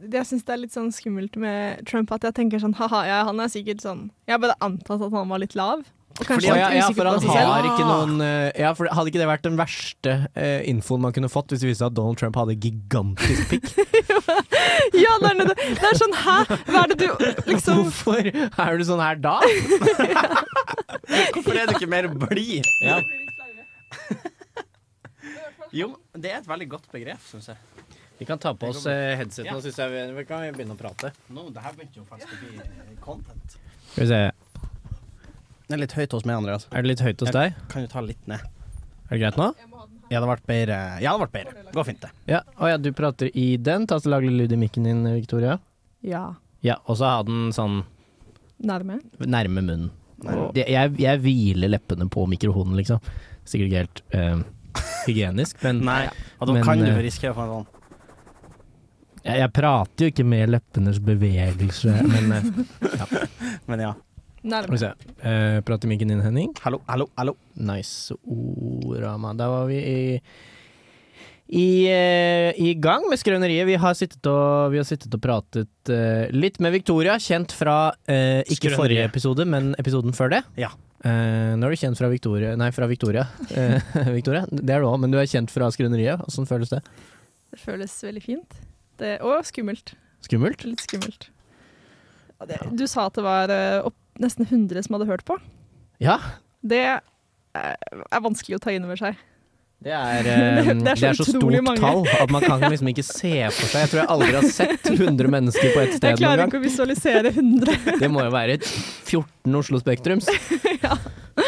jeg syns det er litt sånn skummelt med Trump at jeg tenker sånn ha-ha, ja, han er sikkert sånn Jeg har bare antatt at han var litt lav. Og kanskje Fordi, litt ja, ja, usikker for på han seg selv. har ikke noen eh, ja, for Hadde ikke det vært den verste eh, infoen man kunne fått hvis det viste seg at Donald Trump hadde gigantisk pikk? Ja, det er, noe- det er sånn hæ, hva er det du liksom Hvorfor er du sånn her da? Hvorfor er du ikke mer blid? Ja. Jo, det er et veldig godt begrep, syns jeg. Vi kan ta på oss eh, headsetene Ja. og synes jeg vi, vi kan begynne å prate. Nå, det her begynte jo faktisk å bli eh, content. Skal vi se. Det er litt høyt hos meg, Andreas. Er det litt høyt hos deg? Kan du ta litt ned? Er det greit nå? Ja, det hadde vært bedre. Ja, det hadde vært bedre. Går fint, det. Ja. Å ja, du prater i den. Ta så Lag litt lyd i mikken din, eh, Victoria. Ja, Ja, og så ha den sånn nærme. nærme munnen. Og det- Jeg, jeg hviler leppene på mikrofonen, liksom. Sikkert ikke helt eh, hygienisk, men Nei, og da Men, kan du eh, risikere å få en sånn jeg, jeg prater jo ikke med leppenes bevegelse. Men eh, Men ja. skal vi Nærme. se. Eh, Prate i mikken din, Henning. Hallo, hallo, hallo. Nice orama. Da var vi i i, eh, I gang med skrøneriet. Vi har sittet og, vi har sittet og pratet eh, litt med Victoria, kjent fra eh, ikke Skrøneriet. forrige episode, men episoden før det. Ja. Eh, nå er du kjent fra Victoria Nei, fra Victoria. Eh, Victoria, det er du òg, men du er kjent fra skrøneriet. Åssen føles det? Det føles veldig fint. Det, og skummelt. Skummelt? Litt skummelt. Du sa at det var eh, opp, nesten 100 som hadde hørt på. Ja. Det eh, er vanskelig å ta inn over seg. Det er, eh, Det er så det er så stort utrolig mange. tall at man kan liksom ikke se for seg. Jeg tror jeg aldri har sett 100 mennesker på ett Jeg sted noen klarer gang. ikke å visualisere 100. Det må jo være et 14 Oslo Spektrums.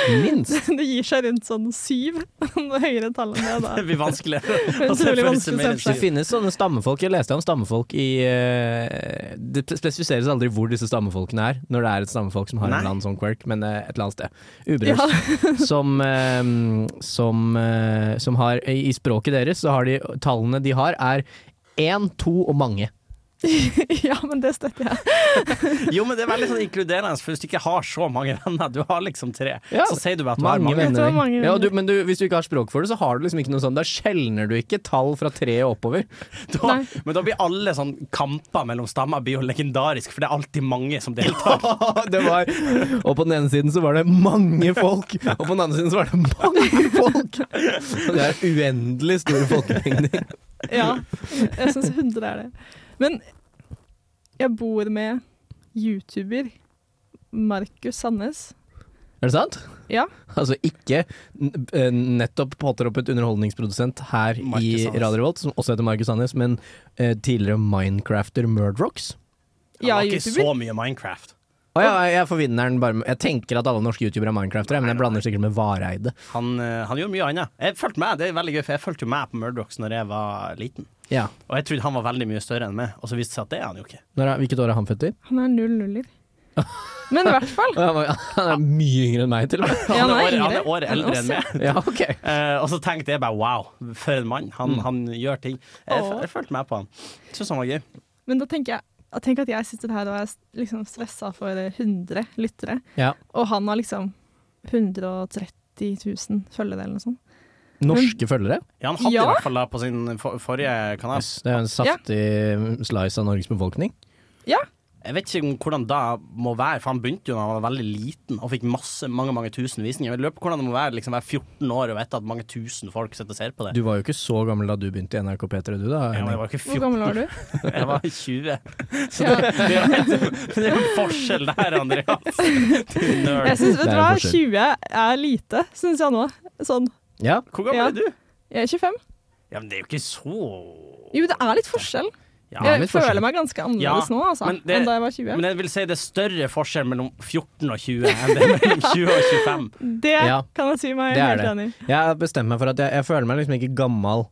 Minst. Det gir seg rundt sånn syv. Noe høyere tall enn det. Da. Det blir altså, vanskeligere. Det er Utrolig vanskelig å se Det for seg. finnes sånne stammefolk. Jeg leste om stammefolk i eh, Det spesifiseres aldri hvor disse stammefolkene er, når det er et stammefolk som har Nei. en eller annen sånn quirk, men eh, et eller annet sted. Uberørt. Ja, som, eh, som, eh, som har I språket deres så har de tallene de har, er én, to og mange. ja, men det støtter jeg. Jo, men det er veldig sånn inkluderende, for hvis du ikke har så mange venner, du har liksom tre, Ja, så sier du bare at du har mange. venner. Jeg tror mange Ja, du, venner. men du, hvis du ikke har språk for det, så har du liksom ikke noe sånn Da skjelner du ikke tall fra tre og oppover. Da, Nei. men da blir alle sånn kamper mellom stammer blir jo legendarisk, for det er alltid mange som deltar. det var Og på den ene siden så var det mange folk, og på den andre siden så var det mange folk! Og det er uendelig store folkemengder. Ja, jeg syns 100 er det. Men jeg bor med YouTuber Markus Sandnes. Er det sant? Ja. Altså ikke n- eh, nettopp påtroppet underholdningsprodusent her Markus i Sandnes. Radio Revolt, som også heter Markus Sandnes, men eh, tidligere Minecrafter Murdrocks. Det Ja, var ikke YouTuber. så mye Minecraft. Å ja, jeg forbinder den bare med Jeg tenker at alle norske youtubere er Minecraftere, men jeg blander sikkert med Vareide. Han, eh, han gjorde mye annet. Jeg fulgte med, det er veldig gøy, for jeg fulgte jo med på Murdochs når jeg var liten. Ja. Og jeg trodde han var veldig mye større enn meg, og så viste det seg at det er han jo ikke. Når er, hvilket år er han født i? Han er null nuller. Men i hvert fall. Å, Han var- han er mye yngre enn meg, til og med. Ja, Han er året, yngre han er året enn eldre oss, enn meg. Ja, ok. Eh, og så tenkte jeg bare wow, for en mann. Han, han gjør ting. Jeg, Mm. Åh. jeg fulgte med på han. Syns han var gøy. Men da tenker jeg at Tenk at jeg sitter her og er liksom stressa for 100 lyttere, Ja. og han har liksom 130 000 følgere eller noe sånt. Norske følgere. Ja, han hadde Ja. i hvert fall det på sin for forrige kanal. Yes, det er jo en saftig slice av Norges befolkning. Jeg vet ikke om hvordan det må være, for han begynte jo da han var veldig liten og fikk masse, mange mange tusen visninger. Jeg lurer på hvordan det må være liksom være 14 år og vite at mange tusen folk sitter og ser på det. Du var jo ikke så gammel da du begynte i NRK P3, du da? Ja, men Henning? jeg var ikke Hvor 14, gammel var du? jeg var 20. Ja. Så det, det, er jo helt- det er jo en forskjell der, Andreas. Din Jeg nerd. synes, vet Det du er hva, en forskjell. 20 er lite, syns jeg nå. Sånn. Ja. Hvor gammel Ja. er du? Jeg er 25. Ja, men det er jo ikke så Jo, det er litt forskjell. Ja, litt Jeg forskjell. føler meg ganske annerledes Ja, nå altså, men det- enn da jeg var 20. Men jeg vil si det er større forskjell mellom 14 og 20 enn det er mellom 20 og 25. det Ja, kan jeg si meg det er helt enig i. Jeg bestemmer meg for at jeg, jeg føler meg liksom ikke gammal.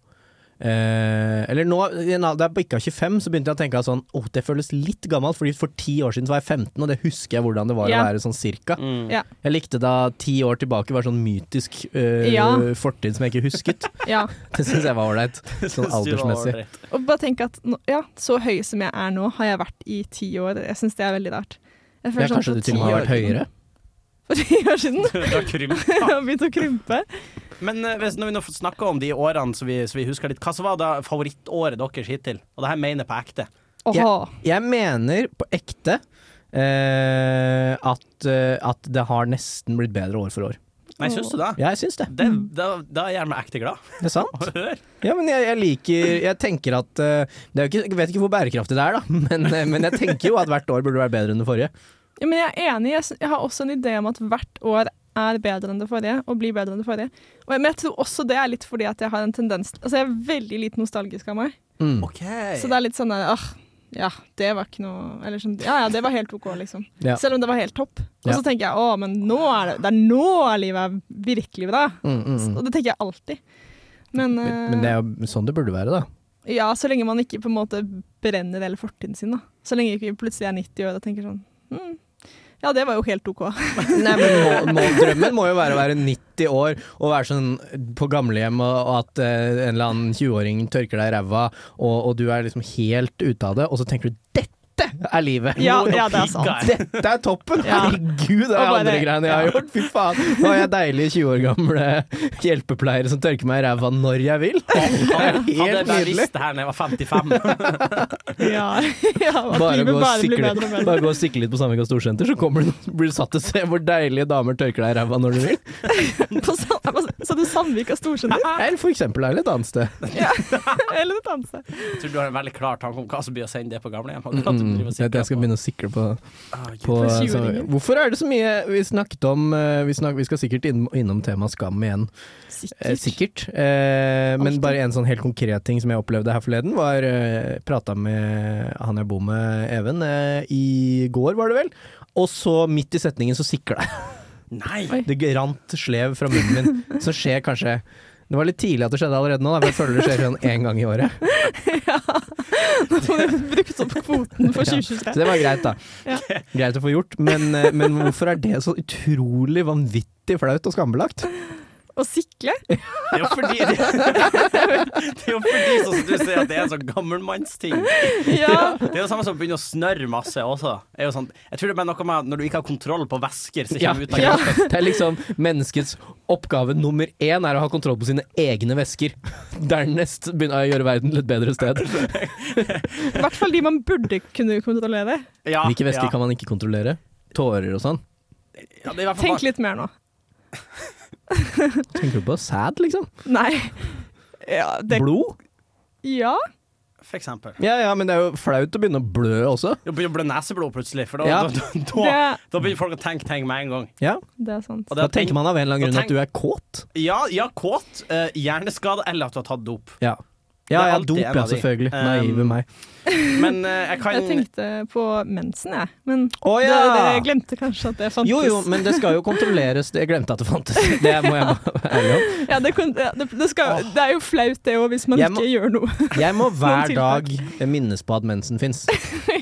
Eh, eller nå, i en alder- da jeg bikka 25, så begynte jeg å tenke at sånn, åh, det føles litt gammelt, fordi for ti år siden så var jeg 15, og det husker jeg hvordan det var Ja. å være sånn cirka. Mm. Ja. Jeg likte da ti år tilbake var sånn mytisk eh, Ja. fortid som jeg ikke husket. Ja. Det syns jeg var ålreit, sånn Synes du det var aldersmessig. ålreit? Og bare tenk at nå, ja, så høy som jeg er nå, har jeg vært i ti år. Jeg syns det er veldig rart. Jeg Ja, føler sånn kanskje for du til ti og med har år vært høyere? For ti år siden Du har krymt. har jeg begynt å krympe. Men eh, hvis, når vi nå snakker om de årene som vi, som vi husker litt, hva så var da favorittåret deres hittil? Og det her mener jeg på ekte. Åha. Jeg mener på ekte eh, at, eh, at det har nesten blitt bedre år for år. Nei, syns du det? Jeg syns det. det da, da er jeg gjerne ekte glad. Det er sant. Hør. Ja, men jeg, jeg liker Jeg tenker at eh, det er jo ikke, Jeg vet ikke hvor bærekraftig det er, da, men, eh, men jeg tenker jo at hvert år burde være bedre enn det forrige. Ja, men jeg er enig. Jeg, s- jeg har også en idé om at hvert år er bedre enn det forrige, og blir bedre enn det forrige. Og jeg, men jeg tror også det er litt fordi at jeg har en tendens Altså, jeg er veldig litt nostalgisk av meg. Mm. OK. Så det er litt sånn der ah, ja, det var ikke noe Eller sånn Ja, ja, det var helt OK, liksom. Ja. Selv om det var helt topp. Og Ja. så tenker jeg å, men nå er det Det er nå er livet er virkelig bra. Mm, mm, mm. Og det tenker jeg alltid. Men, Men, men det eh, er jo sånn det burde være, da. ja, så lenge man ikke på en måte brenner hele fortiden sin, da. Så lenge ikke vi plutselig er 90 år og tenker sånn hm, Ja, det var jo helt OK. Nei, men må, må, Drømmen må jo være å være 90 år og være sånn på gamlehjem, og, og at eh, en eller annen 20-åring tørker deg i ræva, og, og du er liksom helt ute av det, og så tenker du 'dette er livet'! Ja, Nå- ja, det er sant. Dette er toppen! Ja. Herregud, det er Og bare- andre greiene jeg har gjort. Fy faen. Nå er jeg deilig 20 år gamle hjelpepleiere som tørker meg i ræva når jeg vil. Hadde jeg Helt bare nydelig. visst det her da jeg var 55 Ja, ja at Bare livet gå, og bare blir sikle, bedre og bedre. bare gå og sikle litt på Sandvika Storsenter, så kommer du, blir du satt til å se hvor deilige damer tørker deg i ræva når du vil. På Sand- Sa du Sandvik og Storsenter? Eller for eksempel er det et annet sted. Eller et annet sted? Jeg tror du har en veldig klar tanke om hva som blir å sende det på gamlehjem. og at du Mm, driver og jeg, jeg skal sikrer på- begynne å sikle på, Ah, Gud. på For så- 20-åringer. Hvorfor er det så mye vi snakket om eh, Vi, snak, vi skal sikkert innom, innom temaet skam igjen. Eh, sikkert. Eh, men Alltid. bare en sånn helt konkret ting som jeg opplevde her forleden, var eh, Prata med han jeg bor med, Even, eh, i går, var det vel. Og så midt i setningen så sikla jeg. Nei! Oi. Det rant slev fra munnen min. Så skjer kanskje Det var litt tidlig at det skjedde allerede nå, da, for jeg føler det skjer sånn én gang i året. Nå får du brukt opp kvoten for Ja. Så 2023. det var greit, da. Ja. Greit å få gjort. Men, eh, men hvorfor er det så utrolig vanvittig flaut og skambelagt? Å sikle? Det er jo fordi Det, er jo fordi sånn som du sier at det er en sånn gammelmannsting. Ja. Det er jo samme som å begynne å snørre masse også. Det er jo sånn, jeg tror det er bare noe med at når du ikke har kontroll på væsker som Ja. kommer ut av Ja. kroppen. Det er liksom menneskets oppgave nummer én er å ha kontroll på sine egne væsker. Dernest begynne å gjøre verden til et bedre sted. I hvert fall de man burde kunne kontrollere. Ja, Hvilke væsker ja. kan man ikke kontrollere? Tårer og sånn. ja, det er i hvert fall Tenk litt mer nå. Tenker du på sæd, liksom? Nei. Ja, det, Blod? ja. bare- For eksempel. Ja ja, men det er jo flaut å begynne å blø også. Det begynner å bli neseblod plutselig, for da, Ja. da, da, Det, da, begynner folk å tenke ting med en gang. Ja, det er sant. Og Da det- tenker man av en eller annen grunn da tenk- at du er kåt. Ja, ja kåt, eh, hjerneskade eller at du har tatt dop. Ja, Det ja, er ja alltid dop, en ja, av de. selvfølgelig. Um, Naive meg. Men eh, jeg kan Jeg tenkte på mensen, jeg. Men Å det, ja! det, jeg glemte kanskje at det fantes. Jo jo, men det skal jo kontrolleres. Jeg glemte at det fantes. Det må jeg bare være ærlig om. ja, det, kun- ja, det, det, skal, det er jo flaut det òg, hvis man Jeg må- ikke gjør noe. Jeg må hver tiltak. dag minnes på at mensen fins.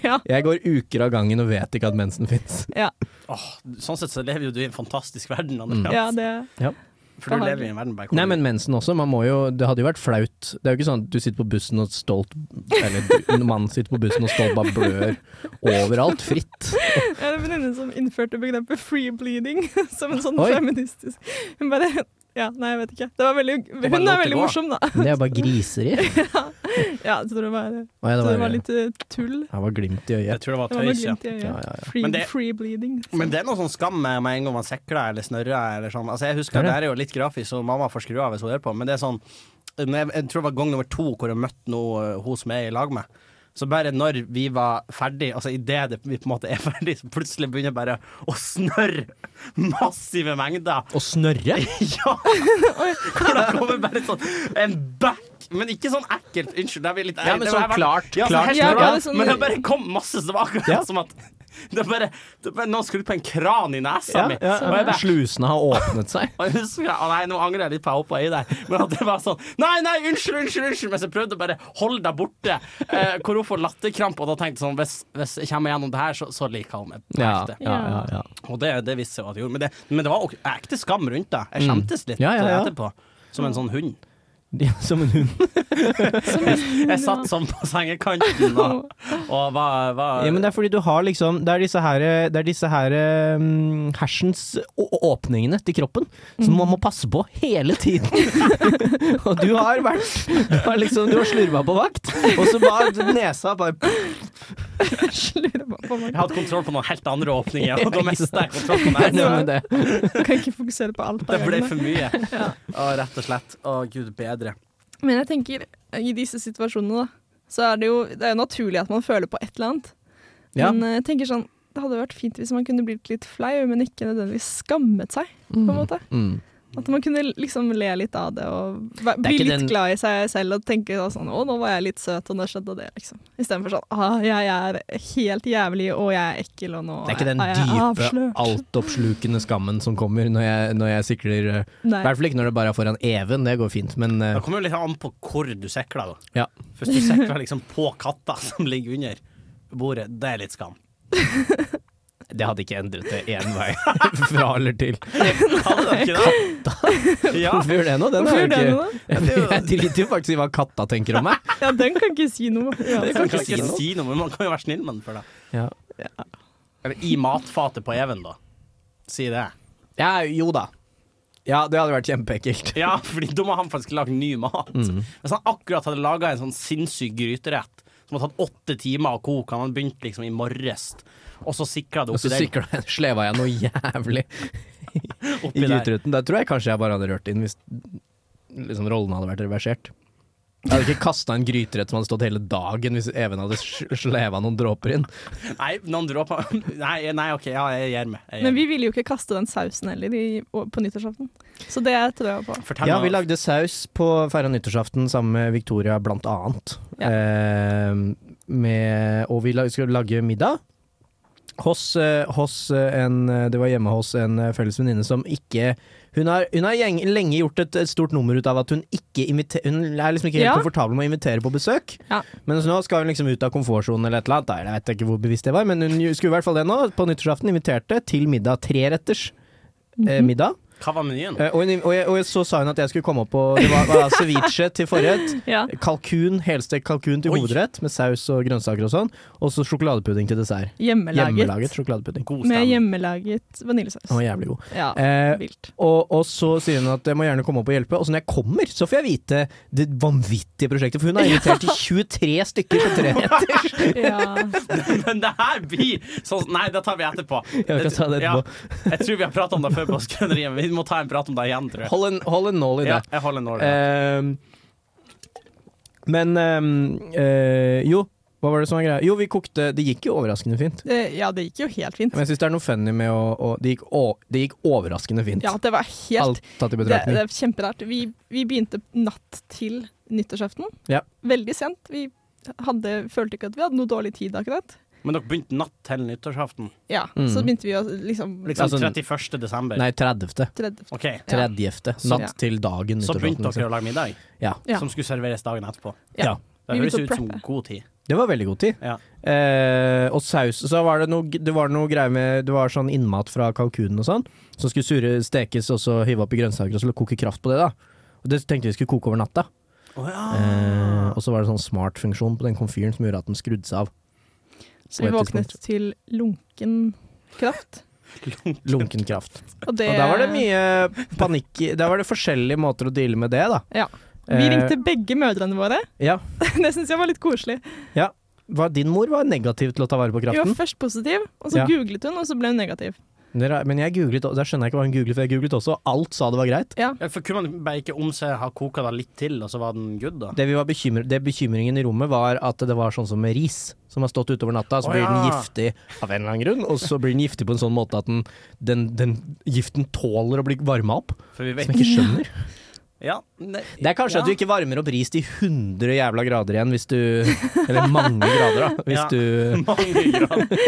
ja. Jeg går uker av gangen og vet ikke at mensen fins. Ja, Åh, Sånn sett så lever jo du i en fantastisk verden, ja. Mm. Andreas. det For du lever i en verden bare hvor Nei, men mensen også. Man må jo, det hadde jo vært flaut. Det er jo ikke sånn at du sitter på bussen og stolt Eller du- mannen sitter på bussen og stolt bare blør overalt fritt. Jeg har en venninne som innførte begrepet free bleeding som en sånn Oi. feministisk Hun bare Ja, nei, jeg vet ikke. Det var veldig, bare hun lot er det veldig gå. morsom, da. Men det er jo bare griseri. Ja, jeg tror det var, jeg Oi, det tror det var, var litt eh, tull. Jeg var glimt i Jeg øyet. tror det var Det var noe tøys, ja. glimt i øyet. Ja, ja, ja. Free, Men det- free bleeding. Så. Men det er noe sånn skam med med en gang man sikler eller snørrer eller sånn. Altså, jeg husker Er det? det her er jo litt grafisk, så mamma får skru av hvis hun hører på, men det er sånn når jeg, jeg tror det var gang nummer to hvor jeg møtte no, hun som jeg er i lag med. Så bare når vi var ferdig, altså idet vi på en måte er ferdig, så plutselig begynner jeg bare å snørre massive mengder. Å snørre? Ja! Hvor det kommer bare sånn en back Men ikke sånn ekkelt. Unnskyld, det blir litt Ja, men det sånn var- klart, Ja, klart, sånn helt ja, klart. det er sånn- Men det bare kom masse som var akkurat Ja. som at det bare, det bare, Noen skrudd på en kran i nesa Ja, mi. ja, Og jeg ja. bare Slusene har åpnet seg. og jeg husker, å nei, Nå angrer jeg litt på at jeg hoppa i der, men at det var sånn Nei, nei, unnskyld, unnskyld, unnskyld! Mens jeg prøvde å bare holde deg borte. Eh, hvor hun får latterkrampe, og da tenkte jeg sånn Hvis, hvis jeg kommer gjennom det her, så, så liker hun meg. på Ja, ekte. ja, ja, ja. Og det, det visste jeg at jeg gjorde. Men det, men det var ok- ekte skam rundt det. Jeg skjemtes litt Mm. Ja, ja, ja. etterpå. Som en sånn hund. Ja, som en hund. Jeg satt sånn på sengekanten da, og var, var Ja, men det er fordi du har liksom Det er disse her, det er disse her mm, hersens å- å- åpningene til kroppen som Mhm. man må passe på hele tiden. og du har vært Du har liksom Du har slurva på vakt, og så bare liksom nesa bare Slurva på meg. Jeg hadde kontroll på noen helt andre åpninger, og da mistet jeg kontroll på Nei, meg. med det. Jeg kan ikke fokusere på alt. av Det ble gangen. for mye, Å, rett og slett. Å, gud bedre. Men jeg tenker, eh, i disse situasjonene, da, så er det jo det er jo naturlig at man føler på et eller annet. Ja. Men eh, jeg tenker sånn, det hadde vært fint hvis man kunne blitt litt flau, men ikke nødvendigvis skammet seg. på en måte. Mm. At man kunne liksom le litt av det og væ- Det er bli ikke litt den- glad i seg selv og tenke da sånn 'Å, nå var jeg litt søt, og nå skjedde det', liksom. Istedenfor sånn 'Å, jeg er helt jævlig, og jeg er ekkel, og nå Det er ikke den er jeg dype, avslørt'. altoppslukende skammen som kommer når jeg, når jeg sikler eh, I Nei. hvert fall ikke når det bare er foran Even, det går fint, men eh, Det kommer jo litt an på hvor du sikler, da. ja. Hvis du sikler liksom på katta som ligger under bordet, det er litt skam. Det hadde ikke endret det én vei fra eller til. Hadde dere ikke det? Ja. Hvorfor gjør det nå? Den Hvorfor er jo gjør det ikke noe? Jeg driter jo faktisk i hva katta tenker om meg. da? Ja, den kan ikke si noe. Ja, Det Man kan kan ikke si ikke noe. si noe, men man kan jo være snill med den for det. Ja. Eller i matfatet på Even, da. Si det. jo da. Ja, det hadde vært kjempeekkelt. Ja, fordi da må han faktisk lage ny mat. Mm. Hvis han akkurat hadde laga en sånn sinnssyk gryterett som hadde tatt åtte timer å koke, han hadde begynt liksom i morges, og så sikra det Og så oppi den. sikla jeg, sleva jeg noe jævlig i Oppi der. gryteruten. Der tror jeg kanskje jeg bare hadde rørt inn hvis liksom, rollene hadde vært reversert. Jeg hadde ikke kasta en gryterett som hadde stått hele dagen hvis Even hadde sl- sleva noen dråper inn. Nei, noen dråper nei, nei, OK, ja, jeg gir meg. Jeg gir Men meg. vi ville jo ikke kaste den sausen heller i, på nyttårsaften, så det tror jeg på. Fortell ja, meg- vi lagde saus på feira nyttårsaften sammen med Victoria, blant annet. Ja. Eh, med, og vi la, skulle lage middag. Hos, eh, hos eh, en eh, Det var hjemme hos en eh, felles venninne som ikke Hun har, hun har gjeng, lenge gjort et, et stort nummer ut av at hun ikke inviterer Hun er liksom ikke helt Ja. komfortabel med å invitere på besøk. Ja. Men så nå skal hun liksom ut av komfortsonen eller et eller annet. da. Jeg vet ikke hvor bevisst det var, men hun skulle i hvert fall det nå. På nyttårsaften inviterte til middag. Treretters Mhm. eh, middag. Hva var menyen? Eh, Og, hun- og, jeg, og så sa hun at jeg skulle komme opp på Det var, var ceviche til forrett. Ja. Kalkun, helstekt kalkun til Oi. hovedrett, med saus og grønnsaker og sånn. Og så sjokoladepudding til dessert. Hjemmelaget. Hjemmelaget sjokoladepudding. Med God stemning. hjemmelaget vaniljesaus. Den var jævlig god. Ja, Eh, vilt. Og, og så sier hun at jeg må gjerne komme opp og hjelpe. Og så når jeg kommer, så får jeg vite det vanvittige prosjektet. For hun har invitert til 23 stykker på tre retter. Ja. Men det her blir sånn Nei, det tar vi etterpå. Ja, vi kan ta det etterpå. Ja, jeg tror vi har pratet om det før på Skrøneriet, men vi må ta en prat om det igjen, tror jeg. Hold en, hold en nål i det. Ja, jeg holder en ål. Ehm, men ehm, eh, jo, hva var det som var greia? Jo, vi kokte Det gikk jo overraskende fint. Eh, ja, det gikk jo helt fint. Men jeg syns det er noe funny med å, å det, gikk å det gikk overraskende fint. Ja, det var helt Alt tatt i Det, betraktning. det er kjemperart. Vi, vi begynte natt til nyttårsaften. Ja. Veldig sent. Vi hadde, følte ikke at vi hadde noe dårlig tid akkurat. Men dere begynte natt til nyttårsaften? Ja, Mm. Så begynte vi å liksom, Liksom Altså, 31. desember? Nei, 30. tredje- OK. Ja. 30. Natt Ja. til dagen. Så begynte nyttårsaften, dere å lage middag, liksom. ja. Ja. som skulle serveres dagen etterpå. Ja. ja. Det Vi høres begynte å ut som preppe. god tid. Det var veldig god tid. Ja. Eh, og saus Så var det noe, det var noe greier med Det var sånn innmat fra kalkunen og sånn, som skulle surre, stekes og så hive oppi grønnsaker og så koke kraft på det. da Og Det tenkte vi skulle koke over natta. Å ja. Ah. Eh, og så var det sånn smartfunksjon på den komfyren som gjorde at den skrudde seg av. Så vi på et våknet til lunken kraft. Lunken kraft. Og det Og der var det mye panikk i- Der var det forskjellige måter å deale med det, da. Ja. Vi Eh, ringte begge mødrene våre. Ja. Det syns jeg var litt koselig. Hva, din mor var negativ til å ta vare på Hun var kraften. først positiv, og så Ja. googlet hun, og så ble hun negativ. Dere- Men jeg googlet, og- der skjønner jeg ikke hva hun googlet, for jeg googlet også, og alt sa det var greit. Ja. Ja, For kunne man bare ikke om seg ha koka det litt til, og så var den good, da? Det, vi var bekymre, det bekymringen i rommet var at det var sånn som med ris, som har stått utover natta, så Å blir den ja. giftig av en eller annen grunn, og så blir den giftig på en sånn måte at den, den, den giften tåler å bli varma opp, For vi som jeg vet ikke skjønner. Ja. Nei, Det er kanskje ja. at du ikke varmer opp ris til 100 jævla grader igjen hvis du Eller mange grader, da. Hvis Ja. du Mange grader.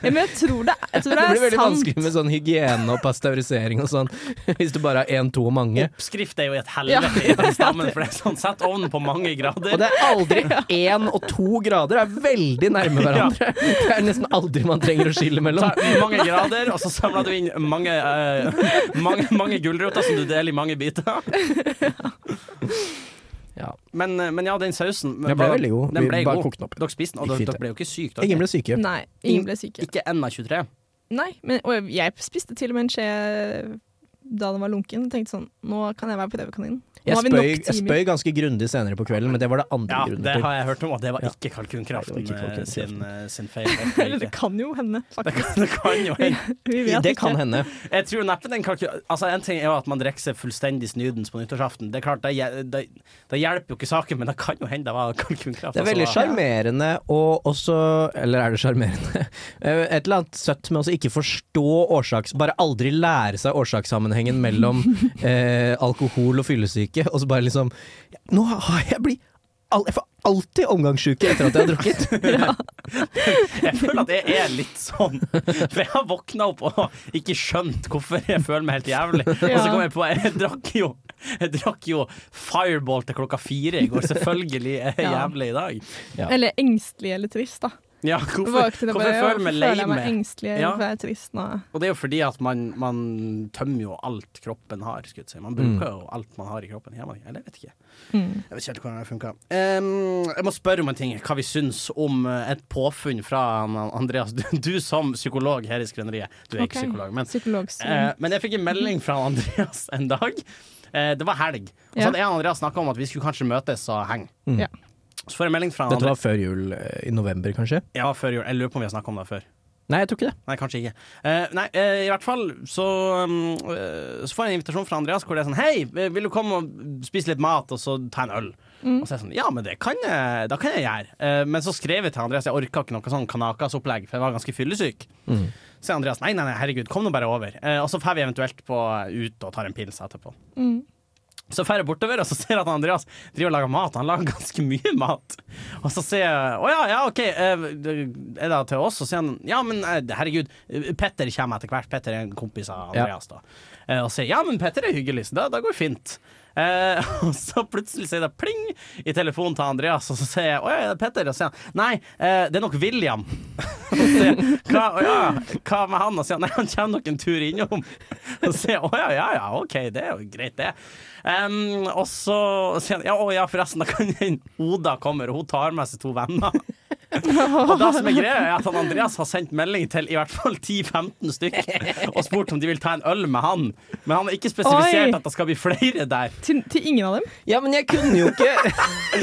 Ja, Men jeg tror det, jeg tror det Det blir er veldig sant. vanskelig med sånn hygiene og pasteurisering og sånn hvis du bare har én, to og mange. Oppskrift er jo et helvete i den stammen, for det er sånn sett ovnen på mange grader. Og det er aldri én og to grader, det er veldig nærme hverandre. Det er nesten aldri man trenger å skille mellom. Ta mange grader, og så samler du inn mange, eh, mange, mange gulrøtter som du deler i mange biter. Ja. Men, eh, men ja, den sausen Den ble veldig god. Den Vi ble bare god. kokte den opp. Dere spiste den, og Gikk dere, fint, dere ble jo ikke syke. Dere. Ingen ble syke. Nei, ingen ble syke. Ikke NR23. Nei, men, og jeg spiste til og med en skje da den var lunken. og Tenkte sånn, nå kan jeg være prøvekanin. Nå Jeg har vi spøy, nok jeg timer. spøy ganske grundig senere på kvelden, men det var det andre Ja, grunnen det til. har jeg hørt om, og det var ikke Nei, kalkunkraften det var ikke eh, sin, eh, sin feil. Eller det kan jo hende, Det faktisk. kan, det kan jo hende. Vi vet Det ikke. kan hende. Jeg tror neppe den kalkun... Altså, en ting er jo at man drikker seg fullstendig snudens på nyttårsaften. Det er klart, det, hje- det, det hjelper jo ikke saken, men det kan jo hende det var kalkunkraft. Det er veldig altså, sjarmerende og også Eller er det sjarmerende? Eh, Et eller annet søtt med å ikke forstå årsaks... Bare aldri lære seg årsakssammenhengen mellom eh, alkohol og fyllesyke, og så bare liksom Nå har jeg blitt al- Jeg får alltid omgangssyke etter at jeg har drukket. Jeg føler at jeg er litt sånn. For jeg har våkna opp og ikke skjønt hvorfor jeg føler meg helt jævlig. Og så kom jeg på Jeg drakk jo, jeg drakk jo Fireball til klokka fire i går. Selvfølgelig er jeg Ja. jævlig i dag. Eller engstelig eller trist, da. Ja, hvorfor, Våkne og hvorfor bare, føler jeg meg lei føler jeg meg meg? engstelig eller Ja. hvorfor er jeg trist nå? Og det er jo fordi at man, man tømmer jo alt kroppen har. Skulle jeg si. Man bruker jo alt man har i kroppen. Gjør man ikke? Eller jeg vet ikke. Mm. Mm. Jeg vet ikke helt hvordan det funka. jeg må spørre om en ting. Hva vi syns om eh, et påfunn fra han- han Andreas. Du, du som psykolog her i Skrøneriet. Du er ikke Mm. Ok. psykolog, men Eh, Psykologstudien. men jeg fikk en melding fra han Andreas en dag. Eh, det var helg. Og så Ja. hadde jeg og Andreas snakka om at vi skulle kanskje møtes og henge. Mm. Ja. Så får jeg melding fra han Dette Andreas. var før jul eh, i november, kanskje? Ja, før jul. Jeg lurer på om vi har snakka om det før. Nei, jeg tror ikke det. Nei, kanskje ikke. Eh, nei, eh, i hvert fall så, um, eh, så får jeg en invitasjon fra Andreas hvor det er sånn Hei, vil du komme og spise litt mat, og så ta en øl? Mm. Og så er jeg sånn Ja, men det kan jeg, da kan jeg gjøre. Eh, men så skrev jeg til Andreas, jeg orka ikke noe sånn Kanakas-opplegg, for jeg var ganske fyllesyk. Mm. Så sier Andreas nei, nei, nei, herregud, kom nå bare over. Eh, og så drar vi eventuelt på, eh, ut og tar en pils etterpå. Mm. Så drar jeg bortover og så ser jeg at Andreas driver og lager mat. Han lager ganske mye mat. Og så sier jeg å ja, ja, OK, eh, er det til oss? Og så sier han ja, men eh, herregud, eh, Petter kommer etter hvert. Petter er en kompis av Ja. Andreas, da. Eh, Og sier ja, men Petter er hyggelig, så da, da går det fint. Eh, og så plutselig sier det pling i telefonen til Andreas, og så sier jeg å ja, er det Petter? Og så sier han nei, eh, det er nok William. Og så sier jeg, hva, å ja, hva med han? Og så sier han nei, han kommer nok en tur innom. Og så sier jeg å ja, ja, ja, OK, det er jo greit, det. Em, og så sier han ja, å ja, forresten, da kan jeg- Oda kommer, og hun tar med seg to venner. Og det som er greia er at han Andreas har sendt melding til i hvert fall 10-15 stykk og spurt om de vil ta en øl med han. Men han har ikke spesifisert Oi. at det skal bli flere der. Til, til ingen av dem? Ja, men jeg kunne jo ikke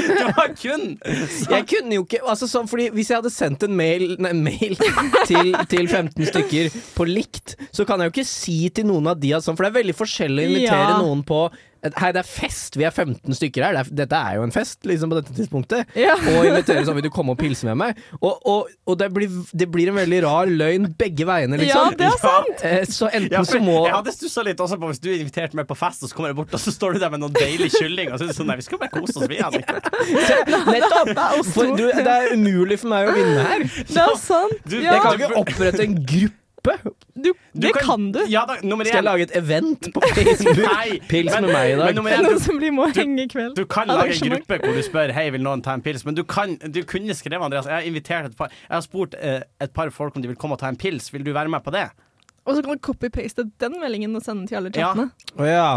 Det var kun Jeg kunne jo ikke altså sånn, fordi Hvis jeg hadde sendt en mail, nei, mail til, til 15 stykker på likt, så kan jeg jo ikke si til noen av de at sånn, for det er veldig forskjellig å invitere Ja. noen på et- Hei, det er fest, vi er 15 stykker her. Det er, dette er jo en fest, liksom, på dette tidspunktet. Ja. Og invitere sånn, vil du komme og pilse med meg? Og, og, og det, blir, det blir en veldig rar løgn begge veiene, Ja, liksom. det er sant! Eh, Så enten ja, for så må Jeg hadde stussa litt også på hvis du inviterte meg på fest, og så kommer jeg bort, og så står du der med noen deilig kylling, og så er det sånn Nei, vi skal bare kose oss, vi. Altså. Nettopp! For du, det er umulig for meg å vinne her. Det er sant! Du- ja, Jeg kan Du- ikke opprette en gruppe du, det kan, du. Ja, da, nummer Skal jeg én. lage et event på Facebook? Nei, Pils men- med meg i men dag. nummer Det er én, noe du, som blir må henge i kveld. du kan lage en Arrangement. gruppe hvor du spør Hei, vil noen ta en pils, men du, kan, du kunne skrevet Andreas, jeg har invitert et par Jeg har spurt eh, et par folk om de vil komme og ta en pils, vil du være med på det? Og så kan du copy-paste den meldingen og sende den til alle Ja. chattene. Å ja.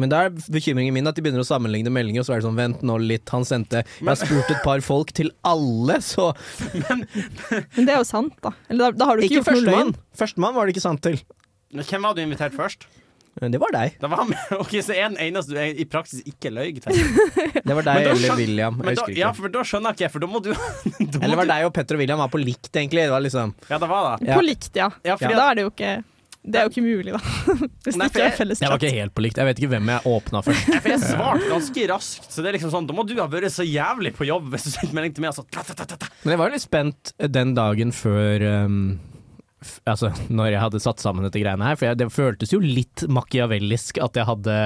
Men da er bekymringen min at de begynner å sammenligne meldinger, og så er det sånn Vent nå litt, han sendte Jeg har spurt et par folk til alle, så Men det er jo sant, da. Eller da, da har du ikke, Ikke gjort noe løgn. førstemann. Førstemann var det ikke sant til. Men Hvem var du invitert først? Men Det var deg. Det var med. Ok, Så en eneste du er i praksis ikke løy til. Det var deg Men da skjøn- eller William. Jeg Men da, husker ja, ikke. for da skjønner jeg ikke, for da må du da må Eller det var du- deg og Petter og William var på likt, egentlig. Det var liksom Ja, det var det. Ja. På likt, ja. Ja, fordi For at- da er det jo ikke Det er jo ikke mulig, da. Hvis Nei, det for ikke jeg- er felles Jeg var chat. ikke helt på likt. Jeg vet ikke hvem jeg åpna først. For jeg svarte ganske raskt, så det er liksom sånn Da må du ha vært så jævlig på jobb hvis du sendte melding til meg og så ta, ta, ta, ta, ta. Men jeg var litt spent den dagen før ehm, f Altså, når jeg hadde satt sammen dette greiene her. For jeg, det føltes jo litt machiavellisk at jeg hadde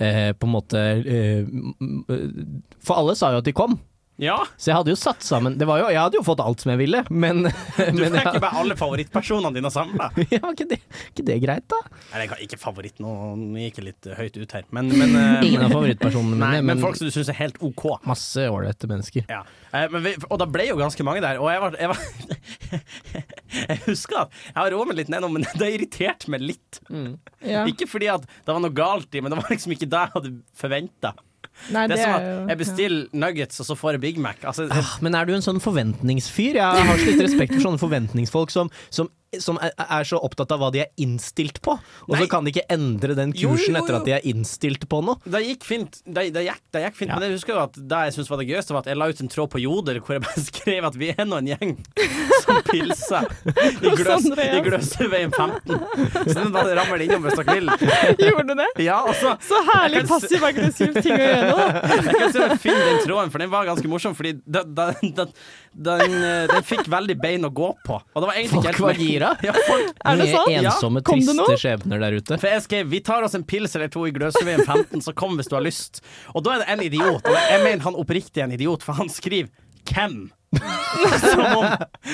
eh, på en måte eh, m- m- For alle sa jo at de kom. Ja. Så jeg hadde jo satt sammen det var jo, Jeg hadde jo fått alt som jeg ville, men, Du men fikk jeg, ikke bare alle favorittpersonene dine samla. ja, var ikke det, ikke det greit, da? Eller jeg kan- ikke favoritt, nå nå gikk jeg litt høyt ut her, men, men, eh, Ingen av favorittpersonene mine, nei, men men, folk som du syns er helt OK. masse ålreite mennesker. Ja. Eh, Men vi, og da ble jo ganske mange der, og jeg var, jeg var Jeg husker at jeg har roet meg litt ned nå, men det har irritert meg litt. Mm. Ja. Ikke fordi at det var noe galt i, men det var liksom ikke det jeg hadde forventa. Nei, Det er som jo- at jeg bestiller nuggets, og så får jeg Big Mac. Altså, jeg, Ah, Men er du en sånn forventningsfyr? Jeg har så litt respekt for sånne forventningsfolk som, som, som er- er så opptatt av hva de er innstilt på, og Nei. så kan de ikke endre den Jo, jo, kursen jo, etter at de er innstilt på noe. Det gikk fint, det, det gikk, det gikk fint. Ja. men jeg husker jo at det jeg syntes var det gøyeste, var at jeg la ut en tråd på Joder hvor jeg bare skrev at vi er nå en gjeng som pilser i, gløs, Sånn det er. i Gløsøyveien 15. Så den bare rammer det innom hvis dere vil. Gjorde du det? Ja, og så Så herlig Jeg kan s- passiv-aggressiv ting å gjøre, da. Jeg kan se om jeg finner den tråden, for den var ganske morsom, fordi den, den, den, den, eh, den fikk veldig bein å gå på. Og det var egentlig Folk ikke helt var meningen. gira. Ja, folk, Er det sant? Mange ensomme, Ja. Kom det triste noe? skjebner der ute. for jeg skrev 'Vi tar oss en pils eller to i Gløsøyveien 15, så kom hvis du har lyst'. Og da er det en idiot. Og jeg mener han oppriktig er en idiot, for han skriver 'Hvem?' Som om,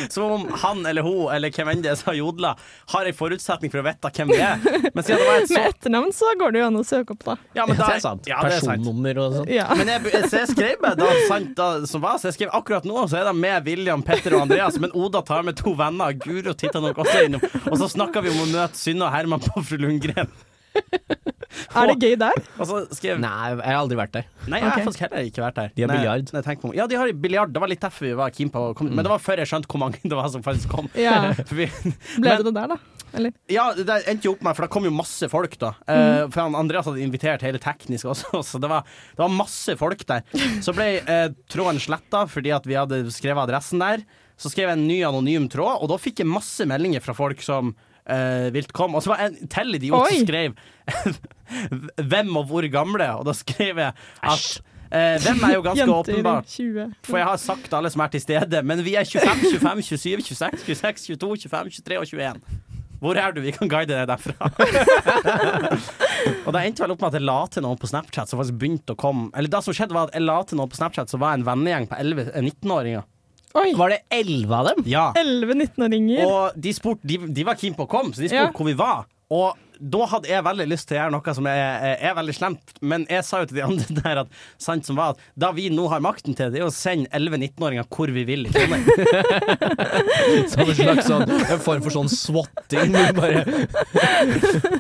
som om han eller hun eller hvem enn det er som har jodla, har en forutsetning for å vite hvem det er. Men siden det var et så Med etternavn så går det jo an å søke opp, da. ja, men Ja, det da- er sant. Ja, det er sant. Personnummer og sånn. Ja. Men jeg, så jeg skrev meg da, sant, da, som var, så jeg skrev akkurat nå, så er det med William, Petter og Andreas, men Oda tar med to venner, og Guro titter nok også innom. Og så snakker vi om å møte Synne og Herman på Fru Lundgren. Er det gøy der? Og så skrev Nei, Nei, jeg har aldri vært der. jeg har Ok. faktisk heller ikke vært der. De har Nei, biljard. Mm. nei, tenk på- Ja, de har biljard. Det var litt derfor vi var keen på å komme. Men det var før jeg skjønte hvor mange det var som faktisk kom. Ja. For vi, Ble Men- det det der, da? Eller? ja, det endte jo opp med, for det kom jo masse folk da. Eh, for han, Andreas hadde invitert hele teknisk også, så det var, det var masse folk der. Så ble eh, tråden sletta fordi at vi hadde skrevet adressen der. Så skrev jeg en ny anonym tråd, og da fikk jeg masse meldinger fra folk som eh, vilt kom. Og så var en til idiot Oi. som skrev hvem og hvor gamle, og da skrev jeg at eh, hvem er jo ganske Jenter åpenbart. 20. For jeg har sagt alle som er til stede, men vi er 25, 25, 27, 26, 26, 22, 25, 23 og 21. Hvor er du? Vi kan guide deg derfra. og det endte vel opp med at jeg la til noen på Snapchat som faktisk begynte å komme Eller det som skjedde, var at jeg la til noen på Snapchat som var en vennegjeng på 11 eh, 19-åringer. Oi! Var det elleve av dem? Ja. 11 19-åringer. Og de, spurte- de, de var keen på å komme, så de spurte Ja. hvor vi var. Og da hadde jeg veldig lyst til å gjøre noe som er, er- er veldig slemt, men jeg sa jo til de andre der at sant som var at da vi nå har makten til det, er å sende 11-19-åringer hvor vi vil i Trondheim. Som en slags sånn, en form for sånn swatting. hvor Bare,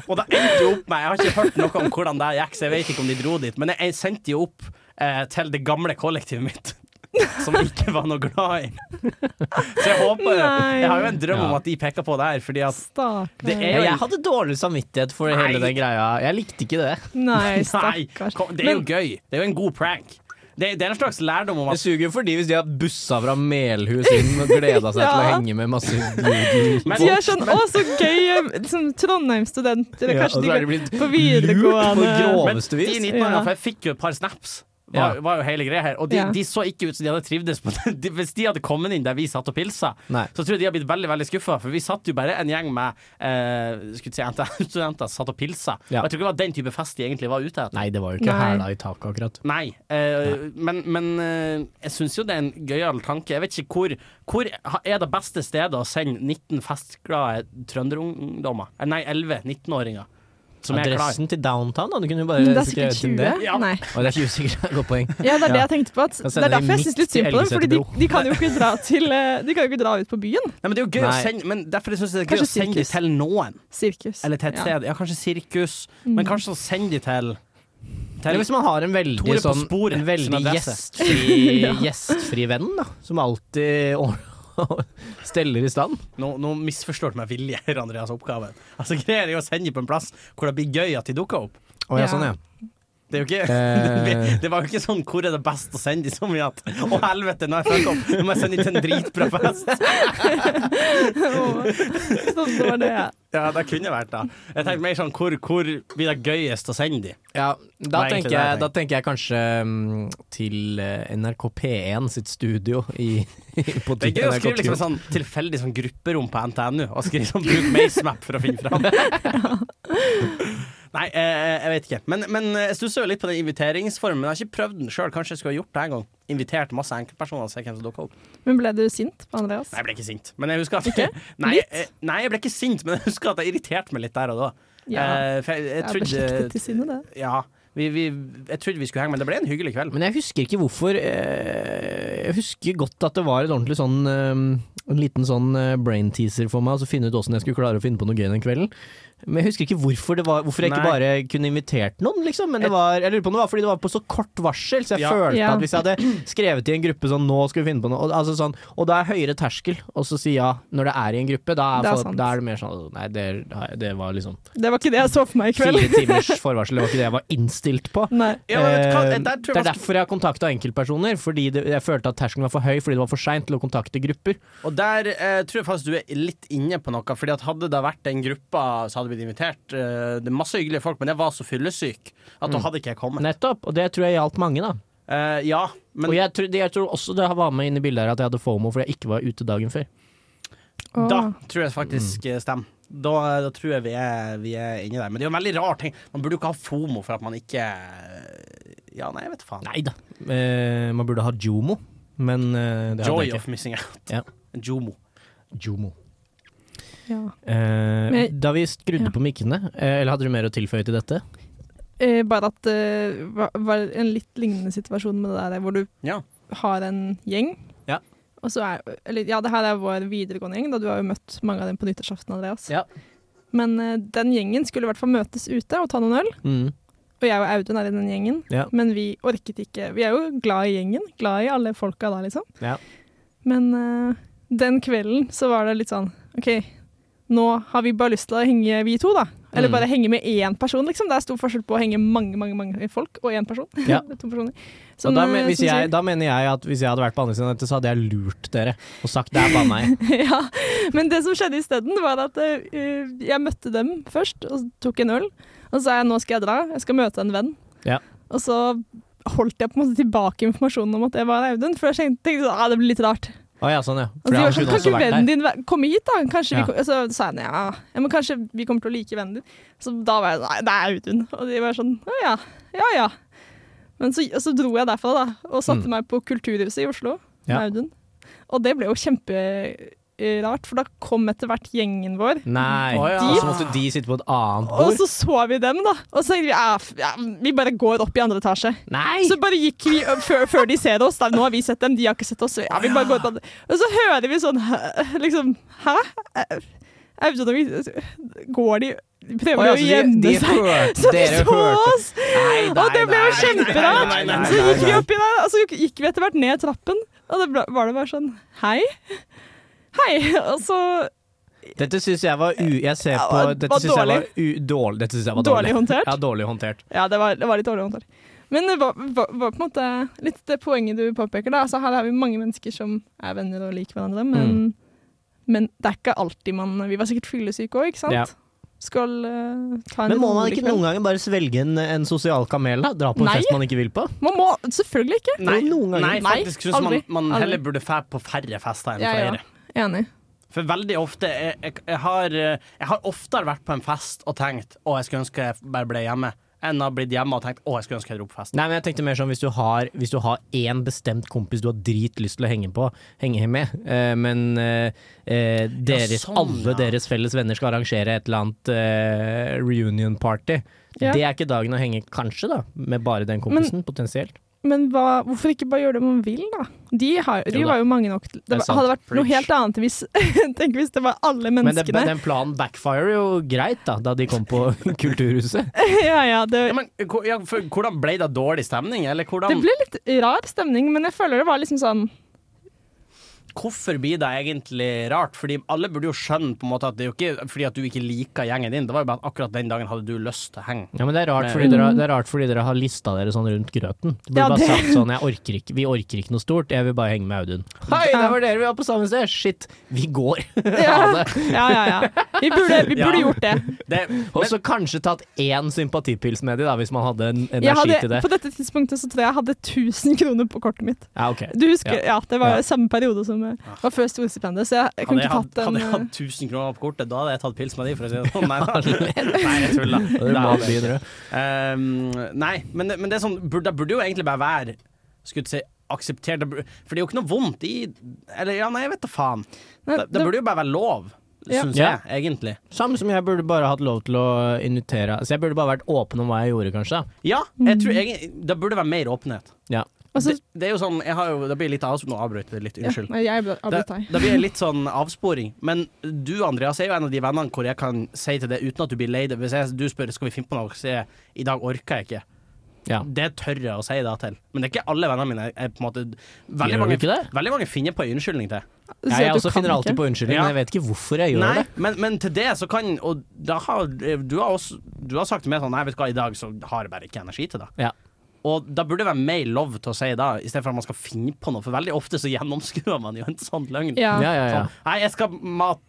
Og det endte jo opp med Jeg har ikke hørt noe om hvordan det gikk, så jeg vet ikke om de dro dit. Men jeg sendte jo opp eh, til det gamle kollektivet mitt. Som jeg ikke var noe glad i. Så jeg håper Nei. Jeg har jo en drøm om Ja. at de peker på det her, fordi at Det Stakkar. er ja, jeg hadde dårlig samvittighet for hele Nei. den greia. Jeg likte ikke det. Nei, Nei, stakkars. kom, det er jo Men- gøy. Det er jo en god prank. Det, det er en slags lærdom om Det at suger jo for de hvis de har bussa fra Melhus inn og gleda seg til Ja. å henge med masse judel. Men- De er sånn 'Å, så gøy!' Liksom, Trondheim-studenter. Ja, og kanskje så er de de blitt går på lurt på grå- videregående. Men Groveste de vis. 19-åringene, Ja. for jeg fikk jo et par snaps, var, Ja. var jo hele greia her. Og de, Ja. de så ikke ut som de hadde trivdes på det. De- Hvis de hadde kommet inn der vi satt og pilsa, Nei. så tror jeg de hadde blitt veldig veldig skuffa. For vi satt jo bare en gjeng med eh, skulle jeg si, NTNU-studenter satt og pilsa. Ja. Og jeg tror ikke det var den type fest de egentlig var ute etter. Nei, det var jo ikke Nei. hæla i taket, akkurat. Nei, eh, men, men eh, jeg syns jo det er en gøyal tanke. Jeg vet ikke hvor, hvor ha- er det beste stedet å sende 19 festglade trønderungdommer? Eh, Nei, 11 19-åringer som er klar. Adressen til downtown, da. Du kunne jo Men bare det er skrevet sikkert inn 20. det. Ja. Nei. Og det er ikke usikkert. Godt poeng. Ja, det er det Ja. jeg tenkte på. At Da det sender er derfor jeg de syns midt litt synd på dem. til Fordi de, Elgeseterbro. de, kan jo ikke dra til, eh, de kan jo ikke dra ut på byen. Nei, men det er jo gøy Nei. å sende Men derfor syns jeg synes det er gøy Kanskje å sende de sirkus. til noen. Sirkus. Eller til et Ja. sted. Ja, kanskje sirkus, men kanskje å sende de til, Eller til hvis man har en veldig, Tore på sånn, sporet, en veldig sin adresse. gjestfri, gjestfri venn, da. Som alltid or- steller i stand. Nå, nå misforstår du meg vilje her, Andreas, oppgaven. Altså, Greia er jo å sende dem på en plass hvor det blir gøy at de dukker opp. Å ja, Ja. sånn ja. Det, er jo Eh. ikke, det var jo ikke sånn 'hvor er det best å sende de så mye at 'å helvete, nå har jeg fucka opp', nå må jeg sende de til en dritbra fest. Åh, så det var det. Ja, det kunne vært det. Jeg tenkte mer sånn hvor, hvor blir det gøyest å sende de? Ja, da, Nei, egentlig tenker det jeg, jeg da tenker jeg kanskje mm, til eh, NRK P1 sitt studio i, på Det er gøy å NRK skrive liksom en sånn tilfeldig sånn grupperom på NTNU, og skrive sånn bruk MaceMap for å finne fram. Nei, eh, jeg vet ikke. Men, men eh, jeg stusser jo litt på den inviteringsformen. Jeg har ikke prøvd den sjøl. Kanskje jeg skulle ha gjort det en gang. Invitert masse enkeltpersoner og se hvem som dukker opp. Men ble du sint på Andreas? Nei, jeg ble ikke sint. Men jeg husker at Ikke? Nei, Litt? jeg, nei, jeg ble ikke sint, men jeg husker at det irriterte meg litt der og da. Ja. Eh, for jeg, jeg Jeg er beslektet trodde til sinne, det. Ja. Vi, vi, jeg trodde vi skulle henge, men det ble en hyggelig kveld. Men jeg husker ikke hvorfor eh, Jeg husker godt at det var et ordentlig sånn eh, En liten sånn eh, brain teaser for meg, og så finne ut åssen jeg skulle klare å finne på noe gøy den kvelden. Men jeg husker ikke hvorfor, det var, hvorfor jeg ikke Nei. bare kunne invitert noen, liksom. Men det var, jeg lurer på om det var fordi det var på så kort varsel, så jeg Ja. følte Ja. at hvis jeg hadde skrevet i en gruppe sånn 'nå skal vi finne på noe', og, altså sånn, og da er høyere terskel, og så si ja når det er i en gruppe, da er, Det er folk- sant. da er det mer sånn Nei, det, har jeg- det var liksom Det var ikke det jeg så for meg i kveld. fire timers forvarsel, det var ikke det jeg var innstilt på. Nei. Ja, men vet du hva, Eh, det det der tror jeg er man skal- derfor jeg har kontakta enkeltpersoner, fordi det, jeg følte at terskelen var for høy fordi det var for seint til å kontakte grupper. Og der eh, tror jeg faktisk du er litt inne på noe, Fordi at hadde det vært den gruppa, så hadde vi blitt invitert. Eh, det er masse hyggelige folk, men jeg var så fyllesyk at da hadde ikke jeg kommet. Nettopp, og det tror jeg gjaldt mange, da. Eh, ja, men og jeg tror, det- jeg tror også det var med inn i bildet her at jeg hadde fomo fordi jeg ikke var ute dagen før. Åh. da tror jeg faktisk eh, stemmer. Da, da tror jeg vi er, vi er inni der. Men det er jo en veldig rar ting. Man burde jo ikke ha fomo for at man ikke eh, Ja, nei, jeg vet faen. Nei da. Eh, man burde ha jomo, men eh, det hadde Joy jeg ikke. of missing out. Ja. Jomo. Jomo. Ja. Eh, Men- da vi skrudde Ja. på mikkene, eh, eller hadde du mer å tilføye til dette? Eh, bare at det var, var en litt lignende situasjon med det der hvor du Ja. har en gjeng. Ja. Og så er, eller, ja, det her er vår videregående gjeng, da du har jo møtt mange av dem på nyttårsaften. Andreas. Ja. Men eh, den gjengen skulle i hvert fall møtes ute og ta noen øl. Mm. Og jeg og Audun er i den gjengen, Ja. men vi orket ikke. Vi er jo glad i gjengen, glad i alle folka da, liksom. Ja. Men eh, den kvelden så var det litt sånn OK, nå har vi bare lyst til å henge vi to, da. Eller Mm. bare henge med én person, liksom. Det er stor forskjell på å henge mange mange, mange folk og én person. Ja. Det er to personer. Og Som, da, men, eh, hvis som sier- jeg, da mener jeg at hvis jeg hadde vært på andre siden av dette, så hadde jeg lurt dere og sagt det er bare meg. ja, men det som skjedde isteden, var at eh, jeg møtte dem først og tok en øl. Og så sa jeg nå skal jeg dra, jeg skal møte en venn. Ja. Og så holdt jeg på en måte tilbake informasjonen om at det var Audun, for jeg tenkte, tenkte sånn, ah, det blir litt rart. Å ja, sånn ja. Og så Fordi de han var sånn, kunne kan også ikke vært der. vennen din væ- komme hit, da? Kanskje Ja. vi kom, og så sa jeg ja, ja, men kanskje vi kommer til å like vennen din. Så da var jeg sånn, nei, det er Audun. Og de var sånn å ja, ja ja. Men så, og så dro jeg derfra, da, og satte Mm. meg på Kulturhuset i Oslo med Ja. Audun. Og det ble jo kjemperart, for da kom etter hvert gjengen vår. Nei, Å, ja. og så måtte de sitte på et annet Og bord. så så vi dem, da. Og så tenkte vi ja, f- ja, vi bare går opp i andre etasje. Nei! Så bare gikk vi ø, før, før de ser oss. Da, nå har vi sett dem, de har ikke sett oss. Ja, vi bare går på andre. Og så hører vi sånn hæ? liksom Hæ? Eh, Audun og vi Går de Prøver Å, ja, altså, de å så gjemme de seg? altså, hørte- Så de dere så hørte. oss! og det ble jo kjemperart! nei, nei, nei, Så gikk nei, vi nei. oppi der, og så gikk vi etter hvert ned trappen. Og det ble, var det bare sånn Hei. Hei. Og så Dette syns jeg var u... Jeg ser Ja, på var- Dette var syns jeg var u... dårlig. Dette synes jeg var dårlig. Dårlig håndtert? Ja, dårlig håndtert. Ja, det var, det var litt dårlig håndtert. Men det var, var, var på en måte litt det poenget du påpeker. da. Altså, her har vi mange mennesker som er venner og liker hverandre, men, Mm. men det er ikke alltid man Vi var sikkert fyllesyke òg, ikke sant? Ja. Skal eh, ta en Men må man rolig ikke kveld. noen ganger bare svelge en, en sosial kamel, da? Dra på en Nei. fest man ikke vil på? Man må selvfølgelig ikke! Nei, Jo, noen ganger. nei Nei, faktisk syns man, aldri. man Aldri. heller burde dra på færre fester enn Ja, ja. flere. Enig. For veldig ofte jeg, jeg, jeg, har, eh, jeg har oftere vært på en fest og tenkt Å, jeg skulle ønske jeg bare ble hjemme, enn å ha blitt hjemme og tenkt Å, jeg skulle ønske jeg dro på fest. Nei, men jeg tenkte mer sånn hvis du har, hvis du har én bestemt kompis du har dritlyst til å henge på, henge med, eh, men eh, eh, deres, sånn, alle ja. deres felles venner skal arrangere et eller annet eh, reunion party. Ja. Det er ikke dagen å henge, kanskje, da, med bare den kompisen, potensielt. Men hva, hvorfor ikke bare gjøre det man vil, da? De, har, de Jo da. var jo mange nok til Det Det er var, sant. hadde vært noe Preach. helt annet hvis, tenk hvis det var alle Men det, menneskene. den planen backfirer jo greit, da, da de kom på Kulturhuset. ja, ja, det, Ja, men, hvor- ja, for, hvordan ble det dårlig stemning? Eller hvordan, det ble litt rar stemning, men jeg føler det var liksom sånn hvorfor blir det egentlig rart? Fordi alle burde jo skjønne på en måte at det er jo ikke fordi at du ikke liker gjengen din, det var jo bare at akkurat den dagen hadde du lyst til å henge. Ja, men det er, rart Nei. fordi dere, har- det er rart fordi dere har lista dere sånn rundt grøten. Du burde Ja, bare det- sagt sånn jeg orker ikke, 'Vi orker ikke noe stort, jeg vil bare henge med Audun'. Hei, Ja. der var dere, vi var på samme sted! Shit, vi går! Ja, ja, ja. ja. Vi burde, vi burde Ja. gjort det. Det, Og men, så kanskje tatt én sympatipils med de, da, hvis man hadde en energi Jeg til hadde, det. på dette tidspunktet så tror jeg jeg hadde 1000 kroner på kortet mitt. Ja, ok. Du husker, Ja. ja, Det var Ja. samme periode som eh, var før storstipendet, så jeg, jeg hadde kunne jeg ikke eh, hatt, tatt hadde jeg den. hatt 1000 kroner på kortet, da hadde jeg tatt pils med de, for å si det sånn. Nei, da. Nei Og jeg det må tuller. bli en rød. Ehm, nei, men, men det er sånn burde, Det burde jo egentlig bare være Skulle jeg si akseptert det bur- For det er jo ikke noe vondt i Eller ja, nei, jeg vet da faen. eh, Det, Nei, det burde jo bare være lov, Ja. syns Ja. jeg, egentlig. Samme som jeg burde bare hatt lov til å invitere Så jeg burde bare vært åpen om hva jeg gjorde, kanskje. da. Ja, jeg tror egentlig Det burde være mer åpenhet. Ja. Mm. Og så det, det er jo sånn, jeg har jo, Da blir jeg litt avsporing. Nå avbryter jeg litt, ja, unnskyld. nei, jeg ble Da, avbrutt her. da blir jeg litt sånn avsporing. Men du, Andreas, er jo en av de vennene hvor jeg kan si til det uten at du blir lei deg. Hvis jeg, du spør skal vi finne på noe, så sier jeg i dag orker jeg ikke. Ja. Det tør jeg å si da til. Men det er ikke alle vennene mine. Jeg, på en måte, Gjør veldig, du mange, ikke det? veldig mange finner på en unnskyldning til. Du sier Jeg, at du også kan finner alltid ikke. på unnskyldning, Ja. men jeg vet ikke hvorfor jeg gjør Nei, det. men, men til det så kan Og da har, du, har også, du har sagt til meg sånn Nei, vet du hva, i dag så har jeg bare ikke energi til det. Ja. Og da burde det være mer lov til å si det, i stedet for at man skal finne på noe. For veldig ofte så gjennomskuer man jo en sånn løgn. Ja. Ja, ja, ja. Sånn, nei, jeg skal mate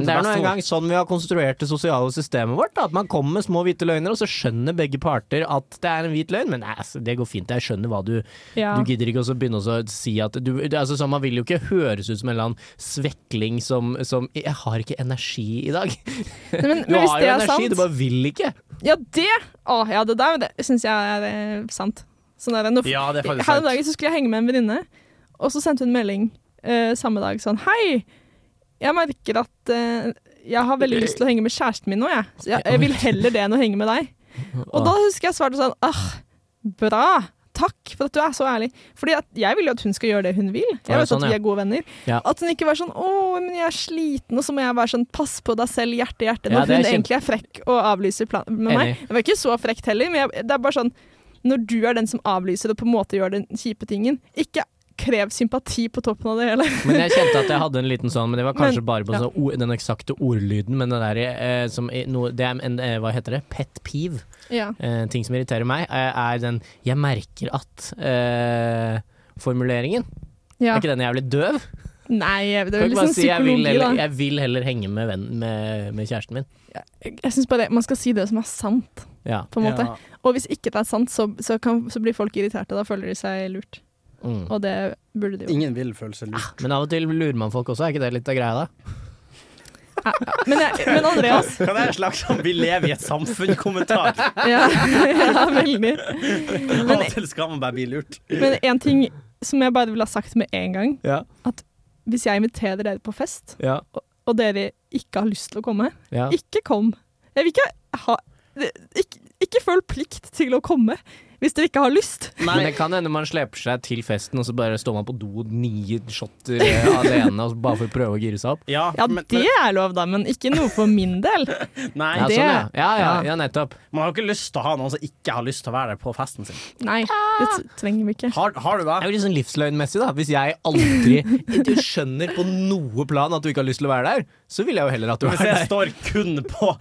Men det er til nå beste engang sånn vi har konstruert det sosiale systemet vårt. Da, at man kommer med små hvite løgner, og så skjønner begge parter at det er en hvit løgn. Men nei, altså, det går fint, jeg skjønner hva du Ja. Du gidder ikke også begynne også å si at du, det, er altså, sånn, Man vil jo ikke høres ut som en eller annen svekling som, som 'Jeg har ikke energi i dag'. Nei, Men, Du men hvis har det jo er energi, sant du bare vil ikke. Ja, det! Å, ja, det der det syns jeg er eh, sant. Sånn er det. Nå, Ja, det er faktisk Her om sant. dagen så skulle jeg henge med en venninne, og så sendte hun melding eh, samme dag sånn Hei! Jeg merker at eh, jeg har veldig lyst til å henge med kjæresten min nå, jeg. Så jeg, jeg vil heller det enn å henge med deg. Og da husker jeg svarte sånn Ah, bra! Takk for at du er så ærlig. Fordi at jeg vil jo at hun skal gjøre det hun vil. Jeg Ja, vet sånn, at vi ja. er gode venner. Ja. At hun ikke var sånn 'Å, men jeg er sliten', og så må jeg være sånn 'pass på deg selv, hjerte, hjerte', Ja, når det er hun kjempe- egentlig er frekk og avlyser planen med meg. Enig. Det var ikke så frekt heller, men jeg, det er bare sånn Når du er den som avlyser og på en måte gjør den kjipe tingen, ikke krev sympati på toppen av det hele. Men jeg kjente at jeg hadde en liten sånn, men det var kanskje Men- bare på ja. sånn ord, den eksakte ordlyden. Men det der eh, som i- noe, Det er en, eh, hva heter det? Pet peeve. Ja. Eh, ting som irriterer meg, eh, er den 'jeg merker at'-formuleringen. Er ikke den jævlig døv? Nei, jeg- det er Kan jo ikke bare liksom si jeg vil, psykologi, da. heller, 'jeg vil heller henge med, venn, med, med kjæresten min'. Jeg, jeg syns bare det, man skal si det som er sant, Ja. på en måte. Ja. Og hvis ikke det er sant, så, så, kan, så blir folk irriterte. Da føler de seg lurt. Mm. Og det burde de jo. Ingen vil føle seg lurt. Men av og til lurer man folk også, er ikke det litt av greia da? Men, jeg, men Andreas Kan det være en slags sånn 'vi lever i et samfunn'-kommentar? ja, ja, veldig. Av og til skal man bare bli lurt. Men én ting som jeg bare vil ha sagt med en gang. Ja. Hvis jeg inviterer dere på fest, Ja. og dere ikke har lyst til å komme, ja. ikke kom. Jeg vil ikke ha ikke, ikke føl plikt til å komme hvis dere ikke har lyst. Men det kan hende man sleper seg til festen, og så bare står man på do nye shotter eh, alene, og så bare for å prøve å gire seg opp. Ja, Ja, men, det er lov, da, men ikke noe for min del. nei, Ja, det- sånn, ja. Ja, ja, ja, nettopp. man har jo ikke lyst til å ha noen som ikke har lyst til å være der på festen sin. Nei, det t- trenger vi ikke. Har, har du det? Det er jo litt sånn livsløgnmessig, da. Hvis jeg aldri du skjønner på noe plan at du ikke har lyst til å være der, så vil jeg jo heller at du Hvis er jeg der. står kun på,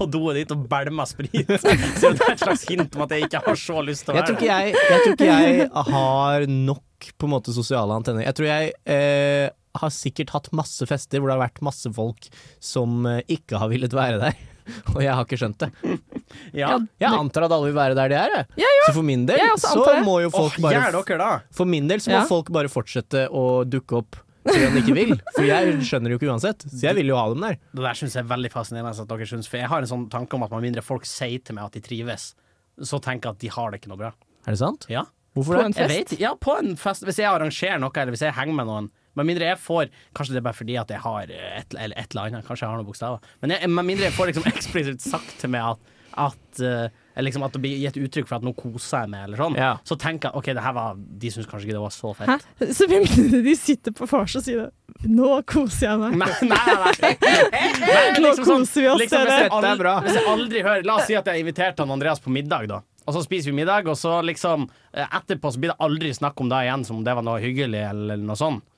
på doen ditt og bælmer sprit, så er det et slags hint om at jeg ikke har så lyst til å Jeg tror være ikke jeg, jeg, tror ikke jeg har nok på en måte sosiale antenner. Jeg tror jeg eh, har sikkert hatt masse fester hvor det har vært masse folk som eh, ikke har villet være der. Og jeg har ikke skjønt det. Ja. Jeg antar at alle vil være der de er. jeg. Ja, Så for min del Jeg også antar så det. må jo folk Åh, bare gjør dere da? For min del så må Ja. folk bare fortsette å dukke opp selv om de ikke vil. For jeg skjønner jo ikke uansett. Så jeg vil jo ha dem der. Det der syns jeg er veldig fascinerende at dere synes, for jeg har en sånn tanke om at med mindre folk sier til meg at de trives, så tenker jeg at de har det ikke noe bra. Er det sant? Ja. Hvorfor På en det? Jeg vet, ja, på en fest, hvis jeg arrangerer noe, eller hvis jeg henger med noen, med mindre jeg får Kanskje det er bare fordi at jeg har eh, et, eller et eller annet, kanskje jeg har noen bokstaver, men jeg, med mindre jeg får liksom eksplisitt sagt til meg at, at eh, eller liksom at det blir gitt uttrykk for at nå koser jeg meg, eller sånn, Ja. så tenker jeg OK, det her var De syns kanskje ikke det var så fett. Hæ? Så med mindre de sitter på vors og sier 'nå koser jeg meg'. Nei, nei, nei. nei Nå koser vi oss, liksom, hvis, dere. Dette jeg er aldri, bra. hvis jeg aldri hører La oss si at jeg inviterte han Andreas på middag, da. Og så spiser vi middag, og så liksom eh, etterpå så blir det aldri snakk om det igjen som om det var noe hyggelig eller noe sånn. sånt.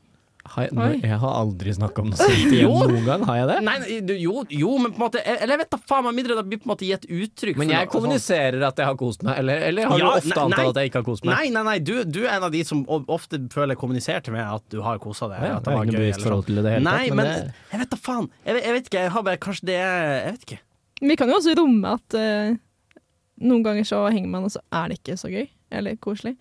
Har jeg, Oi. jeg har aldri snakka om det sånt igjen Jo. noen gang. Har jeg det? Nei, nei, du, jo, jo, men på en måte Eller jeg vet da faen meg mindre det blir på en måte gitt uttrykk Men for jeg sånn. noe sånt. kommuniserer at jeg har kost meg, eller, eller har du Ja, ofte nei, nei. antatt at jeg ikke har kost meg? Nei, nei, nei, du, du er en av de som o- ofte føler kommuniserer til meg at du har kosa deg. Ja, ja, at jeg har ikke noe bevisst eller forhold sånt. til det i det hele Nei, tatt, men men, det- jeg vet da faen. Jeg, vet- jeg vet ikke, jeg har bare Kanskje det er Jeg vet ikke. Men Vi kan jo også romme at eh, noen ganger så henger man, og så er det ikke så gøy. Eller koselig.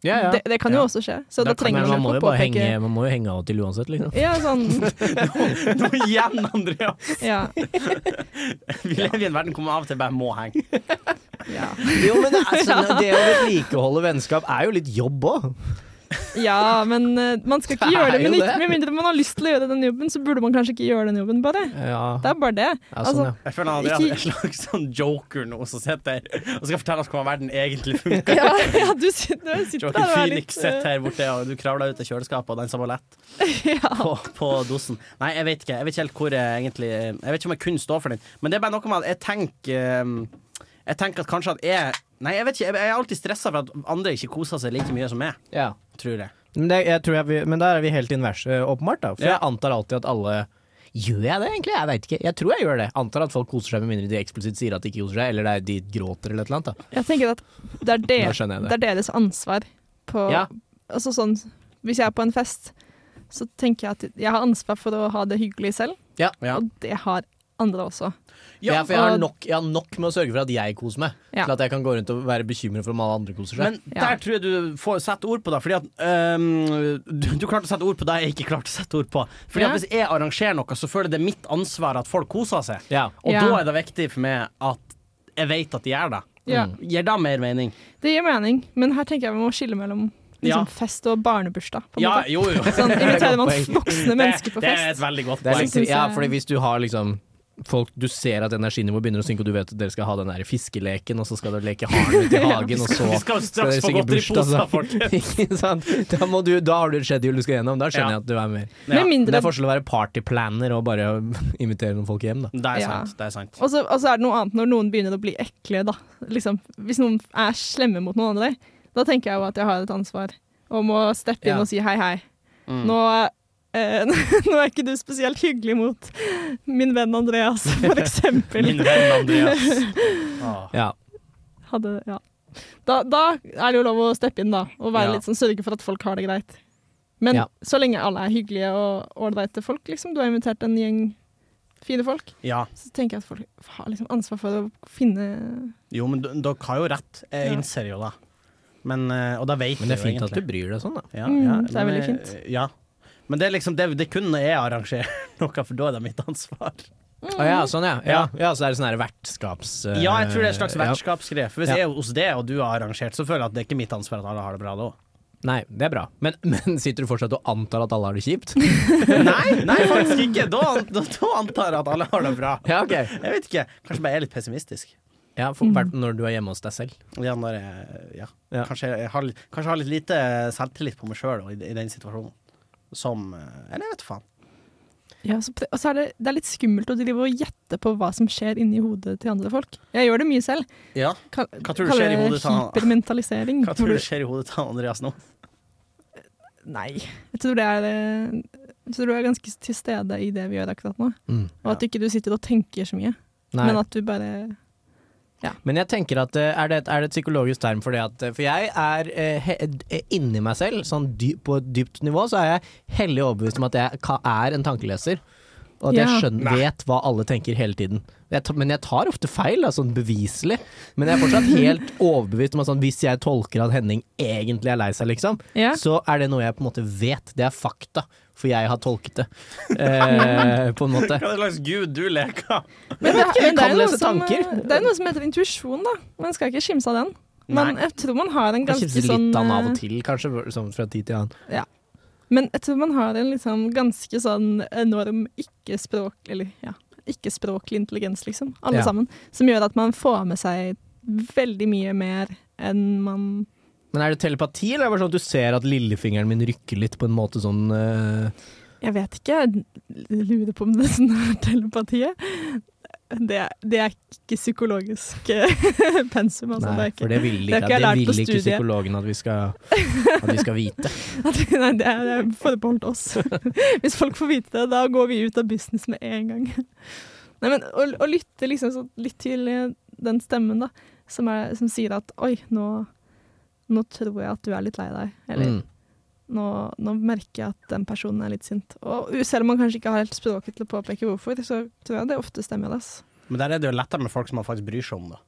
Ja, ja. Det, det kan jo Ja. også skje. Så Da da, kan- trenger men man ikke må jo å bare påpeke- henge, man må jo henge av og til uansett, liksom. Ja, sånn. Nå igjen, Andreas! Ja. Vi lever i en verden hvor man av og til bare må henge. ja. Jo, men det, er sånn- det å vedlikeholde vennskap er jo litt jobb òg. Ja, men eh, man skal ikke Det er gjøre det. Men jo ikke, det. med mindre man har lyst til å gjøre den jobben, så burde man kanskje ikke gjøre den jobben, bare. Ja, Det er bare det. ja sånn, ja. Jeg føler Andreas er en Ikke- slags sånn joker nå, som sitter her og skal fortelle oss hvordan verden egentlig funker. Altså, Ja, ja du sitter, du sitter Joker der og er Phoenix litt sitter eh, her borte, og du kravler ut av kjøleskapet og danser ballett. ja. på, på dosen. Nei, jeg vet ikke. Jeg vet ikke helt hvor jeg egentlig Jeg vet ikke om jeg kunne stå for den. Men det er bare noe med at jeg tenker um, Jeg tenker at kanskje at jeg Nei, jeg vet ikke. Jeg jeg er alltid stressa for at andre ikke koser seg like mye som meg, ja. tror jeg. Men, det, jeg tror jeg, vi- men der er vi helt invers, eh, åpenbart. da For Ja. jeg antar alltid at alle Gjør jeg det, egentlig? Jeg veit ikke. Jeg tror jeg gjør det. Antar at folk koser seg, med mindre de eksplisitt sier at de ikke koser seg, eller det er de gråter eller et eller annet. Da. Jeg tenker at det er, Nå der, skjønner jeg det. det er deres ansvar på Ja. Altså sånn Hvis jeg er på en fest, så tenker jeg at jeg har ansvar for å ha det hyggelig selv, Ja. og det har andre også. Ja, for jeg har, og- nok, jeg har nok med å sørge for at jeg koser meg, Ja. til at jeg kan gå rundt og være bekymret for om alle andre koser seg. Men der Ja. tror jeg du får sette ord på det, fordi at um, du, du klarte å sette ord på det jeg ikke klarte å sette ord på. Fordi Ja. at hvis jeg arrangerer noe, så føler jeg det er mitt ansvar at folk koser seg. ja. Og Ja. da er det viktig for meg at jeg vet at de gjør det. Ja, Gir det mer mening? Det gir mening, men her tenker jeg vi må skille mellom Ja. liksom, fest og barnebursdag. På en Ja, måte. jo, jo. Sånn inviterer man poeng. voksne mennesker på fest. liksom det er liksom- et veldig godt Det er poeng. Poeng. litt, Synes jeg- ja, fordi hvis du har liksom Folk, Du ser at energinivået begynner å synke, og du vet at dere skal ha den der fiskeleken, og så skal dere leke haren ute i hagen, og så Vi skal jo straks dere få synge godteriposer, bursdag, folkens. så- Ikke sant? Da, må du, da har du et schedule du skal gjennom. Da skjønner jeg Ja. at du er med. Med Ja, Men mindre det er forskjell å være partyplaner og bare invitere noen folk hjem, da. det er Ja. sant. Det er sant. Og så, og så er det noe annet når noen begynner å bli ekle, da. Liksom, hvis noen er slemme mot noen andre, da tenker jeg jo at jeg har et ansvar om å steppe inn Ja. og si hei, hei. Mm. Nå, eh, nå er ikke du spesielt hyggelig mot min venn Andreas, for eksempel. Min venn Andreas. Ah, Åh. Ja. Hadde, ja. da, da er det jo lov å steppe inn, da. Og være Ja. litt sånn, sørge for at folk har det greit. Men Ja. så lenge alle er hyggelige og ålreite folk, liksom. Du har invitert en gjeng fine folk. Ja. Så tenker jeg at folk har liksom ansvar for å finne mm. Jo, men d- dere har jo rett. Jeg Ja. innser jo det. Men, eh, og det vet Men det er jeg fint jo at du egentlig. bryr deg sånn, da. Ja, Mm, ja, det er men, veldig eh, fint. Ja. Men det er liksom det, det kun når jeg arrangerer noe, for da er det mitt ansvar. Å ja, sånn ja. Ja, ja så er det sånn her vertskaps... eh, Ja, jeg tror det er en slags ja. vertskapsgreie. For hvis Ja. jeg er hos deg, og du har arrangert, så føler jeg at det er ikke mitt ansvar at alle har det bra da. Nei, det er bra. Men, men sitter du fortsatt og antar at alle har det kjipt? Nei, nei, faktisk ikke! Da, an- da, da antar jeg at alle har det bra. Ja, ok. Jeg vet ikke. Kanskje bare jeg er litt pessimistisk. Ja, for, hvert- når du er hjemme hos deg selv. Ja, når jeg, ja. Ja. Kanskje jeg har, litt- kanskje jeg har litt lite selvtillit på meg sjøl i, i den situasjonen. Som eh, Eller jeg vet faen. Ja, så, pre- og så er det, det er litt skummelt å drive og gjette på hva som skjer inni hodet til andre folk. Jeg gjør det mye selv. Ja. Ka Hva tror du skjer i hodet til han- hypermentalisering. Hva tror du skjer i hodet til Andreas nå? Nei. Jeg tror det er eh, jeg tror du er ganske til stede i det vi gjør akkurat nå. Mm. Og at du ikke du sitter og tenker så mye, Nei. men Men, at du bare jeg tenker at eh, er det, et- er det et psykologisk term for det at eh, For jeg er eh, he, eh, inni meg selv, sånn dyp, på et dypt nivå, så er jeg hellig overbevist om at jeg ka, er en tankeleser. Og at jeg Ja. skjønner, vet hva alle tenker hele tiden. Jeg, ta- men jeg tar ofte feil, da, sånn beviselig. Men jeg er fortsatt helt overbevist om at sånn, hvis jeg tolker at Henning egentlig er lei seg, liksom, Ja. så er det noe jeg på en måte vet. Det er fakta, for jeg har tolket det. Eh, på en måte. Hva slags gud du leker? Men det, ikke, vi men det kan er jo lese noe som, eh, tanker. det er noe som heter intuisjon, da. Man skal ikke kimse av den. Men jeg tror man har en Jeg ganske kjefter sånn litt av den av eh, og til, kanskje, sånn fra tid til annen. Men jeg tror man har en liksom ganske sånn enorm ikke-språk, eller ja, ikke-språklig intelligens, liksom. Alle Ja. sammen. Som gjør at man får med seg veldig mye mer enn man Men er det telepati, eller er det bare sånn at du ser at lillefingeren min rykker litt på en måte sånn eh, Jeg vet ikke, jeg lurer på om det er sånn her telepatiet. Det, er- det er ikke psykologisk eh, pensum, altså. det Nei, for er ikke, det vil det er ikke, ikke jeg det lært på vil ikke studiet. psykologen at vi skal, at vi skal vite. nei, det er, det er forbeholdt oss. Hvis folk får vite det, da går vi ut av business med en gang. Nei, men å, å lytte liksom så litt til eh, den stemmen da, som, er, som sier at oi, nå, nå tror jeg at du er litt lei deg. Eller Mm. nå, nå merker jeg at den personen er litt sint. Og selv om man kanskje ikke har helt språket til å påpeke hvorfor, så tror jeg det ofte stemmer. Altså. Men der er det jo lettere med folk som man faktisk bryr seg om, da.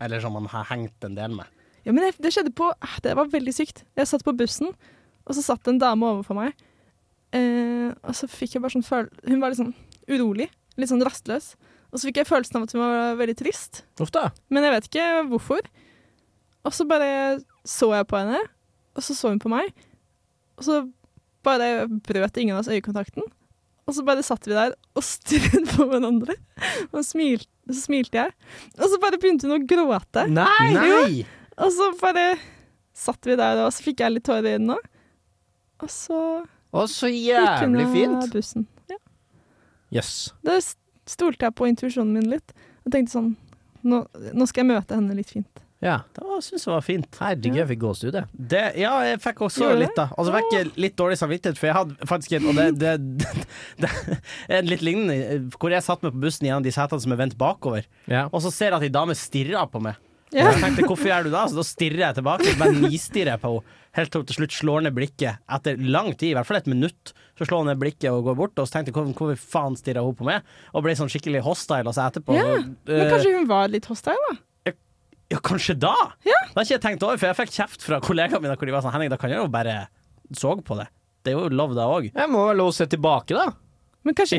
Eller som man har hengt en del med. Ja, men det, det skjedde på ah, Det var veldig sykt. Jeg satt på bussen, og så satt det en dame overfor meg. Eh, og så fikk jeg bare sånn føl... Hun var litt sånn urolig. Litt sånn rastløs. Og så fikk jeg følelsen av at hun var veldig trist. Uff da. Men jeg vet ikke hvorfor. Og så bare så jeg på henne, og så så hun på meg. Og så bare brøt ingen av oss øyekontakten. Og så bare satt vi der og stirret på hverandre. Og smil, så smilte jeg. Og så bare begynte hun å gråte. Nei! Nei! Og så bare satt vi der, og så fikk jeg litt tårer i øynene. Og så Å, så gikk hun jævlig av fint. bussen. Ja. Jøss. Da s- stolte jeg på intuisjonen min litt. Og tenkte sånn nå, nå skal jeg møte henne litt fint. Ja. Det syns jeg var fint. Herregud, jeg fikk gåsehud, jeg. Det, ja, jeg fikk også Gjorde litt, da. Og så fikk jeg litt dårlig samvittighet, for jeg hadde faktisk en Og det, det, det, er litt lignende, eh, hvor jeg satt meg på bussen gjennom de setene som er vendt bakover, Ja. og så ser jeg at ei dame stirrer på meg. Ja. Og jeg tenkte 'hvorfor gjør du det?' Så da stirrer jeg tilbake, men nistirrer jeg på henne. Helt til hun til slutt slår ned blikket. Etter lang tid, i hvert fall et minutt, så slår hun ned blikket og går bort. Og så tenkte jeg 'hvor, hvor faen stirrer hun på meg?' Og ble sånn skikkelig hostile altså etterpå. Ja, Men Eh, kanskje hun var litt hostile, da? ja, kanskje da? Det har ikke jeg tenkt over, for jeg fikk kjeft fra kollegaene mine hvor de var sånn Henning, da kan jeg jo bare så på det. Det er jo lov, det òg. Jeg må vel lov å se tilbake, da. Men kanskje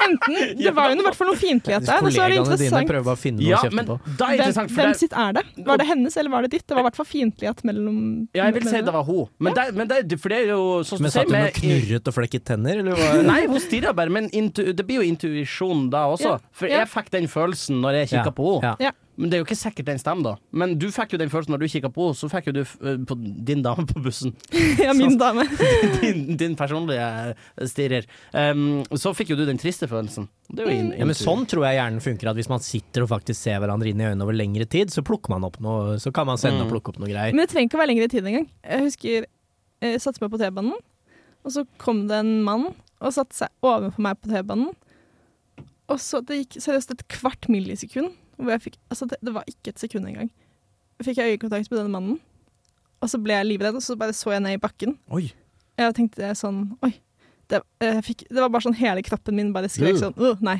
Enten Det var jo i hvert fall noe fiendtlighet der. Og så er det Kollegaene dine interessant prøver å finne noe Ja, å kjefte men på. da er det hvem, interessant, for hvem det, sitt er det? Var det hennes eller var det ditt? Det var i hvert fall fiendtlighet mellom ja, jeg vil si det var hun. Men, det, men det, for det er jo sånn som Men du sier satt hun og med- knurret og flekket tenner, eller hva? Nei, hun stirrer bare, men intu, det blir jo intuisjon da også. Ja, For ja. jeg fikk den følelsen når jeg kikka Ja, på henne. ja. Ja. Men det er jo ikke sikkert den stemmer, da. Men du fikk jo den følelsen når du kikka på henne, så fikk jo du f- eh, på din dame på bussen. Ja, min dame. Din, din personlige eh, stirrer. Um, så fikk jo du den triste følelsen. Det er jo in- Ja, men sånn tror jeg hjernen funker, at hvis man sitter og faktisk ser hverandre inn i øynene over lengre tid, så plukker man opp noe, så kan man sende og Mm. plukke opp noe greier. Men det trenger ikke å være lengre tid engang. Jeg husker jeg satte meg på T-banen, og så kom det en mann og satte seg overfor meg på T-banen. Og så Det gikk seriøst et kvart millisekund hvor jeg fikk Altså, det, det var ikke et sekund engang. Fikk jeg øyekontakt med denne mannen, og så ble jeg livredd, og så bare så jeg ned i bakken. Oi. Jeg tenkte sånn Oi. Det, jeg fikk, det var bare sånn hele kroppen min bare skrek Øh. sånn «Åh, nei.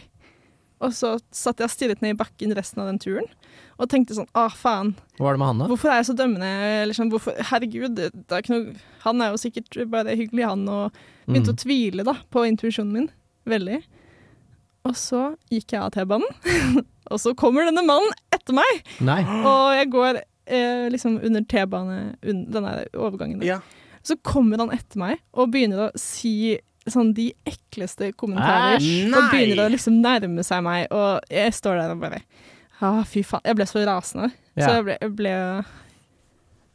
Og så satt jeg og stirret ned i bakken resten av den turen og tenkte sånn Å, faen. Hva var det med Hanna? Hvorfor er jeg så dømmende? Eller sånn, hvorfor, herregud, det er ikke noe, han er jo sikkert bare hyggelig, han. Og Mm. Mm. begynte å tvile da, på intuisjonen min. Veldig. Og så gikk jeg av T-banen, og så kommer denne mannen etter meg! Nei. Og jeg går eh, liksom under T-bane, un- den der overgangen. der. Ja. Så kommer han etter meg og begynner å si sånn de ekleste kommentarer. Æsj, og Ah, nei! begynner å liksom nærme seg meg, og jeg står der og bare ah, Fy faen. Jeg ble så rasende. Så Ja. jeg ble, jeg ble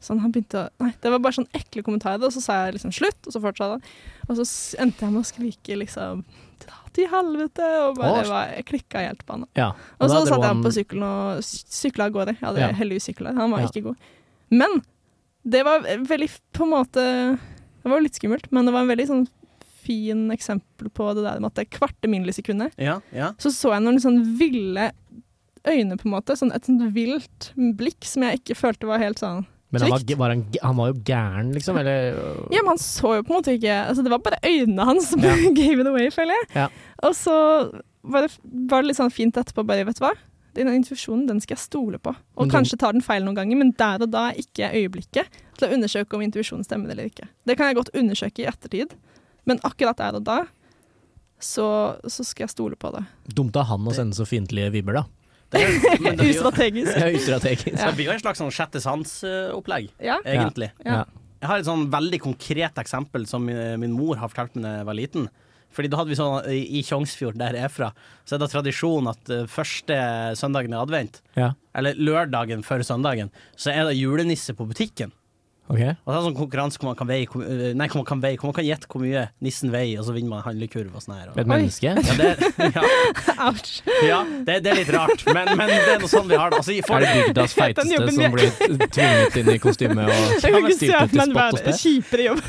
sånn, han begynte å, nei, Det var bare sånn ekle kommentarer, og så sa jeg liksom slutt, og så fortsatte han. Og så s- endte jeg med å skrike liksom «Dra til helvete, og bare Å. var, jeg klikka helt på han. da. Ja. Og så da dro satt jeg han- på sykkelen og sy- sykla av gårde. Jeg hadde Ja. heldigvis sykla, han var Ja. ikke god. Men det var veldig f- på en måte Det var jo litt skummelt, men det var en veldig sånn fin eksempel på det der med at det kvarte millisekundet Ja, ja. så så jeg noen sånn ville øyne, på en måte. Sånn et sånt vilt blikk som jeg ikke følte var helt sånn Men han var, Trygt. var han, g- han var jo gæren, liksom? Eller Ja, men han så jo på en måte ikke altså, Det var bare øynene hans som Ja. gave it away, føler jeg. Ja. Og så var det, var det litt sånn fint etterpå, bare vet du hva? Den intuisjonen, den skal jeg stole på. Og Men den- kanskje tar den feil noen ganger, men der og da er ikke øyeblikket til å undersøke om intuisjonen stemmer eller ikke. Det kan jeg godt undersøke i ettertid, men akkurat der og da så, så skal jeg stole på det. Dumt av han å sende så fiendtlige vibber, da. Det er, men det blir jo- Ustrategisk. Det er ustrategisk. så det blir jo et slags sånn sjette sans-opplegg, Ja. egentlig. Ja. Jeg har et sånn veldig konkret eksempel som min, min mor har fortalt meg da jeg var liten. Fordi da hadde vi sånn I i Tjongsfjord, der jeg er fra, så er det tradisjon at eh, første søndagen i advent, Ja. eller lørdagen før søndagen, så er det julenisse på butikken. Ok. Og så er det sånn konkurranse hvor man kan veie hvor- eh, Nei, hvor man kan veie, hvor man kan gjette hvor mye nissen veier, og så vinner man handlekurv og sånn her. Og, Et menneske? ja, det, ja, Ouch. ja det, det er litt rart, men, men det er noe sånn vi har det. Altså, i Er for, det bygdas Den feiteste jobben som blir tvunget inn i kostyme og Jeg kan ikke se at styrt ut i man spott var og spe? kjipere jobb.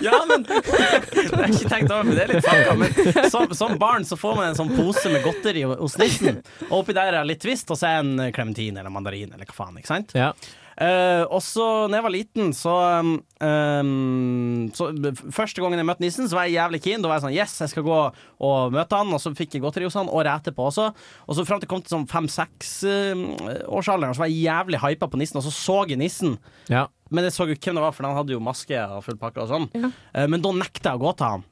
Ja, men Det har jeg ikke tenkt over, men det er litt fucka. Men som, som barn så får man en sånn pose med godteri hos nissen, og oppi der er det litt twist, og så er en klementin eller mandarin eller hva faen, ikke sant? Ja. Eh, og så, når jeg var liten, så, um, um, så Første gangen jeg møtte nissen, så var jeg jævlig keen. Da var jeg sånn Yes, jeg skal gå og møte han. Og så fikk jeg godteri hos han året etterpå også. Og så fram til jeg kom til sånn fem-seks-årsalderen, så var jeg jævlig hypa på nissen, og så så jeg nissen. ja. Men jeg så jo ikke hvem det var, for han hadde jo maske og full pakke og sånn. Ja. Eh, Men da nekta jeg å gå til han.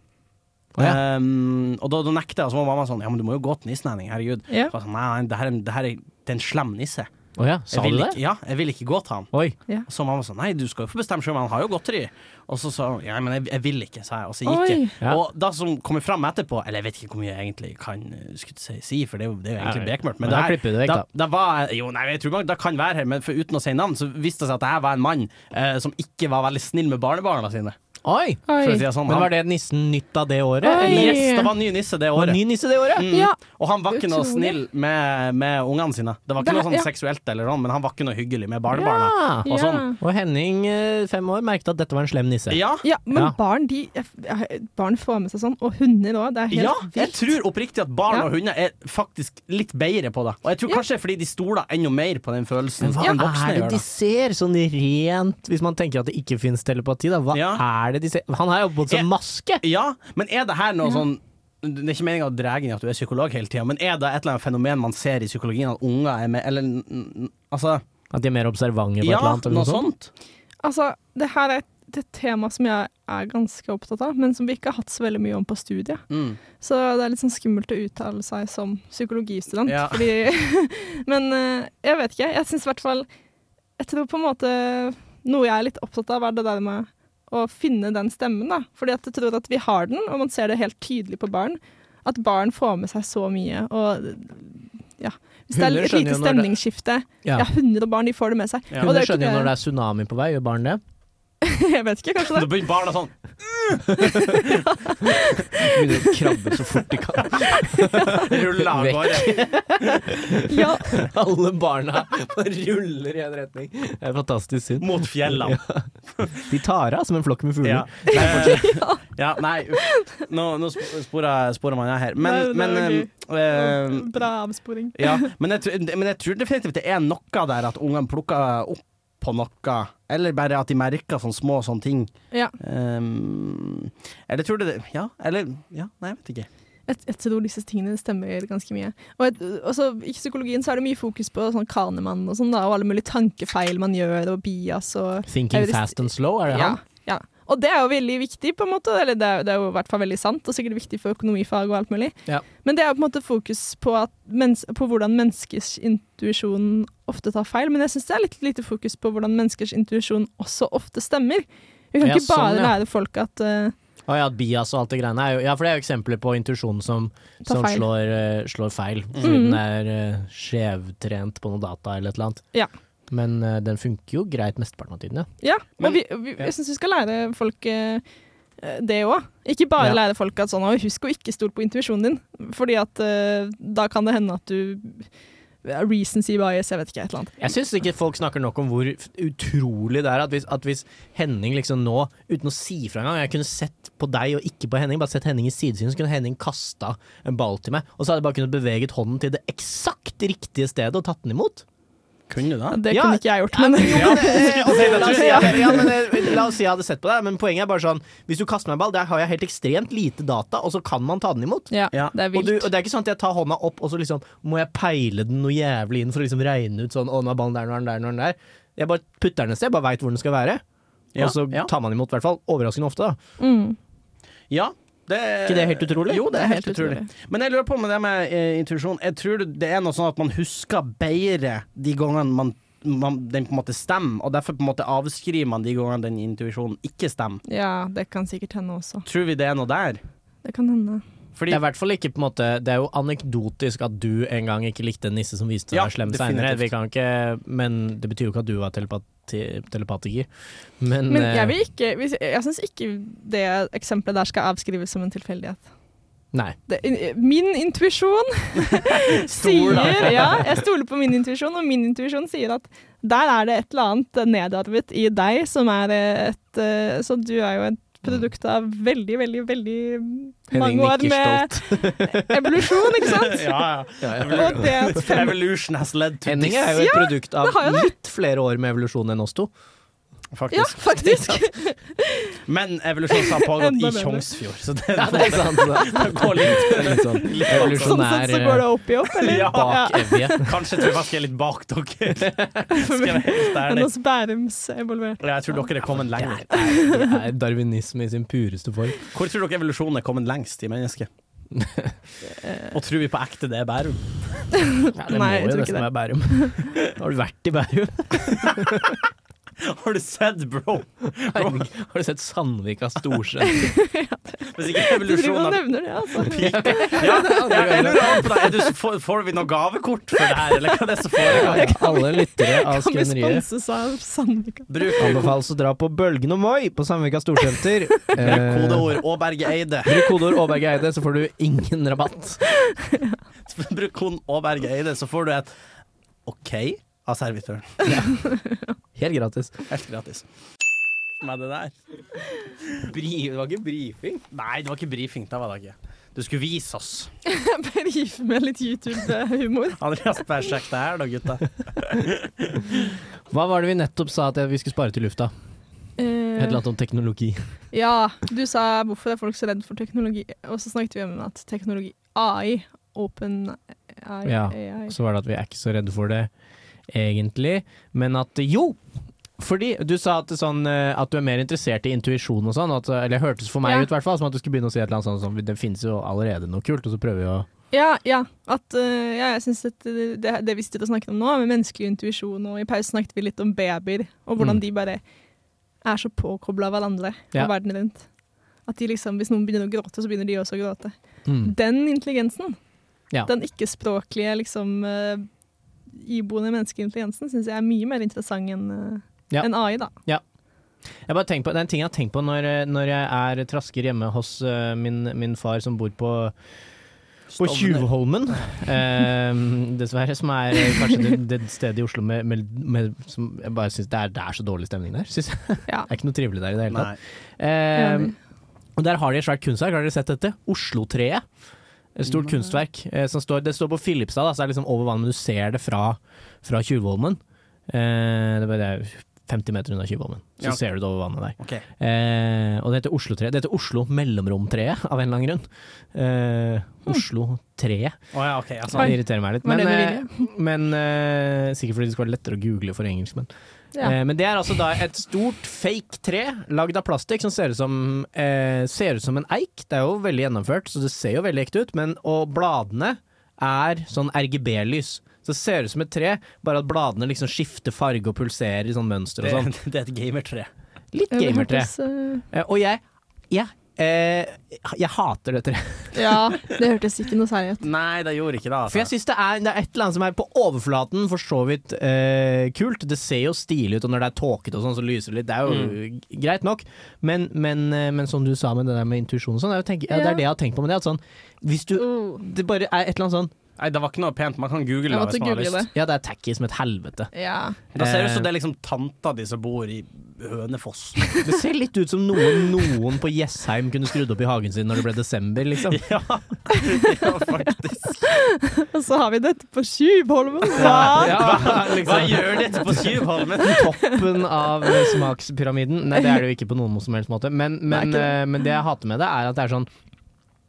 Å, ja. Ehm, og da, da nekta jeg, og så var mamma sånn Ja, men du må jo gå til nissen, Henning. Herregud. Ja. Så jeg var sånn, nei, nei, det her, er en- det her er, det er en slem nisse. Å ja, sa jeg du vil det? Ikke, ja, jeg vil ikke gå til han. Oi. Og Så mamma sa nei, du skal jo få bestemme sjøl, han har jo godteri. Og så sa hun ja, men jeg, jeg vil ikke, sa jeg, og så gikk jeg. Oi! Ja. Og det som kommer fram etterpå, eller jeg vet ikke hvor mye jeg egentlig kan eh, skulle si, si for det er jo, det er jo egentlig Nei. bekmørkt, Men men det da her, klipper du det vekk, da, da var jeg- Jo, nei, jeg tror nok det kan være her, men for, uten å si navn, så viste det seg at det her var en mann eh, som ikke var veldig snill med barnebarna sine. Oi! For å Oi. si det sånn. Men Han- var det nissen nytt av det året? Oi. eller? Yes, det var en ny nisse det Var det året. ny nisse det året? Mm. Ja. Og han var ikke noe Utrolig. snill med, med ungene sine. Det var ikke Det- noe sånn ja. seksuelt eller noe, men han var ikke noe hyggelig med barnebarna. Ja. Og sånn. Og Henning, eh, fem år, merket at dette var en slem nisse. Ja, Ja, men Ja. barn de, jeg- jeg- barn får med seg sånn, og hunder òg. Det er helt ja, jeg vilt. tror oppriktig at barn Ja. og hunder er faktisk litt bedre på det. Og jeg tror Ja. kanskje det er fordi de stoler enda mer på den følelsen Men hva enn voksne er det gjør. de Da. ser, sånn rent Hvis man tenker at det ikke finnes telepati, da. Hva Ja. er det de ser? Han har jo bodd som Jeg- maske! Ja, men er det her noe Ja. sånn det er ikke meninga å dra inn i at du er psykolog hele tida, men er det et eller annet fenomen man ser i psykologien at unger er med Eller n- n- altså At de er mer observante på Ja, et eller annet. Eller noe sånt. Altså, det her er et, det er et tema som jeg er ganske opptatt av, men som vi ikke har hatt så veldig mye om på studiet. Mm. Så det er litt sånn skummelt å uttale seg som psykologistudent. Ja. Fordi, men eh, jeg vet ikke. Jeg syns i hvert fall Jeg tror på en måte noe jeg er litt opptatt av, er det der med å finne den stemmen. da. Fordi at jeg tror at vi har den, og man ser det helt tydelig på barn. At barn får med seg så mye. og... Ja. Hvis det er Hunder et skjønner lite jo når det- stemningsskifte Ja. Ja, hunder og barn de får det med seg. Ja. Og Hunder det er jo skjønner jo ikke når det det, er tsunami på vei, gjør barn det? jeg vet ikke, kanskje Da det. blir barna sånn Begynner å krabbe så fort de kan. ruller av Vekk. gårde. Ja, Alle barna ruller i en retning. Det er fantastisk synd. Mot fjellene. De tar av som en flokk med fugler. Ja. Eh, ja, nei, uff. nå, nå sp- sporer sporer man jeg her. Men, Nei, men, det eh, eh, Bra avsporing. ja, men, jeg, tror- men jeg tror definitivt det er noe der at ungene plukker opp på noe, eller bare at de merker sånne små sånne ting. Ja. Um, eller tror du det Ja, eller ja, Nei, jeg vet ikke. Jeg, jeg tror disse tingene stemmer ganske mye. Og jeg, også, I psykologien så er det mye fokus på sånn Kahneman og sånn, da, og alle mulige tankefeil man gjør, og bias og Thinking Jeg vil- fast and slow, er det ja, han? ja. Og det er jo veldig viktig, på en måte. Eller det er, det er jo i hvert fall veldig sant, og sikkert viktig for økonomifag og alt mulig. Ja. Men det er jo på en måte fokus på, at mens, på hvordan menneskers intuisjon ofte tar feil. Men jeg syns det er litt lite fokus på hvordan menneskers intuisjon også ofte stemmer. Vi kan Ja, ikke bare sånn, ja. lære folk at eh, Å ja, at bias og alt det greiene. Er jo, ja, for det er jo eksempler på intuisjon som, Ta som feil. Mhm. slår, eh, slår feil. Fordi den er eh, skjevtrent på noe data eller et eller annet. Ja. Men eh, den funker jo greit mesteparten av tiden, ja. Ja, og Men- vi, vi, ja. jeg syns vi skal lære folk eh, det òg. Ikke bare Ja. lære folk at sånn, «Oi, husk å ikke stole på intuisjonen din, fordi at eh, da kan det hende at du Recency bias, jeg vet ikke, et eller annet. Jeg syns ikke folk snakker nok om hvor f- utrolig det er at hvis, at hvis Henning liksom nå, uten å si fra engang Jeg kunne sett på deg og ikke på Henning, bare sett Henning i sidesyn, så kunne Henning kasta en ball til meg, og så hadde jeg bare kunnet beveget hånden til det eksakt riktige stedet og tatt den imot. Kunne du da? Det Ja, kunne ikke jeg gjort, men Ja, men, eh, altså, la, oss si, Ja. at- ja, men, eh, la oss si jeg hadde sett på deg, men poenget er bare sånn Hvis du kaster meg en ball, der har jeg helt ekstremt lite data, og så kan man ta den imot. ja, Ja, det er Og, vilt. du, og det er ikke sånn at jeg tar hånda opp og så liksom må jeg peile den noe jævlig inn for å liksom regne ut sånn Å, nå er ballen der, nå er den der, nå er den der. Jeg bare putter den et sted, bare veit hvor den skal være. Ja, og så ja. tar man imot, i hvert fall. Overraskende ofte, da. Mm. Ja. Det, Ikke det helt utrolig? Jo, det er helt, utrolig. Men jeg lurer på med det med eh, intuisjon. Jeg tror det er noe sånn at man husker bedre de gangene man, man, den på en måte stemmer, og derfor på en måte avskriver man de gangene den intuisjonen ikke stemmer. Ja, det kan sikkert hende også. Tror vi det er noe der? Det kan hende. Fordi, Det er i hvert fall ikke på en måte Det er jo anekdotisk at du en gang ikke likte en nisse som viste seg Ja, å være slem definitivt. seinere. Vi kan ikke Men det betyr jo ikke at du var telepati, telepatiker. Men, Men eh, jeg, vil ikke, hvis- jeg syns ikke det eksempelet der skal avskrives som en tilfeldighet. Nei. det, eh, min intuisjon Stol, sier da. Ja, jeg stoler på min intuisjon, og min intuisjon sier at der er det et eller annet nedarvet i deg som er et eh, Så du er jo et produkt av veldig, veldig, veldig Henning mange år nikker med stolt. evolusjon, ikke sant? ja, ja. Og det at fem Evolution has led to Henning er this, jo et produkt av det har jo det. litt flere år med evolusjon enn oss to. Ja, faktisk. faktisk. Men evolusjonen har pågått Enda i bedre. Tjongsfjord, så det, Ja, det er sant. Det det går litt, er litt sånn eh, litt Sånn sett så går det opp i opp, eller? Ja. bak evje. Kanskje tror jeg faktisk jeg er litt bak dere. Skal jeg Ja. være helt Enn ærlig. hos Bærums evolvert. Jeg tror dere er kommet lenger. Det er darwinisme i sin pureste form. Hvor Eh, tror dere evolusjonen er kommet lengst i mennesket? Og tror vi på ekte det er Bærum? Ja, det Nei, må jeg jo tror ikke nesten det. være Bærum. Har du vært i Bærum? Har du sett, bro? Herregud, Har du sett Sandvika storsenter? Du Hvis ikke driver og evolusjonen nevner det, altså. Ja, jeg lurer på deg. Er du, så- får, får vi noe gavekort for det her, eller hva er det som foregår? Alle lyttere av Kan vi Skrøneriet sponses av Sandvika? Bruk anbefales å dra på Bølgen og Moi på Sandvika storsenter. bruk Eh, kodeord Åberge Eide. Bruk kodeord Aaberge Eide, så får du ingen rabatt. Bruk koden Åberge Eide, så får du et OK av servitøren. Helt gratis. Helt gratis. Med det der. det var ikke brifing. Nei, det var ikke brifing. Det var det ikke. Du skulle vise oss. Jeg bare gir med litt YouTube-humor. Andreas, bare sjekk det her da, gutta. Hva var det vi nettopp sa at vi skulle spare til lufta? Et eller annet om teknologi. Eh, Ja, du sa hvorfor er folk så redd for teknologi, og så snakket vi om at teknologi AI, open AI, Ja. AI. Så var det at vi er ikke så redde for det, egentlig. Men at jo! Fordi du sa at, det sånn, eh, at du er mer interessert i intuisjon og sånn. At, eller hørtes for meg Ja. ut, i hvert fall, som at du skulle begynne å si et eller annet sånn som det finnes jo allerede noe kult, og så prøver vi å Ja, ja, at eh, ja, jeg synes at det, det, det vi sitter og snakker om nå, med menneskelig intuisjon, og i pausen snakket vi litt om babyer, og hvordan Mm. de bare er så påkoblet av hverandre Ja. og verden rundt. At de liksom, hvis noen begynner å gråte, så begynner de også å gråte. mm. Den intelligensen, Ja. den ikke-språklige liksom eh, iboende menneskelige intelligensen, synes jeg er mye mer interessant enn eh, Ja. enn AI da. Jeg bare tenker på, det er en ting jeg har tenkt på når, eh, når jeg er trasker hjemme hos eh, min, min far som bor på, på Tjuvholmen. eh, dessverre. Som er eh, kanskje det, det stedet i Oslo med, med, med, som jeg bare synes det, er, det er så dårlig stemning der. Synes jeg. Ja. Det er ikke noe trivelig der i det hele tatt. Nei. Eh, Enig. og der har de et svært kunstverk, har dere sett dette? Oslotreet. Et stort kunstverk. Eh, som står, det står på Filipstad, da, så det er liksom over vannet, men du ser det fra, fra Tjuvholmen. Eh, det er bare 50 meter unna Tjuvholmen, så Ja. ser du det over vannet der. Ok. Eh, og det heter Oslo-treet. Det heter Oslo Mellomromtreet, av en eller annen grunn. Eh, Oslo-treet. Å ja, ok. Altså. Det irriterer meg litt. Var Men, det eh, men eh, sikkert fordi det skal være lettere å google for engelskmenn. Ja. Eh, men det er altså da et stort fake tre lagd av plastikk som ser ut som, eh, ser ut som en eik. Det er jo veldig gjennomført, så det ser jo veldig ekte ut. Men, og bladene er sånn RGB-lys. Så det ser ut som et tre, bare at bladene liksom skifter farge og pulserer i sånn mønster Det, og sånn. det er et gamertre. Litt Ja, det gamertre. hørtes, eh, Eh, Og jeg, jeg, eh, jeg hater det treet. Ja, det hørtes ikke noe særlig ut. Nei, det gjorde ikke det. For jeg Altså. syns det er, det er et eller annet som er på overflaten for så vidt eh, kult. Det ser jo stilig ut, og når det er tåkete og sånn, så lyser det litt. Det er jo greit nok. Men, men, eh, men som du sa med det der med intuisjon og sånn, jeg tenker, ja, det Ja. er det jeg har tenkt på med det. At sånn, hvis du Oh, Det bare er et eller annet sånn Nei, det var ikke noe pent. Man kan jeg google det måtte hvis man har google det. lyst. Ja, det er tacky som et helvete. Ja. Da ser det ut som det er liksom tanta di som bor i Hønefoss. Det ser litt ut som noe noen på Jessheim kunne skrudd opp i hagen sin når det ble desember, liksom. ja. ja, faktisk. Og så har vi dette på Tjuvholmen. Ja, Hva? ja, Hva liksom. gjør dette på Tjuvholmen? toppen av eh, smakspyramiden. Nei, det er det jo ikke på noen som helst måte. Men, Det er men, ikke det. eh, men det jeg hater med det, er at det er sånn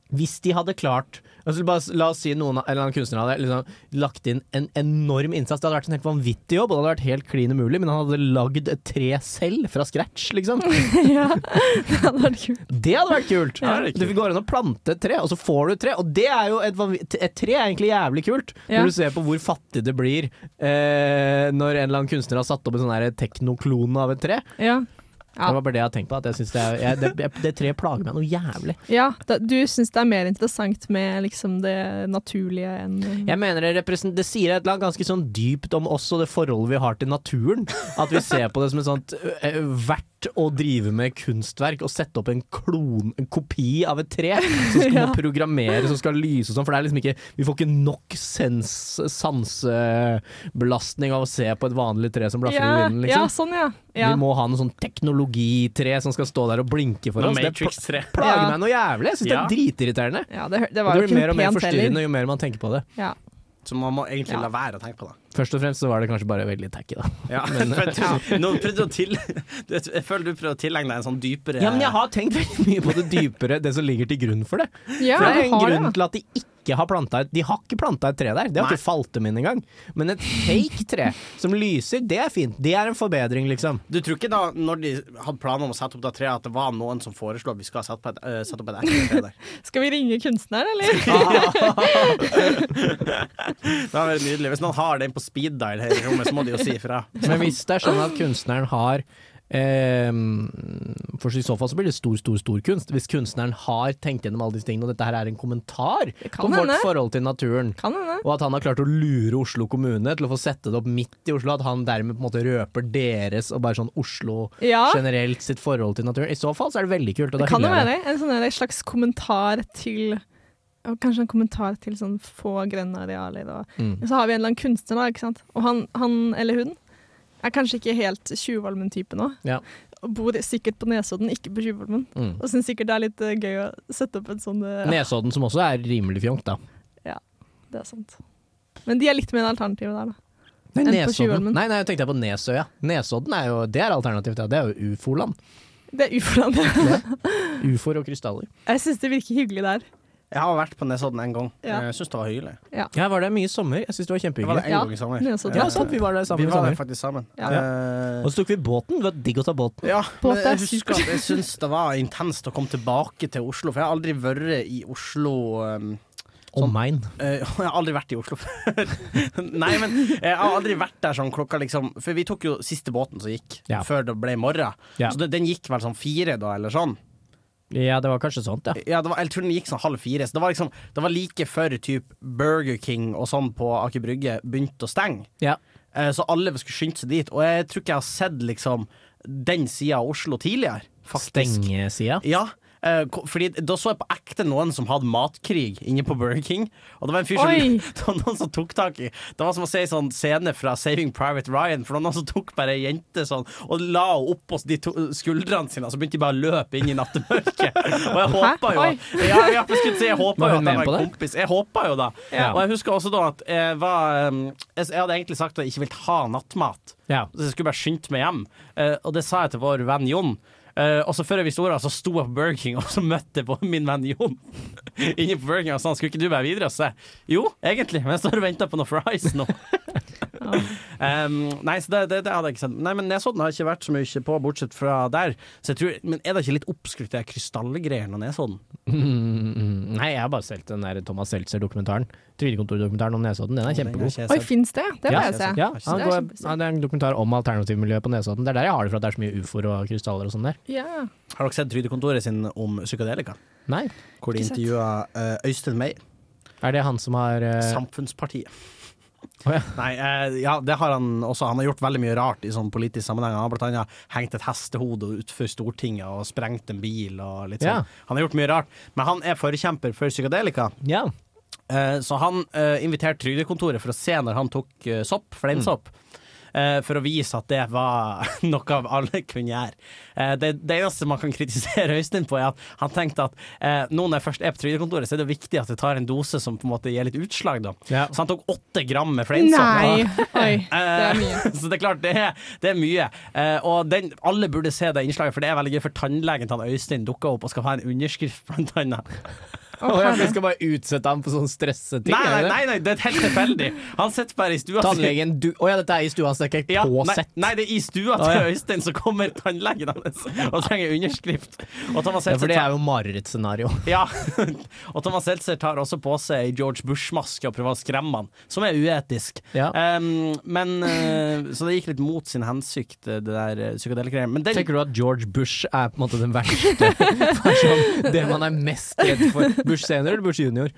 Hvis de hadde klart altså bare, s- La oss si noen av- en eller annen kunstner hadde liksom, lagt inn en enorm innsats. Det hadde vært en helt vanvittig jobb, og det hadde vært helt klin umulig, men han hadde lagd et tre selv fra scratch, liksom. ja, det hadde vært kult. Det hadde vært kult! Ja, det er kult. Det går an å plante et tre, og så får du et tre. Og det er jo et, vanvi- et tre er egentlig jævlig kult, Ja. når du ser på hvor fattig det blir eh, når en eller annen kunstner har satt opp en sånn her teknoklone av et tre. Ja. Ja. Det var bare det jeg hadde tenkt på. At jeg synes det, er, jeg, det, jeg, det treet plager meg noe jævlig. ja da, du syns det er mer interessant med liksom det naturlige enn eh, Jeg mener Det, represent- det sier et eller annet ganske sånn dypt om oss og det forholdet vi har til naturen. At vi ser på det som et sånt eh, verdt å drive med kunstverk og sette opp en, klon, en kopi av et tre som skal Ja. må programmere, som skal lyse og sånn. For det er liksom ikke Vi får ikke nok sens, sansebelastning av å se på et vanlig tre som blafrer i ja, vinden, ja, liksom. sånn, ja. ja. Vi må ha noe sånn teknologitre som skal stå der og blinke for Når oss. Det pl- Matrix 3. plager Ja. meg noe jævlig. Jeg syns det Ja. er dritirriterende. ja det, hø- det Og var Det jo blir ikke mer noe og mer pent forstyrrende heller. jo mer man tenker på det. Ja. Så man må egentlig Ja. la være å tenke på det. Først og fremst så var det kanskje bare veldig tacky, da. Ja, for du, nå prøvde du å til, du, vet, jeg føler du prøvde å tilegne deg en sånn dypere Ja, men jeg har tenkt veldig mye på det dypere, det som ligger til grunn for det. Ja, For det er du en har det, grunn ja. til at de ikke ikke har planta et De har ikke planta et tre der. Det har Nei. ikke falt dem inn engang. Men et fake tre som lyser, det er fint. Det er en forbedring, liksom. Du tror ikke da, når de hadde planer om å sette opp det treet, at det var noen som foreslo at vi skal sette, på et, eh, sette opp et ekte tre der? Skal vi ringe kunstneren, eller? Det hadde vært nydelig. Hvis noen har den på speed dial her i rommet, så må de jo si ifra. Men hvis det er sånn at kunstneren har eh, For i så fall så blir det stor, stor, stor kunst. Hvis kunstneren har tenkt gjennom alle disse tingene, og dette her er en kommentar kan på vårt hende. forhold til naturen. Kan hende. Og at han har klart å lure Oslo kommune til å få sette det opp midt i Oslo. At han dermed på en måte røper deres og bare sånn Oslo Ja. generelt sitt forhold til naturen. I så fall så er det veldig kult. Og Det da kan jo hyller jeg være en sånn en slags kommentar til og Kanskje en kommentar til sånn få grønne arealer. Og, Mm. Så har vi en eller annen kunstner, da, ikke sant? og han, han eller hun er kanskje ikke helt Tjuvholmen-type nå. Ja. Og bor sikkert på Nesodden, ikke på Tjuvholmen. Mm. Og syns sikkert det er litt eh, gøy å sette opp en sånn eh, Nesodden, som også er rimelig fjongt, da. Det er sant. Men de er litt mer alternative der, da. Nei, Enn på Nesodden. Tjuvholmen. Nei, nei, jeg tenkte jeg på Nesøya. Nesodden er jo, det er alternativt, ja. Det er jo ufoland. Det er uforandret. Ufoer og krystaller. Jeg syns det virker hyggelig der. Jeg har vært på Nesodden en gang. Ja. Jeg syns det var hyggelig. Ja, var det mye i sommer? Jeg syns det var Det var kjempehyggelig. det en Ja, gang i sommer. Nesodden. Ja, sant, vi var der sammen Vi i var der sommer. faktisk sammen. Ja. Eh, Og så tok vi båten. Det var digg å ta båten. Ja, På men at det jeg er husker at jeg syns det var intenst å komme tilbake til Oslo, for jeg har aldri vært i Oslo um, Omegn. eh, Jeg har aldri vært i Oslo før. Nei, men jeg har aldri vært der sånn klokka liksom For vi tok jo siste båten som gikk, Ja. før det ble morgen. Ja. Så det, den gikk vel sånn fire, da, eller sånn. Ja, det var kanskje sånt, ja. Ja, det var, jeg tror den gikk sånn halv fire. Så det var liksom Det var like før typ Burger King og sånn på Aker Brygge begynte å stenge. ja. Eh, Så alle skulle skynde seg dit. Og jeg tror ikke jeg har sett liksom den sida av Oslo tidligere, faktisk. Stengesida. Ja, eh, ko- fordi da så jeg på ekte noen som hadde matkrig inne på Burger King. Og det var en fyr som, Oi. det var noen som tok tak i Det var som å se en sånn scene fra Saving Private Ryan. For det var noen som tok bare ei jente sånn og la henne opp på de to skuldrene sine, og så begynte de bare å løpe inn i nattemørket. Og jeg håpa jo Oi. ja, ja, for jeg, skulle si, jeg håpa Var jo hun at jeg med på var det? en kompis. Jeg håpa jo da. Ja. Og jeg husker også da at jeg var eh, Jeg jeg hadde egentlig sagt at jeg ikke ville ha nattmat. Ja. Så jeg skulle bare skynde meg hjem. Eh, og det sa jeg til vår venn Jon. Eh, og så før jeg visste ordet, så sto jeg på Burger King, og så møtte jeg på min venn Jon. Inne på Burger King og sa han skulle ikke du bare videre? Og så sa jeg, jo, egentlig, men jeg står og venter på noe fries nå. Em, nei, så det, det, det hadde jeg ikke sett. Nei, men Nesodden har jeg ikke vært så mye på, bortsett fra der. Så jeg tror, men er det ikke litt oppskrytt, de her krystallgreiene og Nesodden? Mm, mm. Nei, jeg har bare solgt den der Thomas Seltzer-dokumentaren. Trygdekontordokumentaren om Nesodden. Den er kjempegod. Den har Oi, ikke jeg sett. fins det? Det må Ja, jeg se. Ja, Det han er går, kjempesøtt. ja, det er en dokumentar om alternativmiljøet på Nesodden. Det er der jeg har det fra, at det er så mye ufoer og krystaller og sånn der. Ja. Har dere sett Trygdekontoret sin om psykadelika? Nei. Hvor de Ikke sett. intervjua eh, Øystein Meyer. Er det han som har eh, Samfunnspartiet. Å, ja. Nei, eh, ja, det har han også. Han har gjort veldig mye rart i sånn politisk sammenheng. Han har blant annet hengt et hestehode utenfor Stortinget og sprengt en bil og litt Ja. sånn. Han har gjort mye rart. Men han er forkjemper for psykadelika, Ja. eh, så han eh, inviterte Trygdekontoret for å se når han tok eh, sopp, flamesopp. eh, For å vise at det var noe av alle kunne gjøre. Eh, Det, det eneste man kan kritisere Øystein på, er at han tenkte at eh, nå når jeg først er på Trygdekontoret, så er det viktig at jeg tar en dose som på en måte gir litt utslag, da. ja. Så han tok åtte gram med fleinsopp. Eh, Nei! Oi, det er mye. Så det er klart, det er, det er mye. Eh, og den, alle burde se det innslaget, for det er veldig gøy. For tannlegen til han Øystein dukka opp og skal ha en underskrift, blant annet. Å, Å, ja, for herre. vi skal bare utsette ham for sånne stresseting? Nei, er nei, det det? nei, nei, det er helt tilfeldig. Han sitter bare i stua si. Tannlegen du Å ja, dette er i stua hans, det er ikke Ja, på nei, sett. nei, det er i stua Å, ja. til Øystein så kommer tannlegen hans og trenger underskrift. Og Ja, for Thomas Seltzer, det tar, er jo marerittscenario. ja. og Thomas Seltzer tar også på seg ei George Bush-maske og prøver å skremme han, som er uetisk. Ja. Um, men eh, Så det gikk litt mot sin hensikt, det der eh, psykedelikgreiene. Men den Tenker du at George Bush er på en måte den verste? Det er sånn, det man er mest redd for? Bush senior eller Bush junior?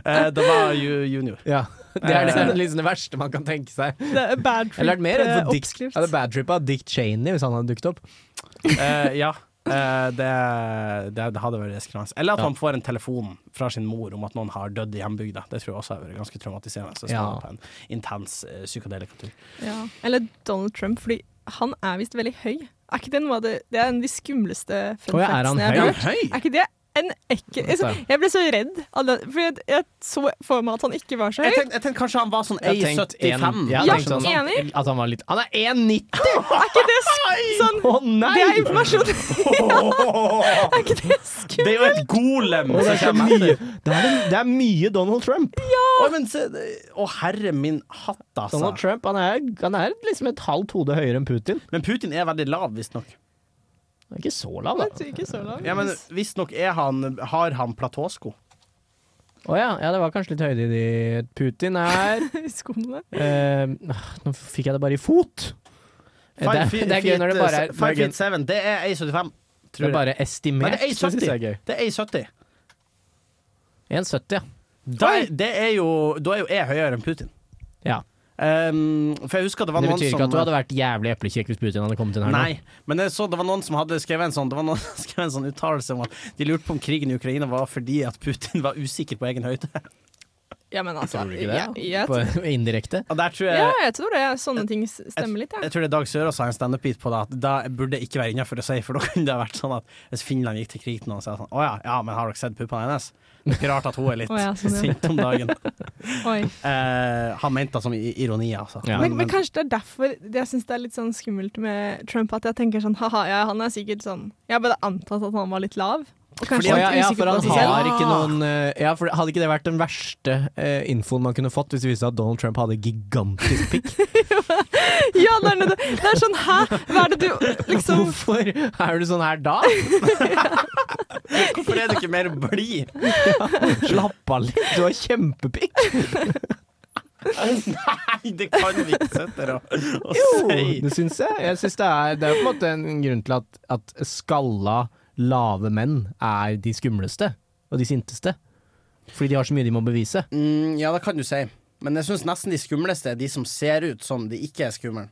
Eh, det var ju- junior. Ja. Det er det, liksom det verste man kan tenke seg. Det er bad Eller er eh, det mer redd for Dick, trip-oppskrift. er det bad trip av Dick Cheney, hvis han hadde dukket opp? Eh, ja. Eh, det, det, det hadde vært skremmende. Eller at Ja. man får en telefon fra sin mor om at noen har dødd i hjembygda. Det tror jeg også har vært ganske traumatiserende. Så jeg skal Ja. på en intens uh, psykadelikatur. Ja. Eller Donald Trump, fordi han er visst veldig høy. Er ikke det noe av det Det er en av de skumleste fun Å ja, er han factsene jeg høy? har hørt. Er ikke det en ekkel jeg, så- jeg ble så redd, av det, for jeg, jeg så for meg at han ikke var så Jeg høy. tenkte, jeg tenkte kanskje han var sånn Jeg tenkte en- 1,75. jeg Ja, tenkte sånn, enig. At han var litt Han er 1,90! Er ikke det sk sånn Å Det er nei! informasjon! Åh, Er ikke det skummelt? Det er jo et golem Og det, som er så kommer mye, etter. det, er, det er mye Donald Trump. Å, men se det- å, herre min hatt, Donald altså. Trump han er, han er liksom et halvt hode høyere enn Putin. Men Putin er veldig lav, visstnok. Han er ikke så lav, Jeg da. tror ikke så langt. Ja, men visstnok er han Har han platåsko? Å ja, ja, det var kanskje litt høyde i de Putin er Skoene. eh, Nå fikk jeg det bare i fot. Eh, Det, Five er- feet- det er gøy når det bare er, Five det er, feet seven. Det er 1,75. gøy- det er Tror jeg. bare Nei, estimert. det er Det synes jeg er gøy. 1,70. Det er 1,70. 1,70, ja. Da er, det er jo, da er jo jeg høyere enn Putin. Ja. Ehm, for jeg husker det var Det noen betyr som ikke at du hadde vært jævlig eplekjekk hvis Putin hadde kommet inn her nå. Nei, men jeg så det var noen som hadde skrevet en sånn Det var noen som skrev en sånn uttalelse om at de lurte på om krigen i Ukraina var fordi at Putin var usikker på egen høyde. Ja, men altså Tror du ikke det? jeg- jeg På indirekte. Og der tror jeg Ja, jeg tror det. Sånne ting s- stemmer litt, ja. Jeg tror det er Dag Sørås har en standup-beat på det, at da burde det ikke være innafor å si, for da kunne det vært sånn at hvis Finland gikk til krig til noen, så er det sånn Å ja, ja, men har dere sett puppene hennes? Det er ikke rart at hun er litt Å ja, sånn, ja. sint om dagen. Oi. Eh, han mente det som i- ironi, altså. Ja. Men, men kanskje det er derfor det- jeg syns det er litt sånn skummelt med Trump. At jeg tenker sånn ha-ha, ja, han er sikkert sånn Jeg har bare antatt at han var litt lav. Og kanskje Fordi- litt ja, ja, usikker for på han seg selv. har ikke noen eh, ja, for Hadde ikke det vært den verste eh, infoen man kunne fått hvis det viste seg at Donald Trump hadde gigantisk pikk? Ja, det er, noe- det er sånn hæ, hva er det du liksom Hvorfor er du sånn her da? Hvorfor er du ikke mer blid? Slapp av litt, du har kjempepikk! Nei, det kan vi ikke sitte her og, og si. Det syns jeg. jeg synes det, er, det er på en måte en grunn til at, at skalla, lave menn er de skumleste og de sinteste. Fordi de har så mye de må bevise. Mm, ja, det kan du si. Men jeg syns nesten de skumleste er de som ser ut som de ikke er skumle.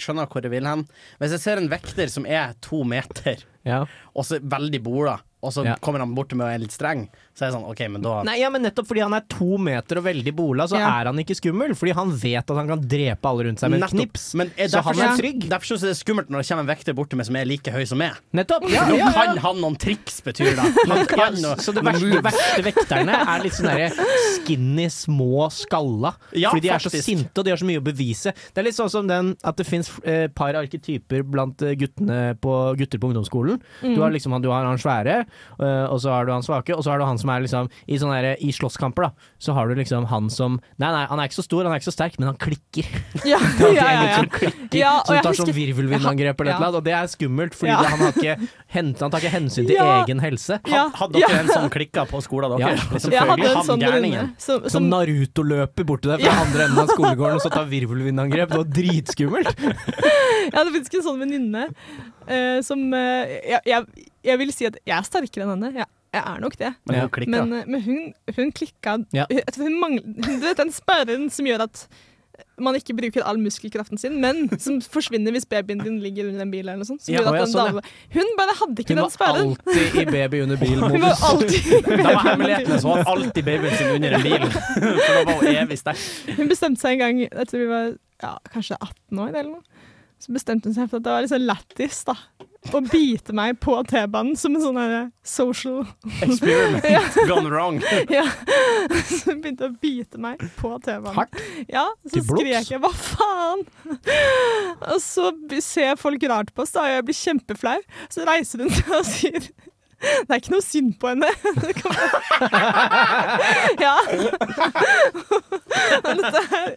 Skjønner hvor jeg vil hen. Hvis jeg ser en vekter som er to meter Ja. og så veldig bola, og så Ja. kommer han bort til meg og er litt streng, så er jeg sånn OK, men da Nei, ja, men Nettopp fordi han er to meter og veldig bola, så Ja. er han ikke skummel. Fordi han vet at han kan drepe alle rundt seg med et Nettopp. knips. Men er Så derfor, han er så- trygg. Derfor syns jeg det er skummelt når det kommer en vekter bort til meg som er like høy som meg. Nettopp! Ja, Nå ja, ja. kan han noen triks, betyr det. Han kan noe, Så de noe verste, move. verste vekterne er litt sånn derre skinny, små, skalla. Ja, fordi de er så faktisk. sinte og de har så mye å bevise. Det er litt sånn som den at det fins eh, par arketyper blant eh, guttene på, gutter på ungdomsskolen. Mm. Du har liksom han, du har han svære, eh, og så har du han svake, og så har du han som er liksom i, sånne derre- i slåsskamper, da. Så har du liksom han som Nei, nei, han er ikke så stor, han er ikke så sterk, men han klikker. Ja, Det ja, er ja. en sånn- ja. som klikker, Ja, og som jeg tar sånn husker- virvelvindangrep eller Ja. et eller annet, og det er skummelt, fordi Ja. det- han, har ikke, hen- han tar ikke hensyn til Ja. egen helse. Ja, Hadde dere ja. en som klikka på skolen Ja, deres? Liksom, Jeg hadde en han sånn gærningen. runde. Som, Som som, Naruto løper borti deg fra andre enden av skolegården og så tar virvelvindangrep. Det var dritskummelt. jeg hadde faktisk en sånn venninne eh, som eh, jeg, jeg, jeg vil si at jeg er sterkere enn henne. Jeg, jeg er nok det. Men Ja. hun klikka. Men, eh, men hun, hun klikka Ja. hun, jeg tror hun mangl- Du vet den sperren som gjør at man ikke bruker all muskelkraften sin, men som forsvinner hvis babyen din ligger under en bil eller noe sånt. Som Ja, gjør å at ja, den sånn, ja. dame, hun bare hadde ikke Hun den var sperren. alltid i baby under Hun var bil-modus. alltid Da var hemmeligheten så han alltid babyen sin under en bil. For da var hun evig sterk. Hun bestemte seg en gang Jeg tror vi var ja, kanskje 18 år eller noe Så bestemte hun seg for at det var litt sånn lættis da Å bite meg på T-banen Som en sånn her social Experiment gone wrong. ja. Så hun begynte å bite meg på T-banen Hardt? Ja, så Til blods? skrek jeg Hva faen? Og så b- ser folk rart på oss da Og jeg blir kjempeflau Så reiser hun seg og sier det er ikke noe synd på henne. Det kan være- ja. Men Dette er,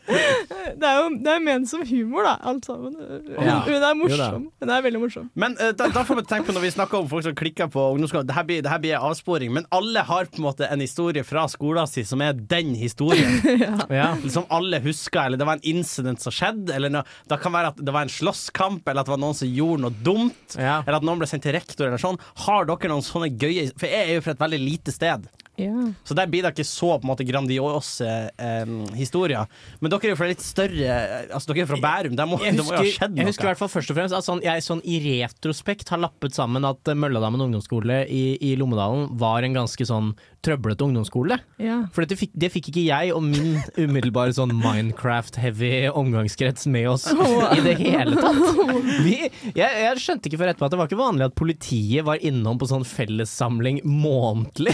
det er jo det er ment som humor, da, alt sammen. Hun, Ja. hun er Jo da. morsom. Hun er veldig morsom. Men eh, da, da får vi tenke på når vi snakker om folk som klikker på ungdomsskolen. Det her blir, det her blir en avsporing, men alle har på en måte en historie fra skolen sin som er den historien. Ja. Som alle husker, eller det var en incident som skjedde, eller noe. Det kan være at det var en slåsskamp, eller at det var noen som gjorde noe dumt. Ja. Eller at noen ble sendt til rektor eller sånn. Har dere noen sånne gøye For jeg er jo fra et veldig lite sted. Ja. Så der blir det ikke så på en måte grandiose eh, historier. Men dere er jo fra litt større Altså dere er fra Bærum, der må Jeg det må jo ha husker, skjedd jeg husker i noe. hvert fall først og fremst at sånn, jeg sånn i retrospekt har lappet sammen at eh, Mølladammen ungdomsskole i, i Lommedalen var en ganske sånn trøblete ungdomsskole. ja. For dette fikk, det fikk ikke jeg og min umiddelbare sånn Minecraft-heavy omgangskrets med oss i det hele tatt. Vi, jeg, jeg skjønte ikke før etterpå at det var ikke vanlig at politiet var innom på sånn fellessamling månedlig.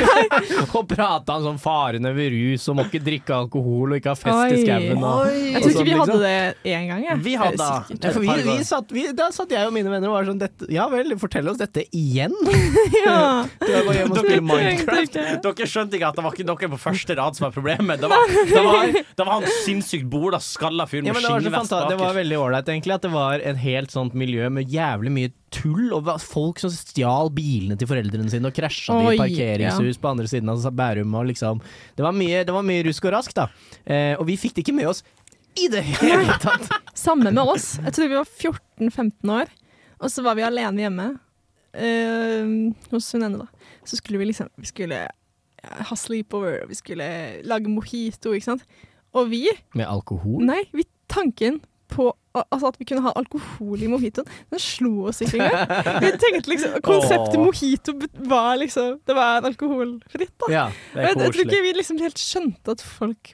og prata om sånn farene ved rus og må ikke drikke alkohol og ikke ha fest i Oi. skauen. og- Jeg tror Og sånn, ikke vi hadde liksom. det én gang. Jeg. Vi hadde- Jeg er sikker. Ja, for vi, vi satt, vi, da satt jeg og mine venner og var sånn dette, Ja vel, fortell oss dette igjen. ja. Jeg var hjemme og spilte Minecraft. Minecraft. Dere skjønte ikke at det var ikke dere på første rad som var problemet. Det var, det var, det var han sinnssykt bola, skalla fyren Ja, men med det, var så skinnvest fanta- det var bakerst. veldig ålreit, egentlig. At det var et helt sånt miljø med jævlig mye tull. Og hva- folk som stjal bilene til foreldrene sine og krasja de i Oi, parkeringshus på andre siden av Bærum. Og liksom. det, var mye, det var mye rusk og rask, da. Eh, og vi fikk det ikke med oss i det hele tatt. Samme med oss. Jeg tror vi var 14-15 år, og så var vi alene hjemme eh, hos hun ene, da. Så skulle vi liksom Vi skulle ja, ha sleepover, og vi skulle lage mojito, ikke sant. Og vi Med alkohol. Nei, vi, tanken på al- altså at vi kunne ha alkohol i mojitoen, den slo oss ikke engang. Vi tenkte liksom Konseptet Åh. mojito bet- var liksom Det var alkoholfritt, da. Ja, Jeg, jeg tror ikke vi liksom helt skjønte at folk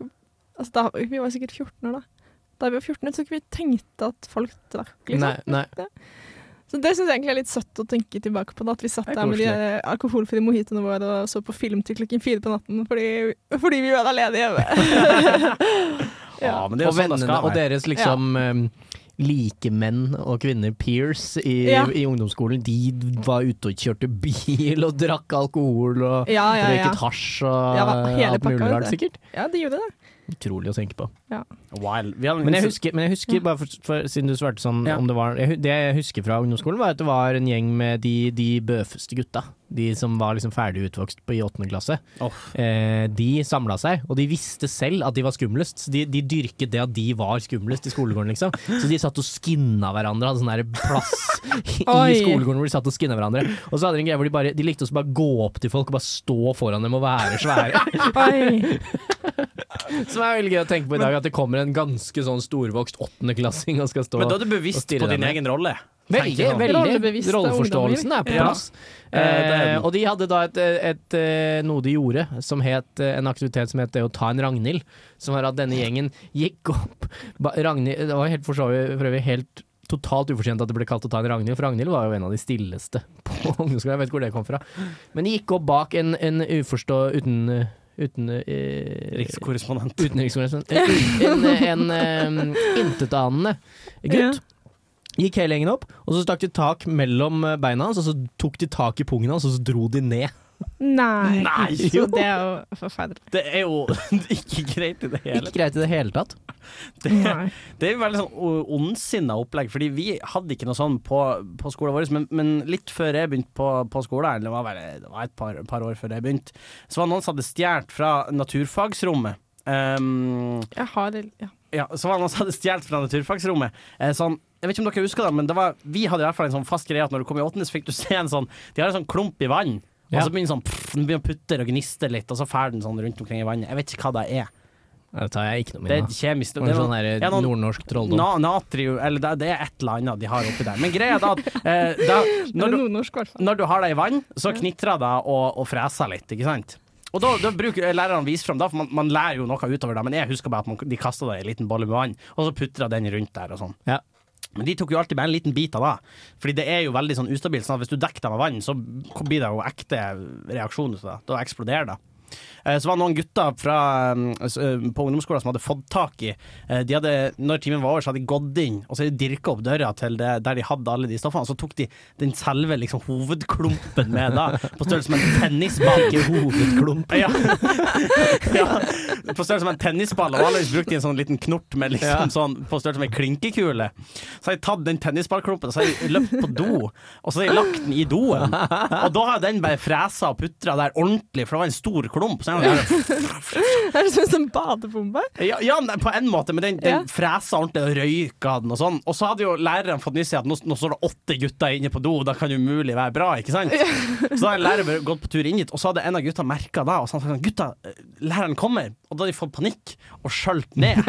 altså da, Vi var sikkert 14 år da. Da vi var 14, jeg tror ikke vi tenkte at folk drakk. Liksom. Nei, nei. Så det syns jeg egentlig er litt søtt å tenke tilbake på. Da, at vi satt Det er der med de eh, alkoholfrie mojitoene våre og så på film til klokken fire på natten fordi, fordi vi var alene hjemme. Ja, men det er og jo sånn det vennene skal og være. deres liksom eh, likemenn og kvinner, peers, i, Ja. i ungdomsskolen, de var ute og kjørte bil og drakk alkohol og Ja, ja, ja. Røyket hasj og Ja, hva- hele alt mulig pakka, rart, vet sikkert. ja de gjorde det. Utrolig å tenke på. Wild. Vi hadde- Men jeg husker, men jeg husker bare for, for, siden du svarte sånn Ja. om det var jeg, hu- Det jeg husker fra ungdomsskolen, var at det var en gjeng med de, de bøfeste gutta. De som var liksom ferdig utvokst på i åttende klasse. Åh. Eh, de samla seg, og de visste selv at de var skumlest. Så de, de dyrket det at de var skumlest i skolegården, liksom. Så de satt og skinna hverandre, hadde sånn der plass i Oi. skolegården hvor de satt og skinna hverandre. Og så hadde de en greie hvor de bare De likte også bare å gå opp til folk og bare stå foran dem og være svære. Oi. Som er veldig gøy å tenke på i dag, at det kommer en ganske sånn storvokst åttendeklassing og skal stå Men da er du Og bevisst stirre på deg din ned. egen rolle. Veldig, tenker jeg. sånn veldig. Rollebevisste Rolleforståelsen er på Ja. plass. Eh, det Eh, er den. og de hadde da et, et, eh, noe de gjorde, som het eh, en aktivitet som het det å ta en Ragnhild. Som var at denne gjengen gikk opp ba, Ragnhild, Det var helt for så vidt for øvrig helt totalt ufortjent at det ble kalt å ta en Ragnhild, for Ragnhild var jo en av de stilleste på ungdomsskolen. Jeg vet ikke hvor det kom fra. Men de gikk opp bak en, en uforstå... uten Uten eh, Rikskorrespondent. Utenriksministeren. En, en, en em, intetanende gutt. Gikk hele gjengen opp, og så stakk de tak mellom eh, beina hans, og så tok de tak i pungen hans, og så dro de ned. Nei. Nei, Jo, det er jo forferdelig. Det er jo ikke greit i det hele Ikke greit i det hele tatt. Det, det er jo veldig sånn o- ondsinna opplegg, fordi vi hadde ikke noe sånn på, på skolen vår. Men, men litt før jeg begynte på, på skolen, eller det var, vel, det var et par, par år før jeg begynte, så var det noen som hadde stjålet fra naturfagsrommet. Ehm, Jeg har det ja. ja, så var det noen som hadde stjålet fra naturfagsrommet. Eh, sånn, jeg vet ikke om dere husker det, men det var, vi hadde i hvert fall en sånn fast greie at når du kom i åttende, så fikk du se en sånn De har en sånn klump i vann, og Ja. så begynner sånn pff, Den begynner å putte og gniste litt, og så fær den sånn rundt omkring i vannet. Jeg vet ikke hva det er. Det tar jeg ikke noe Det med. er kjemisk. Det er sånn der ja, noen- nordnorsk trolldom. Na natrium, eller det, det er et eller annet de har oppi der. Men greia er da at eh, da, når, Eller du, nordnorsk, i hvert fall. når du har det i vann, så Ja. knitrer det og, og freser litt, ikke sant? Og da, da bruker eh, lærerne å vise frem da, for man, man lærer jo noe utover det, men jeg husker bare at man, de kasta det i en liten bolle med vann, og så putra den rundt der og sånn. Ja. Men de tok jo alltid bare en liten bit av det, fordi det er jo veldig sånn ustabilt. Sånn at hvis du dekker det med vann, så blir det jo ekte reaksjon ut av det. Da eksploderer det. Eh, Så var det noen gutter fra, mm, s- eh, på ungdomsskolen som hadde fått tak i eh, de hadde, Når timen var over, så hadde de gått inn og så hadde de dirka opp døra til det, der de hadde alle de stoffene. Så tok de den selve liksom, hovedklumpen med, da, på størrelse med en tennisball. Ikke hovedklump. Ja. ja. På størrelse med en tennisball, og vanligvis brukte de en sånn liten knort med Ja. liksom, sånn, på størrelse med en klinkekule. Så har de tatt den tennisballklumpen og så har de løpt på do, og så har de lagt den i doen. Og da har den bare fresa og putra der ordentlig, for det var en stor klump. klump. Så er den der, Det er som en sånn badebombe. ja, ja, men på en måte, men den, den Ja. fresa ordentlig og røyka den og sånn. Og så hadde jo læreren fått nyss i at nå, nå står det åtte gutter inne på do, da kan det umulig være bra, ikke sant? Så da hadde læreren bare gått på tur inn dit, og så hadde en av gutta merka det, og så hadde han sagt sånn Gutta, eh, læreren kommer! Og da hadde de fått panikk og skjølt ned.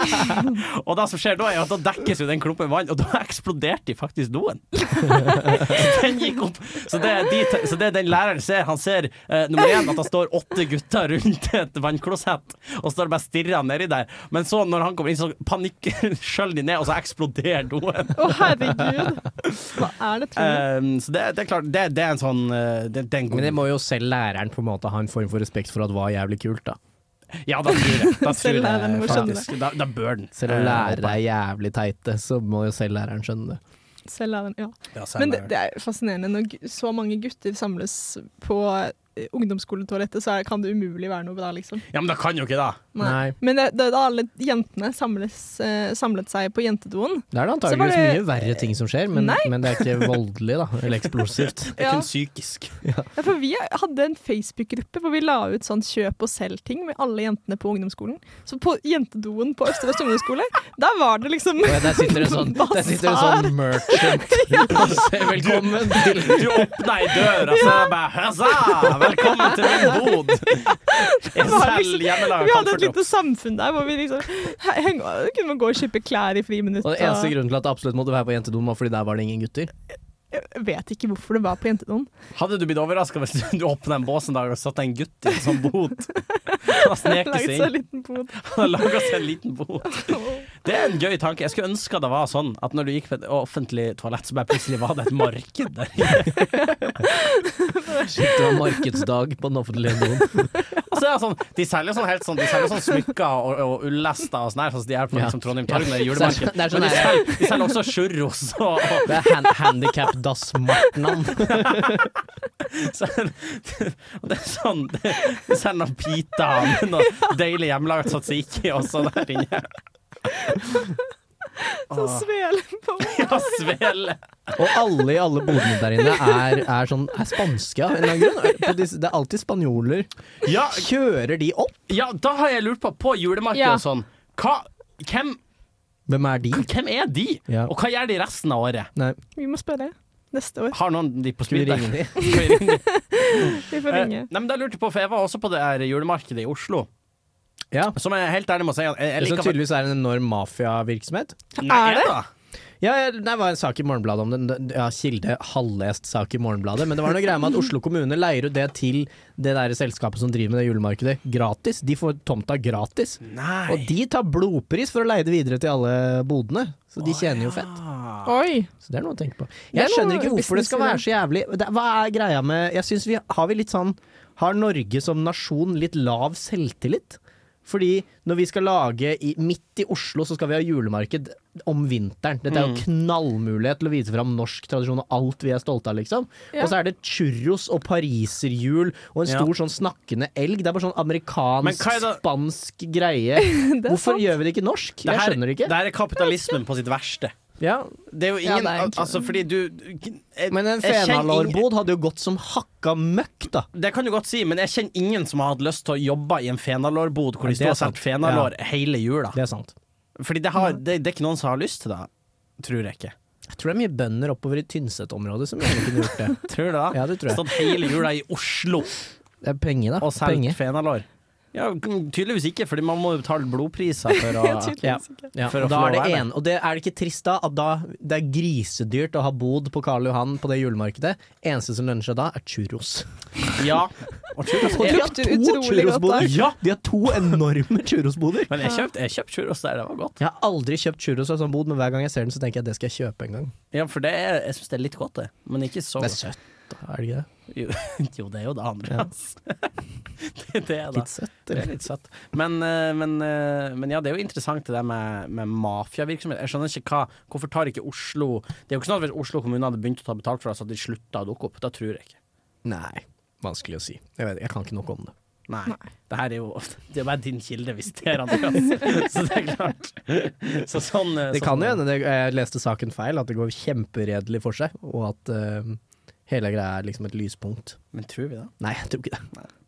og det som skjer da, er at da dekkes jo den klumpen vann, og da eksploderte de faktisk doen. så den gikk opp. Så det, er de, te- så det er den læreren ser, han ser eh, nummer én at det står åtte gutter rundt et vannklosett, og så står det bare og stirrer nedi der. Men så, når han kommer inn, så panikk skjøller de ned, og så eksploderer doen. Å, herregud. Hva er det tullet? Eh, så det, det er klart, det, det er en sånn eh, det, det er en god Men det må jo selv læreren på en måte ha en form for respekt for at var jævlig kult, da. Ja, da tror jeg, da tror Selv læreren må jeg skjønne faktisk da, da bør den. Selv Eh, om lærere er jævlig teite, så må jo selv læreren skjønne det. Selv er den, ja. ja, selv Men det, læreren. det er fascinerende. Når gu- så mange gutter samles på eh, ungdomsskoletoalettet, så er, kan det umulig være noe bra, liksom. Ja, men da kan jo ikke det. Nei. Men det, det, da alle jentene samles, eh, samlet seg på jentedoen Det er Så var da antakeligvis det- mye verre ting som skjer, men, Nei. men det er ikke voldelig, da. Eller eksplosivt. Det Ja. er kun psykisk. ja, For vi hadde en Facebook-gruppe hvor vi la ut sånn kjøp og selg-ting med alle jentene på ungdomsskolen. Så på jentedoen på Østre Vest ungdomsskole, der var det liksom Og der sitter en sånn, der sitter en sånn merchant og sier velkommen til Du åpna ei dør, og så bare Høsa! Velkommen til min bod! Jeg var selger liksom- hjemmelaga Vi hadde et kamferdropp. lite samfunn der hvor vi liksom heng, kunne man gå og kjøpe klær i friminuttet. Og den eneste grunnen til at det absolutt måtte være på jentedoen, var fordi der var det ingen gutter. Jeg vet ikke hvorfor det var på jentedoen. Hadde du blitt overraska hvis du åpna en bås en dag og satt en gutt i en sånn bod? Han har sneket Laget seg seg en inn. liten bod. Han har laga seg en liten bod. Det er en gøy tanke. Jeg skulle ønske det var sånn at når du gikk på et offentlig toalett, så bare plutselig var det et marked der. Shit, det var markedsdag på den offentlige doen. Og så er det sånn, de selger sånn helt sånn De selger sånn smykker og, og ullester og sånn her, sånn som de er på Ja. liksom, Trondheim Torg når det er Så julemarked. det er sånn Men de her- selger, de selger også churros og, og Det er hand handikap-dass-martnan. så, og det er sånn De selger noen pita med noe deilig hjemmelaget tzatziki og sånn der inne. Så Ah. svelen på meg. Ja, svel. Og alle i alle bodene der inne er, er, sånn, er spanske av en eller annen grunn. På disse- Det er alltid spanjoler. Ja, Kjører de opp? ja, da har jeg lurt på, på julemarkedet Ja. og sånn, hva, hvem, Hvem er de? hvem er de? Ja. Og hva gjør de resten av året? Nei, Vi må spørre neste år. Har noen de på skal vi speed? ringe de? Skal vi ringe? Vi får Eh, ringe. Nei, men da lurte jeg på, for jeg var også på det her julemarkedet i Oslo. Ja. Som jeg helt ærlig må si at jeg, jeg Det som liker tydeligvis er en enorm mafiavirksomhet. Er det? da. Ja, ja, det var en sak i Morgenbladet om den. Ja, Kilde halvlest sak i Morgenbladet. Men det var noe greier med at Oslo kommune leier ut det til det der selskapet som driver med det julemarkedet. Gratis. De får tomta gratis. Nei. Og de tar blodpris for å leie det videre til alle bodene. Så de tjener jo fett. Ah. Oi. Så det er noe å tenke på. Det er Jeg skjønner noe ikke hvorfor det skal være business så jævlig det, Hva er greia med Jeg synes vi Har vi litt sånn Har Norge som nasjon litt lav selvtillit? Fordi når vi skal lage i, midt i Oslo, så skal vi ha julemarked om vinteren. Dette er jo knallmulighet til å vise fram norsk tradisjon og alt vi er stolte av, liksom. Ja. Og så er det churros og pariserhjul og en Ja. stor sånn snakkende elg. Det er bare sånn Men hva er det- amerikansk-spansk greie. er Hvorfor sant. gjør vi det ikke norsk? her- Jeg skjønner det ikke. Det her er kapitalismen på sitt verste. Ja, Det er jo Ja, ingen det er egentlig- Altså, fordi du jeg, Men en jeg kjenner ingen- fenalårbod hadde jo gått som hakka møkk, da. Det kan du godt si, men jeg kjenner ingen som har hatt lyst til å jobbe i en fenalårbod hvor Ja, de det er står og sant. selger fenalår hele jula. Det er sant. Fordi det, har, det, det er ikke noen som har lyst til det. Tror jeg ikke. Jeg tror det er mye bønder oppover i Tynset-området som gjerne kunne gjort det. Tror du det? Ja, det tror jeg. Stått hele jula i Oslo Det er penger, da. og solgt penger. fenalår. Ja, tydeligvis ikke, fordi man må jo betale blodpriser for å Jeg tydeligvis ikke. Ja, For å og da få er det lov å være en, og det er det ikke trist da at da det er grisedyrt å ha bod på Karl Johan på det julemarkedet? Eneste som lønner seg da, er churros. Ja. Og Og tror de jeg, har lukter to utrolig godt, da. churrosboder! Ja. De har to enorme churrosboder! men jeg kjøpte jeg kjøpt churros der, det var godt. Jeg har aldri kjøpt churros av sånn bod, men hver gang jeg ser den, så tenker jeg at det skal jeg kjøpe en gang. Ja, for det er, jeg syns det er litt godt, det. Men ikke så Det er søtt, da, er det ikke det? Jo, jo, det er jo det andre, Ja. altså. det, det er det. Litt søtt, Det er eller? litt søtt. Men, eh, men, eh, men ja, det er jo interessant det der med, med mafiavirksomhet. Jeg skjønner ikke hva Hvorfor tar ikke Oslo Det er jo ikke sånn at hvis Oslo kommune hadde begynt å ta betalt for det, så hadde de slutta å dukke opp. Da tror jeg ikke. Nei, vanskelig å si. Jeg vet, jeg kan ikke noe om det. Nei. Det her er jo Det er bare din kilde hvis det er Andreas. Så det er klart. Så sånn eh, Det sånn- kan jo hende det- jeg leste saken feil, at det går kjemperedelig for seg, og at eh, hele greia er liksom et lyspunkt. Men tror vi det? Nei, jeg tror ikke det.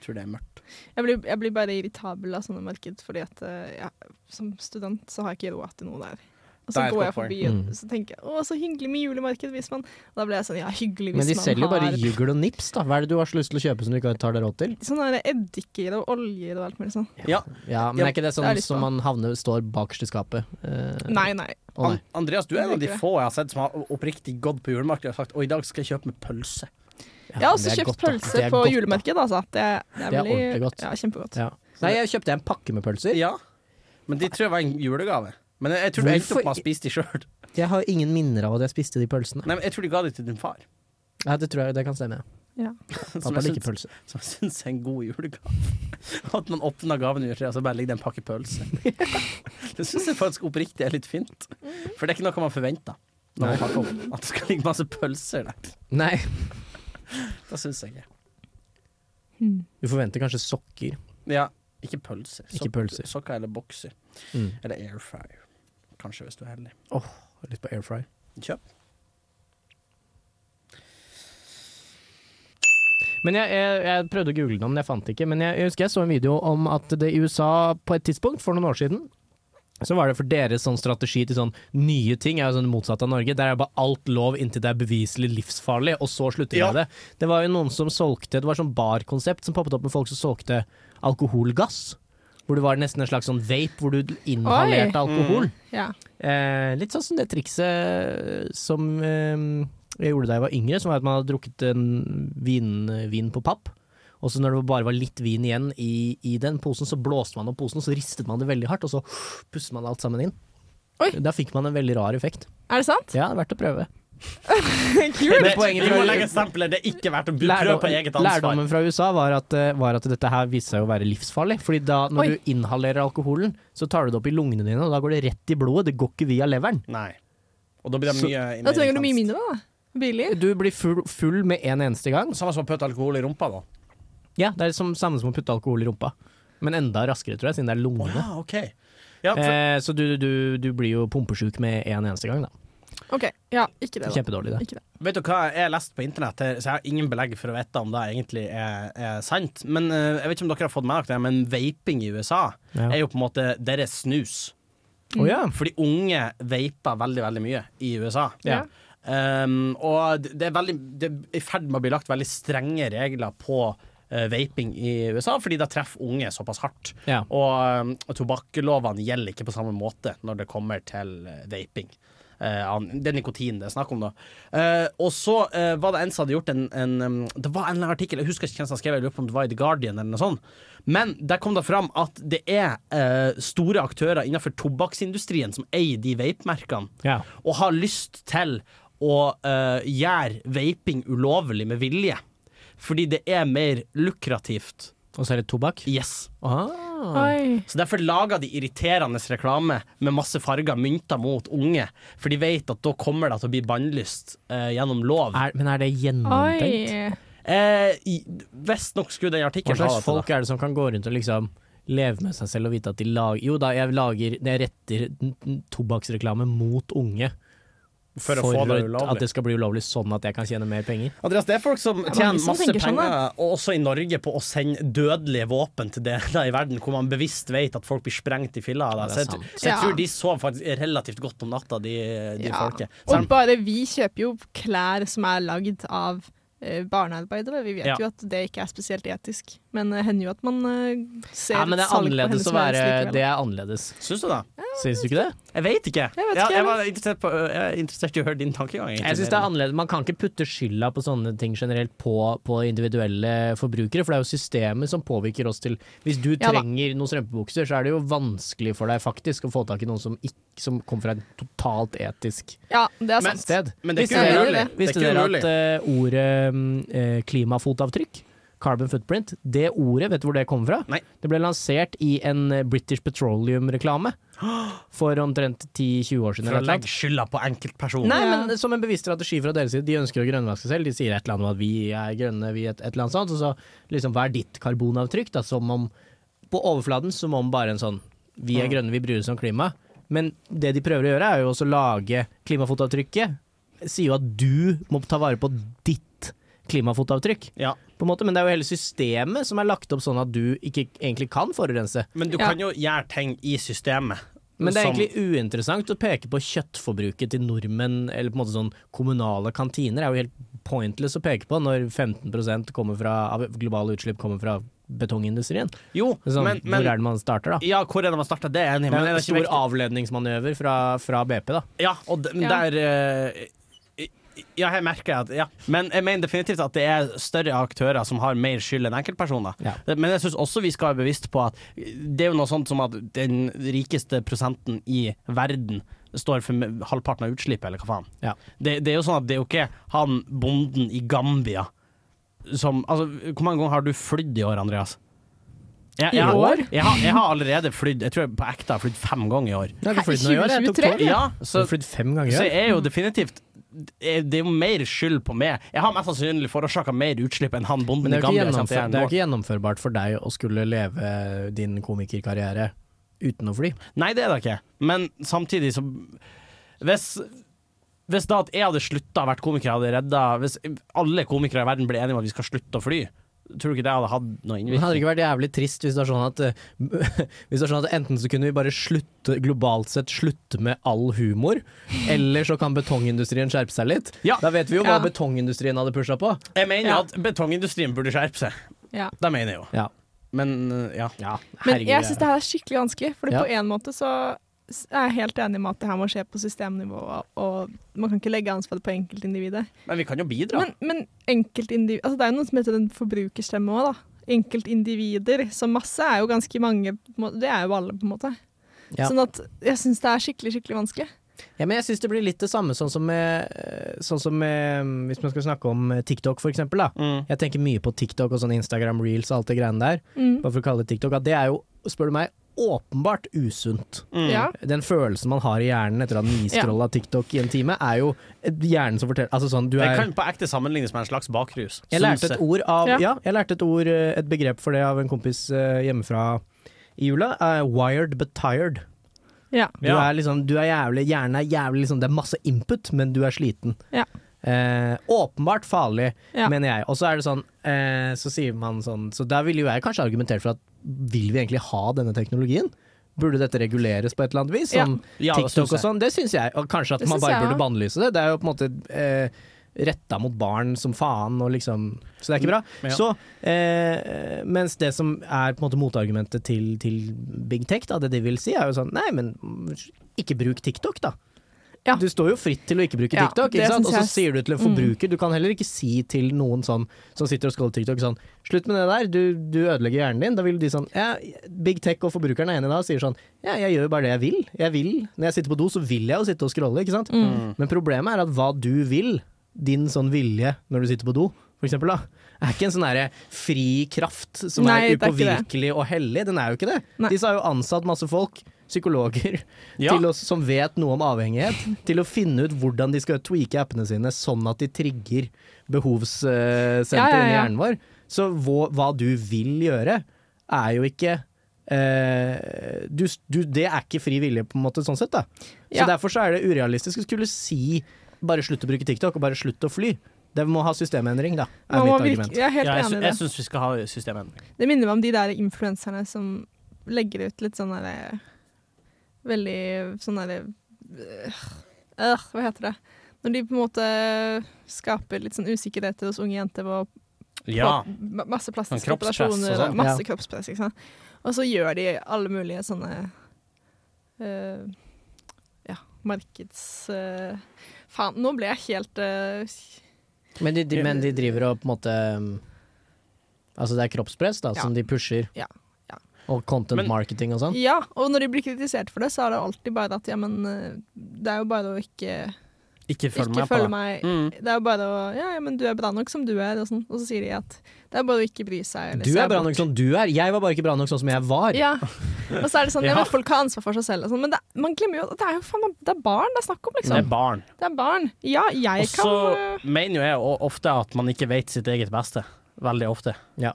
tror det er mørkt. Jeg blir, jeg blir bare irritabel av sånne marked, fordi at eh, ja, som student så har jeg ikke råd til noe der. Og Det så er et går jeg godt poeng. forbi og Mm. så tenker jeg, å, så hyggelig med julemarked, hvis man Og da blir jeg sånn, ja, hyggelig hvis Men de man selger jo bare har jugl og nips, da. Hva er det du har så lyst til å kjøpe som du ikke tar deg råd til? sånne der eddiker og oljer og alt mulig sånn. Ja, Ja, Men Ja, er ikke det det er sånn litt som man havner, står bakerst i skapet? Eh, Nei, nei. Å nei. An Andreas, du er en av de Liker det. få jeg har sett som har oppriktig gått på julemarkedet og sagt å, i dag skal jeg kjøpe meg pølse. Jeg har men det også er kjøpt godt, da. Det pølse er på godt, da. julemarked, altså. Det, det, er Det er veldig, ordentlig godt. Ja, kjempegodt. Ja. Nei, jeg kjøpte en pakke med pølser. Ja. Men de tror jeg var en julegave. Men jeg, jeg tror du endte Hvorfor- opp med å spise de sjøl. Jeg har ingen minner av at jeg spiste de pølsene. Nei, men jeg tror de ga de til din far. Ja, det tror jeg det kan stemme. ja. Ja. Som Pappa jeg liker syns- pølser. som jeg syns er en god julegave. At man åpner gaven under treet, og så bare ligger det en pakke pølse. Det syns jeg faktisk oppriktig er litt fint. For det er ikke noe man forventer. Når man Nei. pakker opp. At det skal ligge masse pølser der. Nei, Det syns jeg ikke. Hmm. du forventer kanskje sokker. Ja, ikke pølser. Ikke pølser. Sokker eller bokser. Mm. Eller air fryer. Kanskje, hvis du er heldig. Litt på air fry. Kjøp. Men jeg, jeg, jeg prøvde å google den, men jeg fant det ikke. Men jeg, jeg husker jeg så en video om at det i USA på et tidspunkt for noen år siden så var det for deres sånn strategi til sånn nye ting er jo sånn motsatt av Norge. Der er bare alt lov inntil det er beviselig livsfarlig, og så slutter de Ja. med det. Det var jo noen som solgte Det var sånn barkonsept som poppet opp med folk som solgte alkoholgass. Hvor det var nesten en slags sånn vape hvor du inhalerte alkohol. Ja. Eh, litt sånn som det trikset som eh, jeg gjorde da jeg var yngre, som var at man hadde drukket en vin, vin på papp. Og så når det bare var litt vin igjen i, i den posen, så blåste man opp posen, så ristet man det veldig hardt, og så pustet man alt sammen inn. Oi. Da fikk man en veldig rar effekt. Er det sant? Ja, det er verdt å prøve. Kult! Men poenget vi fra- må legge sampler. Det er ikke verdt å prøve Lærdom- på eget ansvar. Lærdommen fra USA var at, eh, var at dette her viste seg å være livsfarlig. Fordi da når Oi. du inhalerer alkoholen, så tar du det opp i lungene dine, og da går det rett i blodet. Det går ikke via leveren. Nei. Og da blir det Så- mye Da trenger du mer mye intenst. mindre, da. Billig. Du blir full, full med en eneste gang, Samme som å putte alkohol i rumpa, da. Ja, det er som, samme som å putte alkohol i rumpa. Men enda raskere, tror jeg, siden det er Å lungene. ja, OK. Ja, for, eh, så du, du, du blir jo pumpesjuk med en eneste gang, da. OK. Ja, ikke det, da. Kjempedårlig, det. Ikke det. Vet du hva jeg har lest på internett, her, så jeg har ingen belegg for å vite om det egentlig er, er sant. Men eh, jeg vet ikke om dere har fått med dere det, men vaping i USA Ja. er jo på en måte deres snus. Å ja. Fordi unge vaper veldig, veldig mye i USA. Ja. Um, og det er, veldig, det er i ferd med å bli lagt veldig strenge regler på eh, vaping i USA, fordi da treffer unge såpass hardt. Ja. Og, um, og tobakklovene gjelder ikke på samme måte når det kommer til eh, vaping. Eh, av- det er nikotin det er snakk om, da. Eh, og så eh, var det en som hadde gjort en, en um, Det var en eller annen artikkel, jeg husker ikke hvem som skrev, jeg lurer på om det var i The Guardian eller noe sånt. Men der kom det fram at det er eh, store aktører innenfor tobakksindustrien som eier de vapemerkene Ja. og har lyst til å eh, gjøre vaping ulovlig med vilje. Fordi det er mer lukrativt. Og så er det tobakk. Yes. Ah. Oi. Så derfor lager de irriterende reklame med masse farger mynta mot unge. For de vet at da kommer det til å bli bannlyst eh, gjennom lov. Er, men er det gjennomtenkt? Oi. Eh, i- Visstnok skulle den Hva artikkelen slags ha det til det. folk er det som kan gå rundt og liksom leve med seg selv og vite at de lager Jo da, jeg lager Jeg retter n- n- tobakksreklame mot unge. For å få det ulovlig. At det skal bli ulovlig, sånn at jeg kan tjene mer penger. Andreas, det er folk som er mange tjener som masse tenker penger, sånn, da. og også i Norge, på å sende dødelige våpen til deler i verden hvor man bevisst vet at folk blir sprengt i filla av Ja, det det. Så er jeg, sant. så jeg Ja. tror de sov faktisk relativt godt om natta, de, de Ja. folket. Sånn- Og Selv om, bare vi kjøper jo klær som er lagd av eh, barnearbeidere. Vi vet Ja. jo at det ikke er spesielt etisk, men det hender jo at man eh, ser Ja, men det er salg på henne annerledes å som helst være Det likevel. er annerledes. syns du det? Syns du ikke det? Jeg vet ikke. Jeg vet Ja, ikke, jeg, var interessert på, jeg er interessert i å høre din tankegang. egentlig. Jeg synes det er annerledes Man kan ikke putte skylda på sånne ting generelt på, på individuelle forbrukere, for det er jo systemet som påvirker oss til Hvis du Ja da. trenger noen strømpebukser, så er det jo vanskelig for deg faktisk å få tak i noen som, ikke, som kommer fra et totalt etisk Ja, det er Men- sant. sted. men det er ikke dere- umulig. Det er Visste ikke dere umulig. at eh, ordet mm, eh, klimafotavtrykk Carbon footprint, det ordet, vet du hvor det kommer fra? Nei. Det ble lansert i en eh, British Petroleum-reklame for omtrent 10-20 år siden. eller et eller For å annet. legge skylda på enkeltpersoner. Nei, Ja. men som en bevisst strategi fra deres side. De ønsker å grønnvaske selv. De sier et eller annet om at vi er grønne, vi er et, et eller annet sånt. Og så liksom, hva er ditt karbonavtrykk? Da? Som om På overflaten som om bare en sånn Vi er grønne, vi bryr oss om klima. Men det de prøver å gjøre, er jo også å lage klimafotavtrykket. Sier jo at du må ta vare på ditt klimafotavtrykk. Ja. på en måte, men det er jo hele systemet som er lagt opp sånn at du ikke egentlig kan forurense. Men du Ja. kan jo gjøre ting i systemet. Men det er som- egentlig uinteressant å peke på kjøttforbruket til nordmenn, eller på en måte sånn kommunale kantiner. Det er jo helt pointless å peke på når 15 kommer fra, av globale utslipp kommer fra betongindustrien. Jo, Sånn, men, men hvor er det man starter, da? Ja, hvor er det man starta? Det er jeg enig i, Det men er er en det ikke stor viktig? avledningsmanøver fra, fra BP, da. Ja, og den Ja. der eh, Ja, her merker jeg at ja. Men jeg mener definitivt at det er større aktører som har mer skyld enn enkeltpersoner. Ja. Men jeg syns også vi skal være bevisst på at det er jo noe sånt som at den rikeste prosenten i verden står for me- halvparten av utslippet, eller hva faen. Ja. Det, det er jo sånn at det er jo ikke han bonden i Gambia som Altså, hvor mange ganger har du flydd i år, Andreas? Jeg, I jeg, år? Jeg, har, jeg har allerede flydd, jeg tror jeg på ekte har flydd fem ganger i år. Det ikke flyttet noe i år, jeg tok tolv. Ja, Ja, så så flytt fem ganger. så ja. jeg er jo definitivt Det er jo mer skyld på meg. Jeg har mest sannsynlig forårsaka mer utslipp enn han bonden Men det i er, jo ikke Gambia. sant, jeg gjennomfør- er en det er jo mål. ikke gjennomførbart for deg å skulle leve din komikerkarriere uten å fly. Nei, det er det ikke. Men samtidig så Hvis, hvis da at jeg hadde slutta å være komiker, hadde redda Hvis alle komikere i verden ble enige om at vi skal slutte å fly, tror du ikke det hadde hatt Men noe Det hadde innvirkning? ikke vært jævlig trist hvis det var sånn at eh, Hvis det var sånn at enten så kunne vi bare slutte globalt sett slutte med all humor, eller så kan betongindustrien skjerpe seg litt. Ja. Da vet vi jo hva Ja. betongindustrien hadde pusha på. Jeg mener Ja. at betongindustrien burde skjerpe seg. Ja. Det mener jeg jo. Ja. Men eh, ja. Men jeg syns det her er skikkelig vanskelig, Fordi Ja. på en måte så s- er jeg helt enig med at det her må skje på systemnivå, og man kan ikke legge ansvaret på enkeltindividet. Men vi kan jo bidra. Men, men enkeltindivid altså Det er jo noe som heter en forbrukerstemme òg, da. Enkeltindivider. Så masse er jo ganske mange. på en måte. Det er jo alle, på en måte. Ja. Sånn at jeg syns det er skikkelig, skikkelig vanskelig. Ja, men jeg syns det blir litt det samme sånn som, med, eh, sånn som med, mm, Hvis man skal snakke om eh, TikTok, for eksempel. Da. Mm. Jeg tenker mye på TikTok og sånn Instagram reels og alt det greiene der. Mm. Bare for å kalle det TikTok. At det er jo, spør du meg, åpenbart usunt. Mm. Ja. Den følelsen man har i hjernen etter å ha niscrolla TikTok i en time, er jo hjernen som forteller Altså sånn, du Det er kan på ekte sammenlignes med en slags bakrus. Jeg lærte Sunset. et ord av Ja. Ja, jeg lærte et ord, eh, et begrep for det av en kompis eh, hjemmefra i jula. Eh, wired but tired. Ja. Du Ja. er liksom, du er jævlig, hjernen er jævlig liksom, Det er masse input, men du er sliten. Ja. Eh, åpenbart farlig, Ja. mener jeg. Og så er det sånn, eh, så sier man sånn Så der ville jo jeg kanskje argumentert for at vil vi egentlig ha denne teknologien? Burde dette reguleres på et eller annet vis? Ja. Som Ja, det TikTok synes og jeg. sånn, det syns jeg. Og kanskje at Det man synes bare jeg også. burde bannlyse det. Det er jo på en måte eh, retta mot barn som faen, og liksom Så det er ikke bra. Ja. Så, eh, mens det som er på en måte motargumentet til, til big tech, da, det de vil si, er jo sånn Nei, men ikke bruk TikTok, da. Ja. Du står jo fritt til å ikke bruke Ja, TikTok, det ikke sant? synes og så jeg- sier du til en Mm. forbruker Du kan heller ikke si til noen sånn som sitter og scroller TikTok sånn Slutt med det der, du, du ødelegger hjernen din. Da vil de sånn ja, Big Tech og forbrukeren er enig da og sier sånn Ja, jeg gjør jo bare det jeg vil. Jeg vil. Når jeg sitter på do, så vil jeg jo sitte og scrolle, ikke sant? Mm. Mm. Men problemet er at hva du vil, din sånn vilje når du sitter på do, for eksempel, da, er ikke en sånn derre fri kraft som Nei, det er er ikke upåvirkelig og hellig. Den er jo ikke det. Nei. Disse har jo ansatt masse folk, psykologer, Ja. til å, som vet noe om avhengighet, til å finne ut hvordan de skal tweake appene sine sånn at de trigger behovssenteret Ja, ja, i ja. hjernen vår. Så hva, hva du vil gjøre, er jo ikke eh, du, du, Det er ikke fri vilje, på en måte, sånn sett. da Ja. Så derfor så er det urealistisk å skulle si bare slutt å bruke TikTok, og bare slutt å fly. Det må ha systemendring, da, er Man må virke, mitt argument. jeg er helt Ja, jeg sy- enig i det. jeg syns vi skal ha systemendring. Det minner meg om de der influenserne som legger ut litt sånn derre Veldig sånn derre øh, øh, Hva heter det? Når de på en måte skaper litt sånn usikkerheter hos unge jenter ved å Ja. Ma- Masse plastiske Sånn kroppspress og operasjoner sånn. og masse Ja. kroppspress. Ikke sant? Og så gjør de alle mulige sånne eh, Ja, markeds... eh, faen, nå ble jeg helt eh, Men de, de, men de driver og på en måte um, Altså det er kroppspress da, Ja. som de pusher. Ja, ja. Og content Men- marketing og sånn. Ja, og når de blir kritisert for det, så er det alltid bare at ja, men eh, det er jo bare å ikke, Ikke følg ikke med på følge det. meg Mm. Det er jo bare å Ja, ja, men du er bra nok som du er, og sånn. Og så sier de at det er bare å ikke bry seg. eller Du se er bra bort. nok som du er, jeg var bare ikke bra nok sånn som jeg var. Ja. Og så er det sånn, ja, Ja. men folk har ansvar for seg selv og sånn, men det, man glemmer jo at det er jo faen meg det er barn det er snakk om, Det liksom. er barn. Det er barn. Ja, jeg Og så kan øh, mener jo jeg o- ofte at man ikke vet sitt eget beste. Veldig ofte. Ja.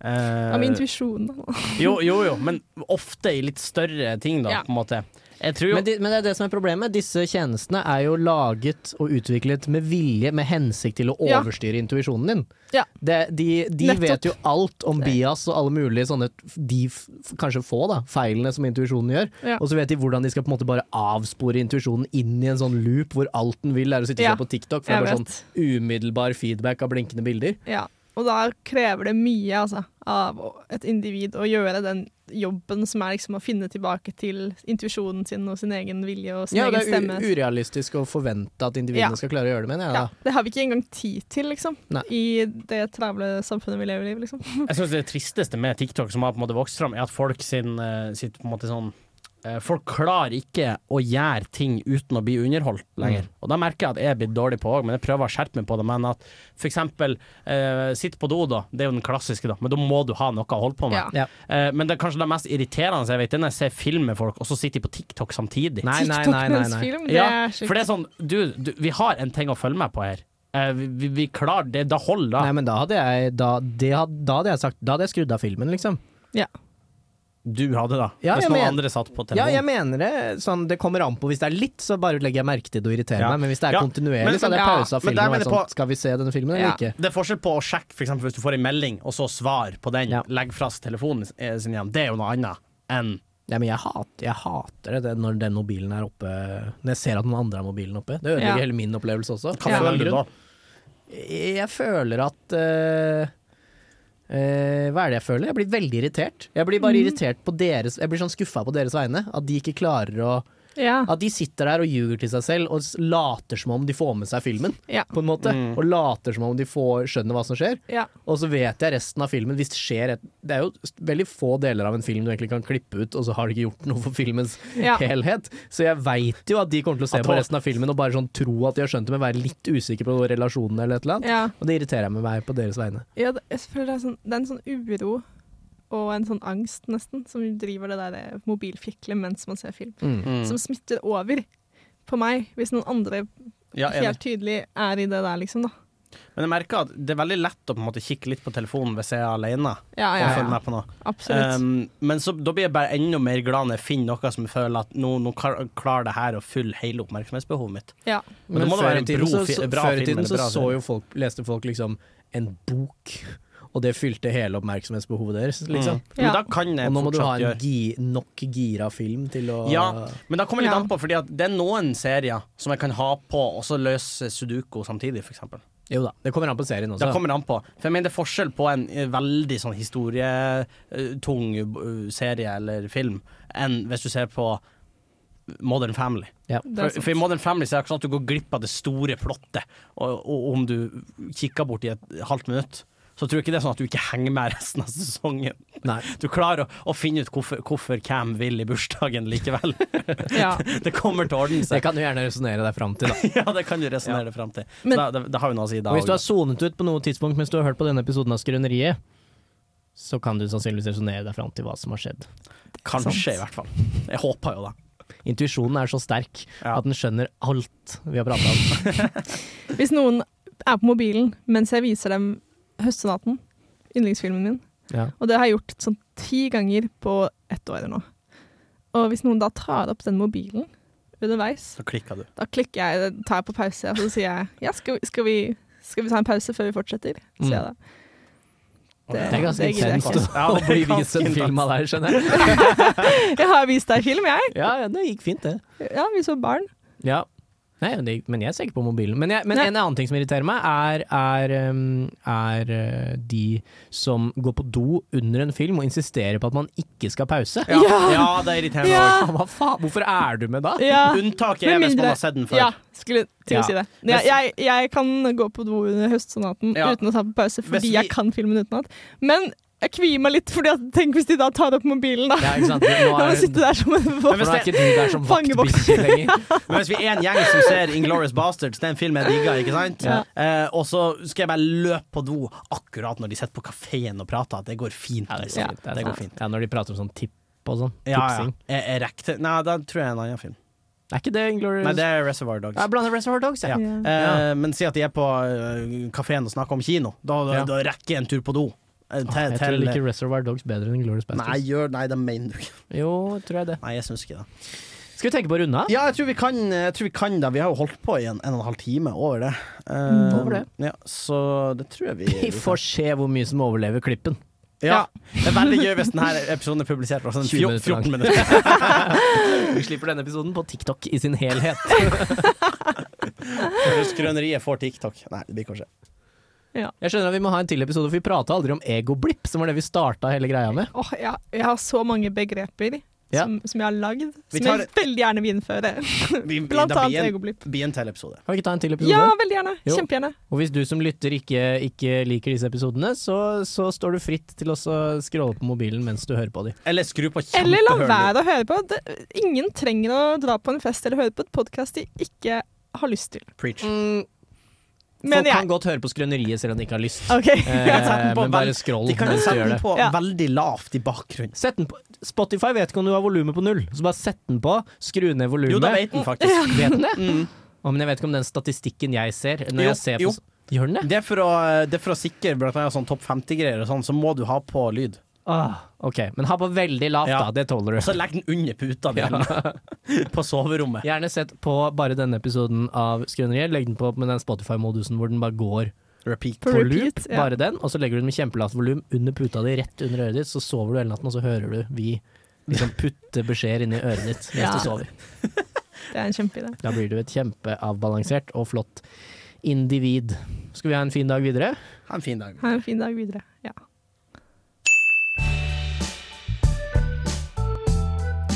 Eh, eh, Av intuisjon, da. jo, jo, jo, men ofte i litt større ting, da, Ja. på en måte. Jeg tror jo Men, de, men det er det som er problemet. Disse tjenestene er jo laget og utviklet med vilje, med hensikt til å Ja. overstyre intuisjonen din. Ja. Det, de de Nettopp. vet jo alt om bias og alle mulige sånne de f- kanskje få da, feilene som intuisjonen gjør. Ja. Og så vet de hvordan de skal på en måte bare avspore intuisjonen inn i en sånn loop hvor alt den vil er å sitte og Ja. se på TikTok. For det Jeg er bare vet. sånn umiddelbar feedback av blinkende bilder. Ja. Og da krever det mye altså, av å- et individ å gjøre den jobben som er liksom å finne tilbake til intuisjonen sin og sin egen vilje og sin Ja, det egen er stemme. u urealistisk å forvente at individene Ja. skal klare å gjøre det, mener jeg. ja, Da. det har vi ikke engang tid til, liksom. Nei. I det travle samfunnet vi lever i, liksom. Jeg synes det tristeste med TikTok som har på en måte vokst fram, er at folk sin, eh, sitt på en måte sånn eh, Folk klarer ikke å gjøre ting uten å bli underholdt lenger. Mm. Og da merker jeg at jeg er blitt dårlig på òg, men jeg prøver å skjerpe meg på det. Men at for eksempel eh, sitt på do, da. Det er jo den klassiske, da. Men da må du ha noe å holde på med. Ja. Ja. Eh, men det er kanskje det mest irriterende jeg vet, det er når jeg ser film med folk, og så sitter de på TikTok samtidig. Nei, nei, TikTok nei, nei, mens nei. film, det Ja, er sjukt. for det er sånn du, du, vi har en ting å følge med på her. Eh, vi, vi, vi klarer det. Da holder det. Nei, men da hadde jeg, da, det, had- da hadde jeg sagt Da hadde jeg skrudd av filmen, liksom. Du hadde da. Ja, Hvis jeg noen mener- andre satt på telefonen. Ja, jeg mener det. Sånn, det kommer an på. Hvis det er litt, så bare legger jeg merke til det og irriterer Ja. meg. Men hvis det er Ja. kontinuerlig, Men- så hadde jeg men- pausa ja, men filmen der og vært mener jeg sånn Skal vi se denne filmen, Ja. eller ikke? Det er forskjell på å sjekke for eksempel, hvis du får en melding, og så svar på den, Ja. legg fra seg telefonen eh, sin igjen. Det er jo noe annet enn Ja, men jeg hater, jeg hater det, det når den mobilen er oppe Når jeg ser at noen andre har mobilen oppe. Det ødelegger Ja. hele min opplevelse også. Hva Ja. føler du da? Jeg føler at eh, eh, Hva er det jeg føler? Jeg blir veldig irritert. Jeg blir bare irritert på deres Jeg blir sånn skuffa på deres vegne. At de ikke klarer å Ja. At de sitter der og ljuger til seg selv og s- later som om de får med seg filmen. Ja. På en måte Mm. Og later som om de får, skjønner hva som skjer. ja. Og så vet jeg resten av filmen hvis det skjer et, Det er jo s- veldig få deler av en film du egentlig kan klippe ut, og så har du ikke gjort noe for filmens Ja. helhet. Så jeg veit jo at de kommer til å se At på da- resten av filmen og bare sånn tro at de har skjønt det, men være litt usikre på relasjonene eller et eller annet. ja. Og det irriterer jeg med meg på deres vegne. Ja, det, jeg føler det er, sånn, det er en sånn uro og en sånn angst, nesten, som driver det der eh, mobilfiklet mens man ser film. Mm. Som smitter over på meg, hvis noen andre Ja, enig. helt tydelig er i det der, liksom, da. Men jeg merker at det er veldig lett å på en måte kikke litt på telefonen hvis jeg er alene Ja, og ja, ja. følge med på noe. Absolutt. Um, men så, da blir jeg bare enda mer glad når jeg finner noe som jeg føler at nå, nå klar- klarer det her å fylle hele oppmerksomhetsbehovet mitt. Mm. Ja. Men det må før da være i en tiden bro- så- så- bra Før i film tiden eller så, bra så serie. jo folk, leste folk liksom en bok, og det fylte hele oppmerksomhetsbehovet deres, liksom. Mm. Men Ja. da kan jeg Og nå må du fortsatt ha gjøre en gi, nok gira film til å Ja, men da kommer det litt Ja. an på, Fordi at det er noen serier som jeg kan ha på, og så løse Sudoku samtidig, f.eks. Jo da, det kommer an på serien også. Da kommer det an på. For jeg mener det er forskjell på en eh, veldig sånn historietung eh, serie eller film, enn hvis du ser på Modern Family. Ja. Det er For, sant. for i Modern Family så er det ikke sånn at du går glipp av det store plottet, og, og om du kikker bort i et halvt minutt. Så tror jeg ikke det er sånn at du ikke henger med resten av sesongen. Nei. Du klarer å, å finne ut hvorfor, hvorfor Cam vil i bursdagen likevel. Ja. Det kommer til å ordne Det seg. kan du gjerne resonnere deg fram til. Da. Ja, det kan du resonnere det fram til. Så Men- det, det, det har jo noe å si da. Og hvis du har sonet ut på noe tidspunkt mens du har hørt på denne episoden av Skrøneriet, så kan du sannsynligvis resonnere deg fram til hva som har skjedd. Kanskje, Sant. i hvert fall. Jeg håper jo det. Intuisjonen er så sterk Ja. at den skjønner alt vi har prata om. Hvis noen er på mobilen mens jeg viser dem 'Høstenatten', yndlingsfilmen min, Ja. og det har jeg gjort sånn ti ganger på ett år nå, og hvis noen da tar opp den mobilen underveis Så klikker du. Da klikker jeg, tar jeg på pause, og så sier jeg ja, skal, vi- skal, vi, skal vi ta en pause før vi fortsetter? Så sier jeg Mm. da. Det, Det er ganske det gidder jeg intenst ikke. Ja, å det er bli ganske vist en intenst. film av deg, skjønner jeg. Jeg har vist deg film, jeg. Ja, ja, det gikk fint, det. Ja, vi så barn. Ja. Nei, men det- men jeg ser ikke på mobilen. Men, jeg, men Nei. en annen ting som irriterer meg, er, er, um, er uh, de som går på do under en film og insisterer på at man ikke skal pause. Ja, ja. Ja. det irriterer meg Ja. Hva faen? Hvorfor er du med da? Ja, òg. Unntaket er Med hvis man mindre- har sett den før. ja skulle til Ja. å si det. Jeg, jeg, jeg kan gå på do under høstsonaten Ja. uten å ta på pause, fordi vi- jeg kan filmen utenat. Men jeg kvier meg litt, fordi at tenk hvis de da tar opp mobilen, da. Ja, ikke sant? Nå er, Da må jeg sitte der som en for nå er voksen. ikke du der som vaktbikkje lenger. Men hvis vi er en gjeng som ser Inglourious Bastards, det er en film jeg digger, ikke sant? Ja. Eh, og så skal jeg bare løpe på do akkurat når de sitter på kafeen og prater. Det går fint. Ja, det, liksom. er sant, det, er det går sant. fint. Ja, når de prater om sånn tipp og sånn. Ja, ja. Tipsing. Jeg, jeg rekte Nei, da tror jeg er en annen film. Er ikke det Inglorious Nei, det er Reservoir Dogs. Jeg blander Reservoir Dogs, Ja. jeg. Eh, men si at de er på eh, kafeen og snakker om kino. Da, da, Ja. da rekker jeg en tur på do. Eh, Åh, til, Jeg tror jeg til, liker Reservoir Dogs bedre enn Inglorious nei, Bastards. gjør, nei, det mener du ikke. Jo, tror jeg det. Nei, jeg syns ikke det. Skal vi tenke på å runde av? Ja, jeg tror, vi kan, jeg tror vi kan det. Vi har jo holdt på i en, en og en halv time over det. Eh, Mm, over det. Ja, så det tror jeg vi Vi får se hvor mye som overlever klippen. Ja. Det er veldig gøy hvis denne episoden er publisert på sånn 20 fjor- minutter lang. 14 minutter. Vi slipper denne episoden på TikTok i sin helhet. Hvis Grønneriet får TikTok. Nei, det blir kanskje Jeg skjønner at vi må ha en til episode, for vi prata aldri om egoblipp, som var det vi starta hele greia med. Åh, jeg, jeg har så mange begreper Ja. som, som jeg har lagd, Vi som tar- jeg veldig gjerne vil innføre. vi, vi, Blant det blir annet en- egoblipp. blir en til episode. Kan vi ikke ta en til episode? Ja, veldig gjerne. Jo. Kjempegjerne. Og hvis du som lytter ikke, ikke liker disse episodene, så, så står du fritt til også å scrolle på mobilen mens du hører på dem. Eller skru på Eller la kjempehøl. være å høre på. Det, ingen trenger å dra på en fest eller høre på et podkast de ikke har lyst til. Preach. folk Mener kan jeg. godt høre på Skrøneriet selv om de ikke har lyst. OK. Eh, sette den på men vel- bare scroll De kan jo mens du sette gjør den det. på Ja. veldig lavt i bakgrunnen. Sett den på. Spotify vet ikke om du har volumet på null, så bare sett den på, skru ned volumet. Jo, da vet den faktisk. Vet den det? Mm. Å, men jeg vet ikke om den statistikken jeg ser når Jo, jeg ser jo. på Gjør den det? Det er for å, det er for å sikre blant annet sånn topp 50-greier og sånn, så må du ha på lyd. Ah, ok, men ha på veldig lavt, Ja. da. Det tåler Og du. så legg den under puta di. På soverommet. Gjerne sett på bare denne episoden av Skrøneriet. Legg den på med den Spotify-modusen hvor den bare går Repeat. På på loop, repeat, ja. bare den, og så legger du den med kjempelavt volum under puta di, rett under øret ditt, så sover du hele natten, og så hører du vi liksom putte beskjeder inn i øret ditt mens Ja. du sover. Det er en kjempeidé. Da blir du et kjempeavbalansert og flott individ. Skal vi ha en fin dag videre? Ha en fin dag. Ha en fin dag videre. Ja.